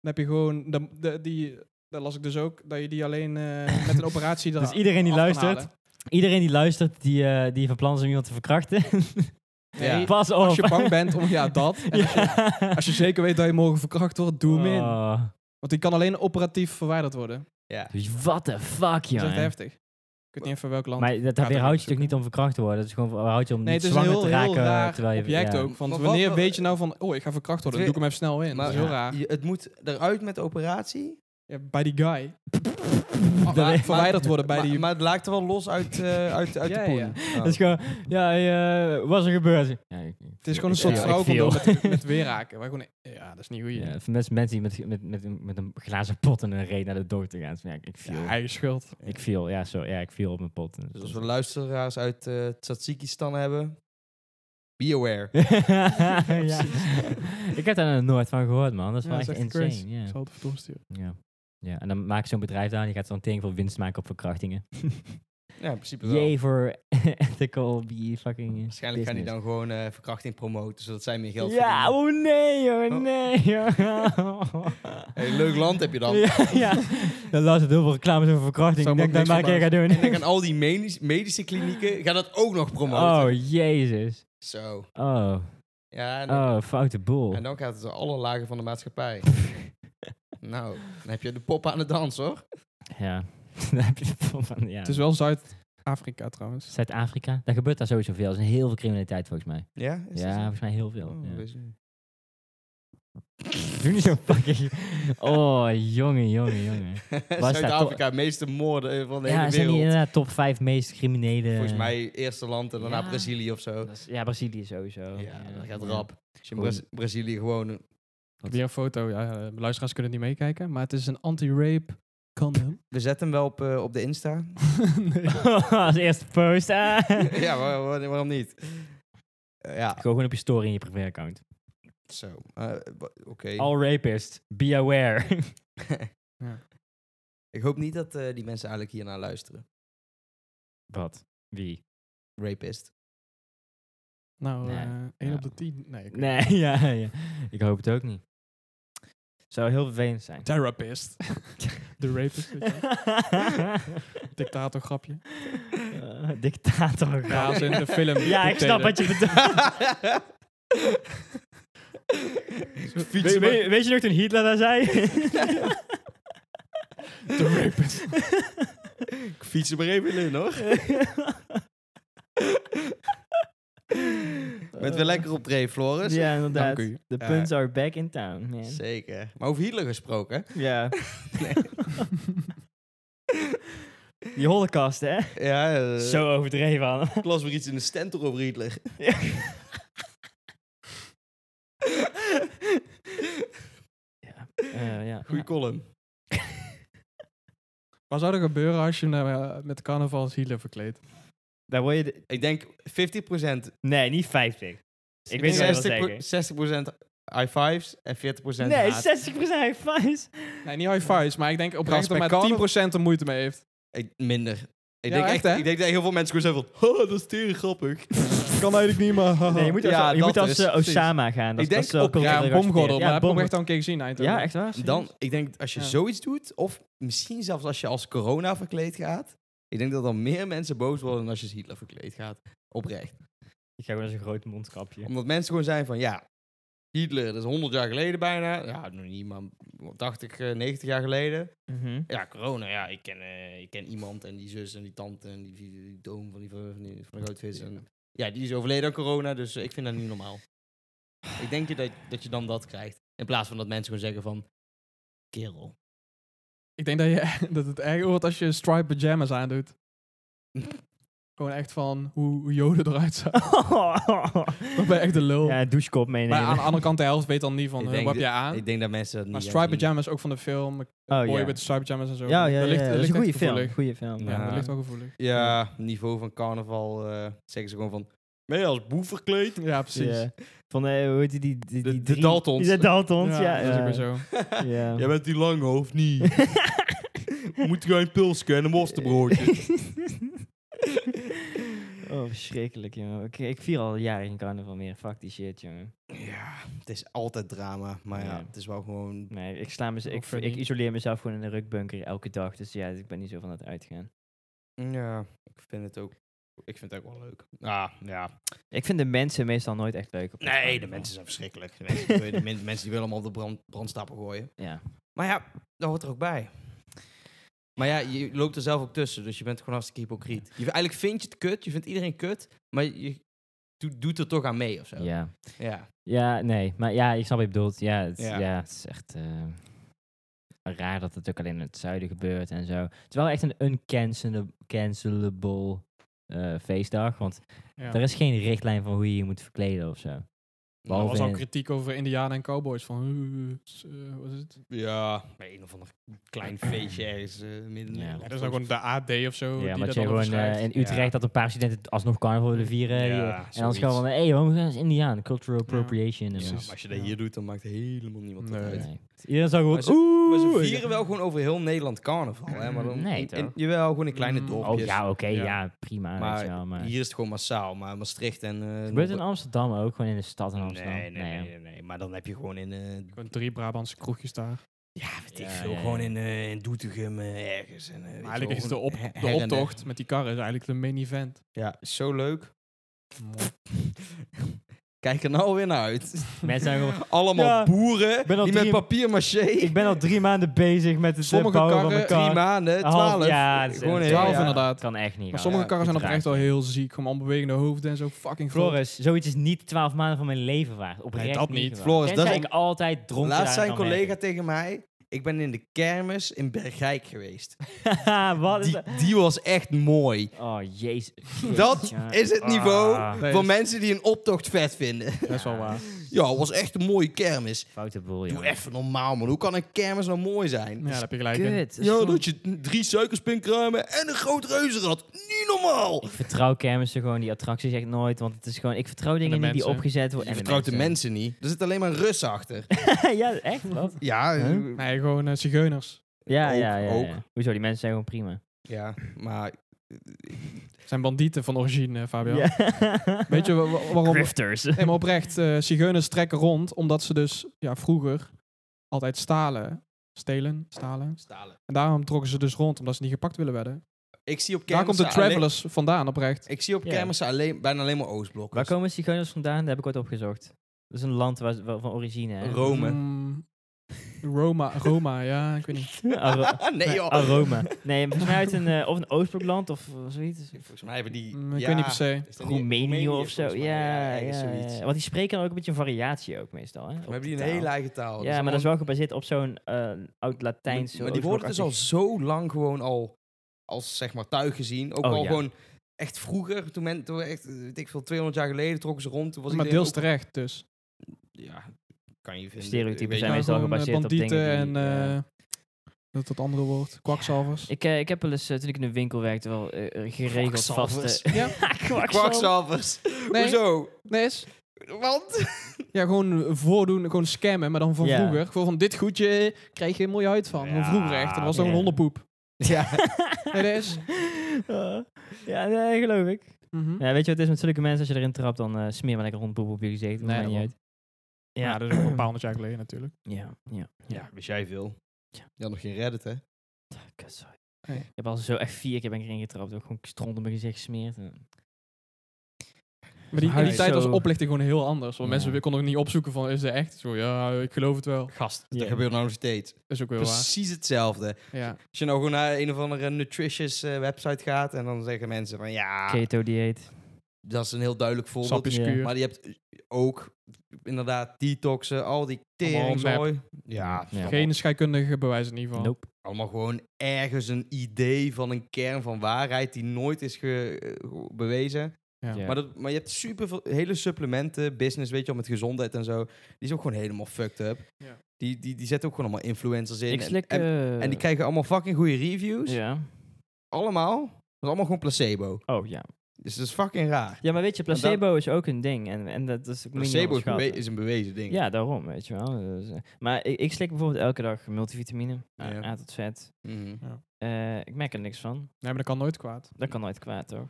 Speaker 2: dan heb je gewoon, de, de, die, dat las ik dus ook, dat je die alleen eh, met een operatie eraf
Speaker 3: Dus iedereen die
Speaker 2: af kan
Speaker 3: luistert,
Speaker 2: halen.
Speaker 3: Iedereen die luistert, die, eh, die van plan is om iemand te verkrachten.
Speaker 1: Ja.
Speaker 2: Nee,
Speaker 3: Pas op.
Speaker 2: Als je bang bent om, ja, dat. En als, je, als je zeker weet dat je morgen verkracht wordt, doe hem in.
Speaker 3: Oh.
Speaker 2: Want die kan alleen operatief verwijderd worden.
Speaker 1: Ja.
Speaker 3: Dus what the fuck,
Speaker 2: Dat is echt
Speaker 3: jongen.
Speaker 2: heftig. Ik weet niet even welk land.
Speaker 3: Maar dat
Speaker 2: Gaat er
Speaker 3: weerhoudt je
Speaker 2: even
Speaker 3: toch niet om verkracht te worden? Dat is gewoon weerhoudt je om
Speaker 2: nee,
Speaker 3: niet
Speaker 2: het is een
Speaker 3: zwanger
Speaker 2: heel,
Speaker 3: te
Speaker 2: heel
Speaker 3: raken.
Speaker 2: raar
Speaker 3: terwijl je,
Speaker 2: object
Speaker 3: ja.
Speaker 2: ook. Want
Speaker 1: Maar wat-
Speaker 2: wanneer
Speaker 1: wat-
Speaker 2: weet je nou van, oh, ik ga verkracht worden, dan doe ik hem even snel in. dat is heel
Speaker 1: ja,
Speaker 2: raar.
Speaker 1: je- het moet eruit met de operatie.
Speaker 2: Ja, bij die guy.
Speaker 1: Maar-
Speaker 2: maar-
Speaker 1: maar-
Speaker 2: verwijderd worden bij
Speaker 1: maar,
Speaker 2: die-
Speaker 1: Maar het lijkt er wel los uit, eh, uit, uit
Speaker 2: Ja,
Speaker 1: de poen.
Speaker 2: ja.
Speaker 1: Oh.
Speaker 3: Dat is gewoon, ja, eh, wat is er gebeurd? Ja, ik-
Speaker 2: Het is gewoon
Speaker 3: ik
Speaker 2: een soort
Speaker 3: viel, ik
Speaker 2: vrouwencondoom
Speaker 3: viel.
Speaker 2: met, met weerhaken. Waar gewoon, ja, dat is niet goed.
Speaker 3: Ja, voor mensen, mensen die met, met, met, een- met een glazen pot en een reet naar de dokter gaan. Van, Ja, ik viel.
Speaker 2: Ja, eigen schuld.
Speaker 3: ik viel, ja, zo, ja, ik viel op mijn pot.
Speaker 1: Dus als we luisteraars uit eh Tsatsikistan hebben, be aware.
Speaker 3: ja. Ik heb daar nog nooit van gehoord, man. Dat is wel echt insane.
Speaker 2: Ik
Speaker 3: Ja.
Speaker 2: zal het even doorsturen.
Speaker 3: Ja. ja, en dan maak je zo'n bedrijf daar en die gaat zo'n ding voor winst maken op verkrachtingen.
Speaker 1: Ja, in principe wel.
Speaker 3: Jee voor ethical be fucking
Speaker 1: Waarschijnlijk gaan die
Speaker 3: business.
Speaker 1: dan gewoon eh, verkrachting promoten, zodat zij meer geld
Speaker 3: Ja,
Speaker 1: verdienen.
Speaker 3: oh nee joh,
Speaker 1: Oh.
Speaker 3: nee joh.
Speaker 1: Hey, leuk land heb je dan.
Speaker 3: Ja, ja. Dan luistert heel veel reclames over verkrachting.
Speaker 2: Zou
Speaker 3: Ik
Speaker 2: me
Speaker 3: denk dat ik maar
Speaker 2: ook
Speaker 3: een keer ga doen.
Speaker 1: En dan gaan al die medisch- medische klinieken gaan dat ook nog promoten.
Speaker 3: Oh, jezus.
Speaker 1: Zo.
Speaker 3: Oh,
Speaker 1: Ja, en dan,
Speaker 3: oh, foute boel.
Speaker 1: en dan gaat het door alle lagen van de maatschappij. nou, dan heb je de pop aan de dans, hoor.
Speaker 3: Ja, daar heb je het vol van. Ja.
Speaker 2: Het is wel Zuid-Afrika trouwens.
Speaker 3: Zuid-Afrika, daar gebeurt daar sowieso veel. Er is heel veel criminaliteit volgens mij.
Speaker 1: Ja?
Speaker 3: Ja, volgens mij heel veel.
Speaker 1: Oh,
Speaker 3: ja.
Speaker 1: Oké,
Speaker 3: Doe niet zo fucking... Oh, jongen, jongen, jongen. dat
Speaker 1: Zuid-Afrika, de meeste moorden eh, van de
Speaker 3: Ja,
Speaker 1: hele
Speaker 3: zijn die
Speaker 1: wereld.
Speaker 3: inderdaad top 5 meest criminele...
Speaker 1: Volgens mij eerste land en daarna
Speaker 3: Ja.
Speaker 1: Brazilië of zo.
Speaker 3: Dat is- Ja, Brazilië sowieso.
Speaker 1: Ja, dat gaat
Speaker 3: Ja.
Speaker 1: rap. Als je in
Speaker 3: Goed.
Speaker 1: Braz- Brazilië gewoon...
Speaker 2: Ik heb hier een foto. Ja, eh, luisteraars kunnen het niet meekijken. Maar het is een anti-rape Condom.
Speaker 1: We zetten hem wel op, eh, op de Insta.
Speaker 2: nee.
Speaker 3: Als eerste post. ah.
Speaker 1: ja, waar- waar- waarom niet? Eh, ja,
Speaker 3: Gewoon op je story in je privéaccount.
Speaker 1: zo. Eh, wa- Oké.
Speaker 3: All rapists, be aware.
Speaker 1: Ik hoop niet dat eh, die mensen eigenlijk hiernaar luisteren.
Speaker 3: Wat? Wie?
Speaker 1: Rapist.
Speaker 2: Nou,
Speaker 3: Nee.
Speaker 2: eh 1
Speaker 3: Ja.
Speaker 2: op de 10. Nee. ik-
Speaker 3: Nee, ja, ja. Ik hoop het ook niet. Zou heel vervelend zijn.
Speaker 2: Therapist. De rapist. weet je wel. Dictator grapje.
Speaker 3: Eh, dictator.
Speaker 2: Ja, als in de film.
Speaker 3: Ja, ik snap wat je bedoelt.
Speaker 4: Fietsen
Speaker 3: We- we-
Speaker 4: met-
Speaker 3: weet je nog toen Hitler daar zei?
Speaker 4: De rapist. Ik fiets er maar even in, hoor.
Speaker 1: Bent weer lekker op dreef, Floris.
Speaker 3: ja, inderdaad.
Speaker 2: Dank u.
Speaker 3: The
Speaker 1: Ja.
Speaker 3: punts are back in town, man.
Speaker 1: Zeker. Maar over Hitler gesproken.
Speaker 3: Ja. Die holocaust, hè?
Speaker 1: Ja, eh,
Speaker 3: Zo overdreven Eh, aan.
Speaker 1: ik las weer iets in de stand over Hitler.
Speaker 3: ja. Eh, ja.
Speaker 4: Goeie column.
Speaker 2: Wat zou er gebeuren als je hem eh, met carnaval als Hitler verkleedt?
Speaker 3: Daar word je... de-
Speaker 1: Ik denk 50%,
Speaker 3: Nee, niet 50. Ik weet niet wat je wil
Speaker 1: 60,
Speaker 3: zeggen.
Speaker 1: 60% high fives en 40%
Speaker 3: Nee,
Speaker 1: haat.
Speaker 3: 60% high fives.
Speaker 2: Nee, niet high fives, maar ik denk oprecht dat
Speaker 1: bij
Speaker 2: maar
Speaker 1: carnaval-
Speaker 2: 10% er moeite mee heeft.
Speaker 1: Ik- minder. Ik,
Speaker 2: Ja,
Speaker 1: denk
Speaker 2: echt,
Speaker 1: echt,
Speaker 2: hè?
Speaker 1: ik denk dat heel veel mensen gewoon zeggen van... Oh, dat is tering grappig.
Speaker 2: Kan eigenlijk niet, maar... haha.
Speaker 3: Nee, je moet als,
Speaker 1: Ja,
Speaker 3: je moet
Speaker 1: dat
Speaker 3: als
Speaker 1: is-
Speaker 3: eh, Osama gaan. Dat,
Speaker 1: Ik denk
Speaker 3: dat is wel
Speaker 1: ook, ja,
Speaker 2: ja,
Speaker 3: cultureel
Speaker 2: een bomgordel,
Speaker 3: geaccepteerd.
Speaker 2: maar
Speaker 3: Ja,
Speaker 2: heb ik
Speaker 3: bom-
Speaker 2: oprecht al een keer gezien. Eindhoven.
Speaker 3: Ja, echt waar? serieus?
Speaker 1: Dan, ik denk dat als je
Speaker 2: Ja.
Speaker 1: zoiets doet, of misschien zelfs als je als corona verkleed gaat, ik denk dat dan meer mensen boos worden dan als je als Hitler verkleed gaat. Oprecht.
Speaker 3: Ik ga gewoon als een groot
Speaker 2: Mhm.
Speaker 3: mondkapje.
Speaker 1: Omdat mensen gewoon zijn van, ja, Hitler, dat is 100 jaar geleden bijna. Ja, nog niet, maar 80, eh, 90 jaar geleden.
Speaker 3: Mhm.
Speaker 1: Ja, corona, ja, ik ken, eh, ik ken iemand en die zus en die tante en die, die, die oom van die, van die, van de goudvis. En, ja, die is overleden aan corona, dus eh, ik vind dat niet normaal. Ik denk je dat, dat je dan dat krijgt. In plaats van dat mensen gewoon zeggen van, kerel.
Speaker 2: Ik denk dat, je, dat het erg wordt als je striped pajamas aandoet. Gewoon echt van hoe, hoe joden eruit zijn. Dat ben je echt de lul.
Speaker 3: ja, een douchekop meenemen.
Speaker 2: maar aan de andere kant, de helft weet dan niet van,
Speaker 1: Ik
Speaker 2: eh,
Speaker 1: denk
Speaker 2: wat heb
Speaker 1: de-
Speaker 2: je aan?
Speaker 1: Ik denk dat mensen dat niet
Speaker 2: Maar
Speaker 1: aan
Speaker 2: striped
Speaker 1: zien.
Speaker 2: pajamas ook van de film. Boy
Speaker 3: oh, ja.
Speaker 2: met de striped pajamas en zo.
Speaker 3: ja, ja, ja,
Speaker 2: Dat ligt-
Speaker 3: ja,
Speaker 2: dat
Speaker 3: dat is een
Speaker 2: ligt
Speaker 3: goede
Speaker 2: echt
Speaker 3: film.
Speaker 2: gevoelig.
Speaker 3: Goede film.
Speaker 2: Ja,
Speaker 1: Ja.
Speaker 2: dat ligt wel gevoelig.
Speaker 1: Ja, niveau van carnaval eh, zeggen ze gewoon van... Ben je als boef verkleed?
Speaker 2: Ja, precies.
Speaker 3: Ja. Van, eh, hoe heet die? die, die,
Speaker 1: De-
Speaker 3: die
Speaker 1: de
Speaker 3: drie-
Speaker 1: Daltons.
Speaker 3: De Daltons, ja.
Speaker 2: dat is ook weer
Speaker 3: ja.
Speaker 2: zo.
Speaker 3: Ja.
Speaker 4: Jij bent die lange, of niet? Moet jij een pilsje en een worstenbroodje?
Speaker 3: oh, verschrikkelijk, jongen. Ik, ik vier al jaren geen carnaval meer. Fuck die shit, jongen.
Speaker 1: Ja, het is altijd drama. Maar ja,
Speaker 3: Ja.
Speaker 1: het is wel gewoon...
Speaker 3: Nee, ik, sla mez- ik,
Speaker 2: Of, eh,
Speaker 3: ik
Speaker 2: niet.
Speaker 3: isoleer mezelf gewoon in een rukbunker elke dag. Dus ja, ik ben niet zo van het uitgaan.
Speaker 1: Ja, ik vind het ook... Ik vind het ook wel leuk. Ah, ja.
Speaker 3: Ik vind de mensen meestal nooit echt leuk. Op het
Speaker 1: Nee, de
Speaker 3: carnaval.
Speaker 1: mensen zijn verschrikkelijk. De mensen, die willen- de men- mensen die willen hem op de brand, brandstapel gooien.
Speaker 3: Ja.
Speaker 1: Maar ja, dat hoort er ook bij. Maar ja, je loopt er zelf ook tussen. Dus je bent gewoon hartstikke hypocriet. Je, eigenlijk vind je het kut. Je vindt iedereen kut. Maar je do- doet er toch aan mee of zo.
Speaker 3: ja.
Speaker 1: ja.
Speaker 3: Ja, nee. Maar ja, ik snap wat je bedoelt. Ja, het,
Speaker 1: Ja.
Speaker 3: ja. het is echt eh, raar dat het ook alleen in het zuiden gebeurt en zo. Het is wel echt een uncancelable cancelable, eh, feestdag. Want
Speaker 2: Ja.
Speaker 3: er is geen richtlijn van hoe je je moet verkleden of zo.
Speaker 2: Maar er
Speaker 3: Behalve
Speaker 2: was ook
Speaker 3: in-
Speaker 2: kritiek over Indianen en cowboys. Van, eh, eh, s- eh, wat is het?
Speaker 1: Ja, bij een of ander klein feestje ergens eh, midden in
Speaker 3: Ja.
Speaker 1: Nederland.
Speaker 2: Ja, dat is ook gewoon de AD of zo.
Speaker 3: ja,
Speaker 2: die
Speaker 3: omdat je
Speaker 2: dat dan
Speaker 3: gewoon eh,
Speaker 2: beschrijft.
Speaker 3: in Utrecht
Speaker 1: Ja.
Speaker 3: dat een paar studenten alsnog carnaval willen vieren.
Speaker 1: Ja,
Speaker 3: je- en
Speaker 1: zoiets.
Speaker 3: anders gewoon van, hé, hey, waarom gaan ze Indiaan? Cultural appropriation. en
Speaker 2: Ja,
Speaker 1: Ja,
Speaker 3: zo.
Speaker 1: maar als je dat hier doet, dan maakt helemaal niemand
Speaker 2: Nee.
Speaker 1: dat uit.
Speaker 3: Nee. Iedereen zou gewoon,
Speaker 1: Maar ze-
Speaker 3: oeh.
Speaker 1: Maar ze vieren wel gewoon over heel Nederland carnaval. Hè? Maar dan,
Speaker 3: Nee,
Speaker 1: in- in-
Speaker 3: toch?
Speaker 1: jawel, gewoon in kleine
Speaker 2: Mm.
Speaker 1: dorpjes.
Speaker 3: Oh ja, oké,
Speaker 2: Ja.
Speaker 3: ja. prima.
Speaker 1: Maar
Speaker 3: weet je wel, maar
Speaker 1: Hier is het gewoon massaal. Maar Maastricht en... eh,
Speaker 3: gebeurt het in
Speaker 1: Noord-
Speaker 3: Amsterdam ook, gewoon in de stad in Amsterdam.
Speaker 1: nee, nee, nee,
Speaker 3: ja.
Speaker 1: nee, nee. Maar dan heb je gewoon in... eh,
Speaker 2: Gewoon drie Brabantse kroegjes daar.
Speaker 1: ja, weet ik
Speaker 3: Ja,
Speaker 1: veel.
Speaker 3: ja, ja.
Speaker 1: Gewoon in, eh in Doetinchem eh, ergens. En, eh, weet
Speaker 2: Maar
Speaker 1: je wel,
Speaker 2: eigenlijk is de,
Speaker 1: gewoon
Speaker 2: op,
Speaker 1: her- her
Speaker 2: de
Speaker 1: en der.
Speaker 2: optocht met die karren is eigenlijk de main event.
Speaker 1: Ja, is zo leuk. Kijk er nou weer naar uit.
Speaker 3: Mensen zijn gewoon,
Speaker 1: Allemaal
Speaker 3: Ja,
Speaker 1: boeren
Speaker 3: ben al
Speaker 1: die met
Speaker 3: drie-
Speaker 1: papier maché...
Speaker 3: ik ben al drie maanden bezig met het eh,
Speaker 2: Sommige
Speaker 3: bouwen van
Speaker 2: karren,
Speaker 3: mijn kar.
Speaker 1: Drie maanden,
Speaker 3: Een half-
Speaker 1: twaalf.
Speaker 3: ja, het is-
Speaker 1: gewoon
Speaker 3: het
Speaker 1: heel
Speaker 3: is-
Speaker 2: Twaalf
Speaker 1: ja.
Speaker 2: inderdaad.
Speaker 3: kan echt niet.
Speaker 2: Maar
Speaker 3: gaan.
Speaker 2: sommige
Speaker 1: ja,
Speaker 2: karren zijn
Speaker 3: uiteraard.
Speaker 2: oprecht wel heel ziek. Gewoon allemaal bewegende hoofden en zo. Fucking groot.
Speaker 3: Floris, zoiets is niet 12 maanden van mijn leven waard. Oprecht
Speaker 2: Nee, dat niet.
Speaker 3: waard.
Speaker 1: Floris, dat
Speaker 3: Tenzij
Speaker 1: is-
Speaker 3: ik altijd dronken
Speaker 1: Laatst
Speaker 3: daar
Speaker 1: zei een
Speaker 3: kan
Speaker 1: collega
Speaker 3: werken.
Speaker 1: tegen mij... Ik ben in de kermis in Bergijk geweest.
Speaker 3: Wat is
Speaker 1: Die,
Speaker 3: dat?
Speaker 1: die was echt mooi.
Speaker 3: Oh, jezus.
Speaker 1: Dat
Speaker 3: Ja.
Speaker 1: is het niveau
Speaker 3: Ah,
Speaker 2: Nee,
Speaker 1: voor
Speaker 2: is-
Speaker 1: mensen die een optocht vet vinden.
Speaker 2: Dat is wel waar.
Speaker 1: Ja, het was echt een mooie kermis.
Speaker 3: Foute boel,
Speaker 1: Doe
Speaker 3: joh.
Speaker 1: even normaal, man. Hoe kan een kermis nou mooi zijn?
Speaker 2: Ja, daar heb je gelijk in.
Speaker 3: Kut.
Speaker 5: Ja,
Speaker 3: dat
Speaker 5: dat je drie suikerspinkruimen en een groot reuzenrad. Niet normaal.
Speaker 3: Ik vertrouw kermissen gewoon, die attracties echt nooit. Want het is gewoon, ik vertrouw dingen
Speaker 2: de
Speaker 3: niet die
Speaker 2: mensen.
Speaker 3: opgezet worden.
Speaker 1: Je vertrouwt de mensen niet. Er zit alleen maar Rus achter.
Speaker 3: ja, echt? Wat?
Speaker 1: Ja,
Speaker 3: Huh?
Speaker 2: Nee, gewoon eh, zigeuners.
Speaker 3: Ja,
Speaker 1: Ook,
Speaker 3: ja, ja,
Speaker 1: ook.
Speaker 3: ja. Hoezo, die mensen zijn gewoon prima.
Speaker 1: ja maar
Speaker 2: Het zijn bandieten van origine, eh, Fabio.
Speaker 3: Ja.
Speaker 2: Weet je wa- wa- waarom?
Speaker 3: Grifters.
Speaker 2: Nee, maar oprecht, eh zigeuners trekken rond omdat ze dus ja, vroeger altijd stalen. Stelen, stalen.
Speaker 1: stalen.
Speaker 2: En daarom trokken ze dus rond, omdat ze niet gepakt willen werden.
Speaker 1: Ik zie op
Speaker 2: Daar
Speaker 1: kermissen
Speaker 2: komt de
Speaker 1: alleen-
Speaker 2: Travelers vandaan, oprecht.
Speaker 1: Ik zie op
Speaker 3: Ja.
Speaker 1: kermissen alleen, bijna alleen maar
Speaker 3: Waar
Speaker 1: Oostblokkers.
Speaker 3: komen zigeuners vandaan? Dat heb ik ooit opgezocht. Dat is een land waar, waar- van origine. hè?
Speaker 1: Rome.
Speaker 2: Mm, Roma, Roma, ja, ik weet niet.
Speaker 3: Aro-
Speaker 1: nee, joh.
Speaker 3: Aroma. Nee, volgens mij uit een, eh, of een Oostblokland of eh, zoiets.
Speaker 1: Volgens mij hebben die...
Speaker 2: Mm, ik
Speaker 1: ja,
Speaker 2: weet niet per se.
Speaker 1: is dat niet-
Speaker 3: Roemenië of
Speaker 1: volgens
Speaker 3: zo.
Speaker 1: mij,
Speaker 3: Ja,
Speaker 1: ergens
Speaker 3: ja,
Speaker 1: zoiets.
Speaker 3: ja. Want die spreken dan ook een beetje een variatie ook meestal. Hè?
Speaker 1: We
Speaker 3: op
Speaker 1: hebben
Speaker 3: die
Speaker 1: die een
Speaker 3: taal.
Speaker 1: hele eigen taal.
Speaker 3: Ja, maar dat is wel gebaseerd op zo'n eh, oud-Latijns...
Speaker 1: Maar die worden dus al zo lang gewoon al als zeg maar tuig gezien. Ook
Speaker 3: Oh,
Speaker 1: al
Speaker 3: ja.
Speaker 1: gewoon echt vroeger, toen, men, toen we echt, eh, weet ik veel, 200 jaar geleden trokken ze rond. Toen was
Speaker 2: Maar
Speaker 1: iedereen
Speaker 2: deels
Speaker 1: ook-
Speaker 2: terecht, dus.
Speaker 1: Ja, kan je vinden.
Speaker 3: Stereotypen
Speaker 1: Weet je
Speaker 3: zijn
Speaker 2: Ja,
Speaker 3: meestal
Speaker 1: wel.
Speaker 2: gewoon, eh,
Speaker 3: gebaseerd op
Speaker 2: bandieten
Speaker 3: dingen
Speaker 2: en
Speaker 3: die, ja.
Speaker 2: eh, dat dat andere woord, kwakzalvers.
Speaker 3: Ik, eh, ik heb wel eens, eh, toen ik in een winkel werkte, wel eh, eh, geregeld eh.
Speaker 1: Kwakzalvers.
Speaker 3: vaste...
Speaker 2: Ja,
Speaker 3: Kwakzal.
Speaker 1: Kwakzalvers.
Speaker 2: Nee.
Speaker 1: Hoezo?
Speaker 2: nee is.
Speaker 1: Want?
Speaker 2: Ja, gewoon voordoen, gewoon scammen, maar dan van
Speaker 3: Ja.
Speaker 2: vroeger. Gewoon van dit goedje krijg je een mooie huid van. Van
Speaker 3: Ja,
Speaker 2: vroeger echt, en dat was dan
Speaker 3: ja.
Speaker 2: een hondenpoep.
Speaker 1: Ja.
Speaker 2: Nee, dat is.
Speaker 3: Eh, ja, nee, geloof ik.
Speaker 2: Mhm.
Speaker 3: Ja, weet je wat het is met zulke mensen? Als je erin trapt, dan eh, smeer maar lekker rondpoep op je gezicht.
Speaker 2: Nee,
Speaker 3: Nee, niet
Speaker 2: man.
Speaker 3: uit.
Speaker 2: Ja,
Speaker 3: Ja,
Speaker 2: dat is ook al een paar honderd jaar geleden natuurlijk.
Speaker 3: ja, ja.
Speaker 1: Ja, wist jij veel.
Speaker 3: Ja.
Speaker 1: Je had nog geen Reddit, hè?
Speaker 3: Kutzooi.
Speaker 2: Hey.
Speaker 3: Ik heb al zo echt vier keer ben ik erin getrapt. Ook gewoon stront op mijn gezicht gesmeerd. En-
Speaker 1: Ah.
Speaker 2: Maar die, in die
Speaker 3: Huis
Speaker 2: tijd was
Speaker 3: zo.
Speaker 2: oplichting gewoon heel anders. Want
Speaker 3: Ja.
Speaker 2: mensen konden ook niet opzoeken van, is het echt? Zo, ja, ik geloof het wel.
Speaker 1: Gast,
Speaker 3: Ja.
Speaker 1: dat gebeurt nou nog steeds.
Speaker 2: Is ook wel waar.
Speaker 1: Precies hetzelfde.
Speaker 2: Ja.
Speaker 1: Als je nou gewoon naar een of andere nutritious eh, website gaat en dan zeggen mensen van ja,
Speaker 3: Keto-dieet.
Speaker 1: dat is een heel duidelijk voorbeeld.
Speaker 2: Sapjes
Speaker 3: Ja.
Speaker 2: kuur.
Speaker 1: Maar je hebt ook inderdaad detoxen, al die
Speaker 2: Allemaal
Speaker 1: teringzooi. Ja,
Speaker 3: Ja.
Speaker 1: Geen...
Speaker 2: Geen scheikundige bewijs in ieder geval.
Speaker 3: Nope.
Speaker 1: allemaal gewoon ergens een idee van een kern van waarheid die nooit is ge- eh, ge- bewezen.
Speaker 2: Ja.
Speaker 3: Ja.
Speaker 1: Maar, dat, maar je hebt super veel, hele supplementen, business, weet je wel, met gezondheid en zo. Die is ook gewoon helemaal fucked up.
Speaker 2: Ja.
Speaker 1: Die, die, die zetten ook gewoon allemaal influencers in.
Speaker 3: Ik
Speaker 1: en-
Speaker 3: slik...
Speaker 1: en,
Speaker 3: eh,
Speaker 1: en die krijgen allemaal fucking goede reviews.
Speaker 3: Ja.
Speaker 1: Allemaal. Dat is allemaal gewoon placebo.
Speaker 3: Oh, ja.
Speaker 1: Dus dat is fucking raar.
Speaker 3: Ja, maar weet je,
Speaker 1: Want
Speaker 3: placebo is ook een ding. En, en dat is... moet je niet
Speaker 1: Placebo is,
Speaker 3: onderschatten.
Speaker 1: bewe- is een bewezen ding.
Speaker 3: Ja, daarom, weet je wel. Dus, eh, maar ik, ik slik bijvoorbeeld elke dag multivitamine. A,
Speaker 1: Ja.
Speaker 3: A tot Z.
Speaker 1: Mhm.
Speaker 3: Eh, ik merk er niks van.
Speaker 2: Nee, maar dat kan nooit kwaad.
Speaker 3: Dat kan nooit kwaad, toch?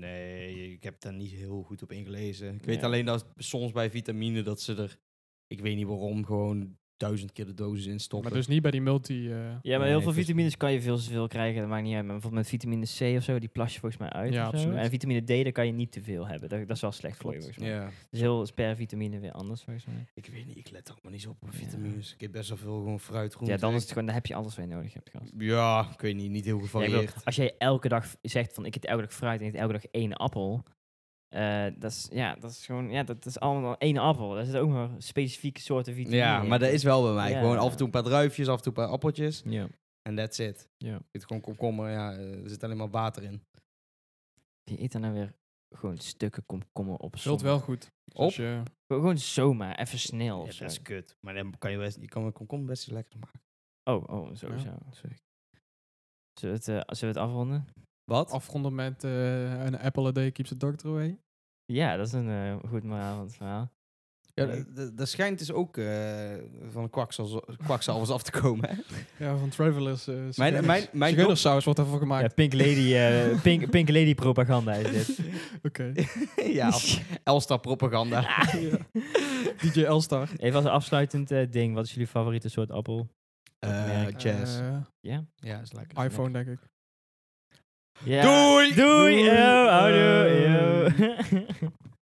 Speaker 1: Nee, ik heb daar niet heel goed op ingelezen. Ik
Speaker 3: Ja.
Speaker 1: weet alleen dat soms bij vitamine dat ze er, ik weet niet waarom, gewoon duizend keer de dosis in stoppen.
Speaker 2: Maar dus niet bij die multi... eh,
Speaker 3: Ja, maar
Speaker 1: Nee,
Speaker 3: heel veel
Speaker 1: ik wist-
Speaker 3: vitamines kan je veel te veel krijgen. Dat maakt niet uit. Maar bijvoorbeeld met vitamine C of zo, die plas je volgens mij uit.
Speaker 2: Ja,
Speaker 3: of zo.
Speaker 2: absoluut.
Speaker 3: En vitamine D, daar kan je niet te veel hebben. Dat, dat is wel slecht voor je,
Speaker 2: Klopt.
Speaker 3: volgens mij.
Speaker 1: ja.
Speaker 3: Dus heel is per vitamine weer anders, volgens mij.
Speaker 1: Ik weet niet, ik let er allemaal niet zo op op
Speaker 3: Ja.
Speaker 1: vitamines. Ik heb best wel veel gewoon fruit, groente.
Speaker 3: Ja, dan, is het gewoon, dan heb je alles wat je nodig hebt, gast.
Speaker 1: Ja, ik weet niet, niet heel
Speaker 3: Ja, ik bedoel,
Speaker 1: gevarieerd.
Speaker 3: als jij elke dag zegt van ik eet elke dag fruit en ik eet elke dag één appel. eh, dat, is, ja, dat is gewoon, ja, dat is allemaal één appel. Daar zitten ook maar specifieke soorten
Speaker 1: Ja,
Speaker 3: vitamine in.
Speaker 1: maar dat is wel bij mij.
Speaker 3: Ja.
Speaker 1: Gewoon af en toe een paar druifjes, af en toe een paar appeltjes.
Speaker 3: Ja.
Speaker 1: En that's it.
Speaker 3: Ja.
Speaker 1: Ik eet gewoon komkommer, ja, eh, er zit alleen maar water in.
Speaker 3: Je eet dan nou weer gewoon stukken komkommer op
Speaker 2: vult
Speaker 3: zondag.
Speaker 2: wel goed. Dus
Speaker 1: Op?
Speaker 2: als je-
Speaker 3: Gewoon- Gewoon zomaar, even snel. of zo.
Speaker 1: kut. Maar dan kan je, best, je kan een komkommer best lekker maken.
Speaker 3: Oh, oh, sowieso. Sorry. Zullen we het, eh, zullen we het afronden?
Speaker 1: Wat?
Speaker 2: afronden met eh, een apple a day keeps the doctor away.
Speaker 3: Ja, dat is een eh, goed moraal van het verhaal.
Speaker 1: Ja,
Speaker 3: Nee.
Speaker 1: d- d- dat schijnt dus ook eh, van de kwakzalvers kwakzalvers af te komen. Hè?
Speaker 2: Ja, van Travelers. eh
Speaker 1: Mijn, mijn, mijn dok-
Speaker 2: Zigeunersaus wordt daarvoor
Speaker 3: Ja,
Speaker 2: gemaakt.
Speaker 3: Pink Lady, eh, pink, pink Lady propaganda is dit.
Speaker 2: Oké.
Speaker 1: ja, of Elstar propaganda.
Speaker 2: DJ Elstar.
Speaker 3: Even als afsluitend eh, ding, wat is jullie favoriete soort appel?
Speaker 1: Eh jazz.
Speaker 2: Eh,
Speaker 3: Ja?
Speaker 1: ja, is lekker.
Speaker 2: iPhone, denk ik.
Speaker 3: Ja.
Speaker 1: Doei! eh.
Speaker 3: Doei! Oh,
Speaker 2: Doei.
Speaker 3: Eeuw, houdoe, eeuw.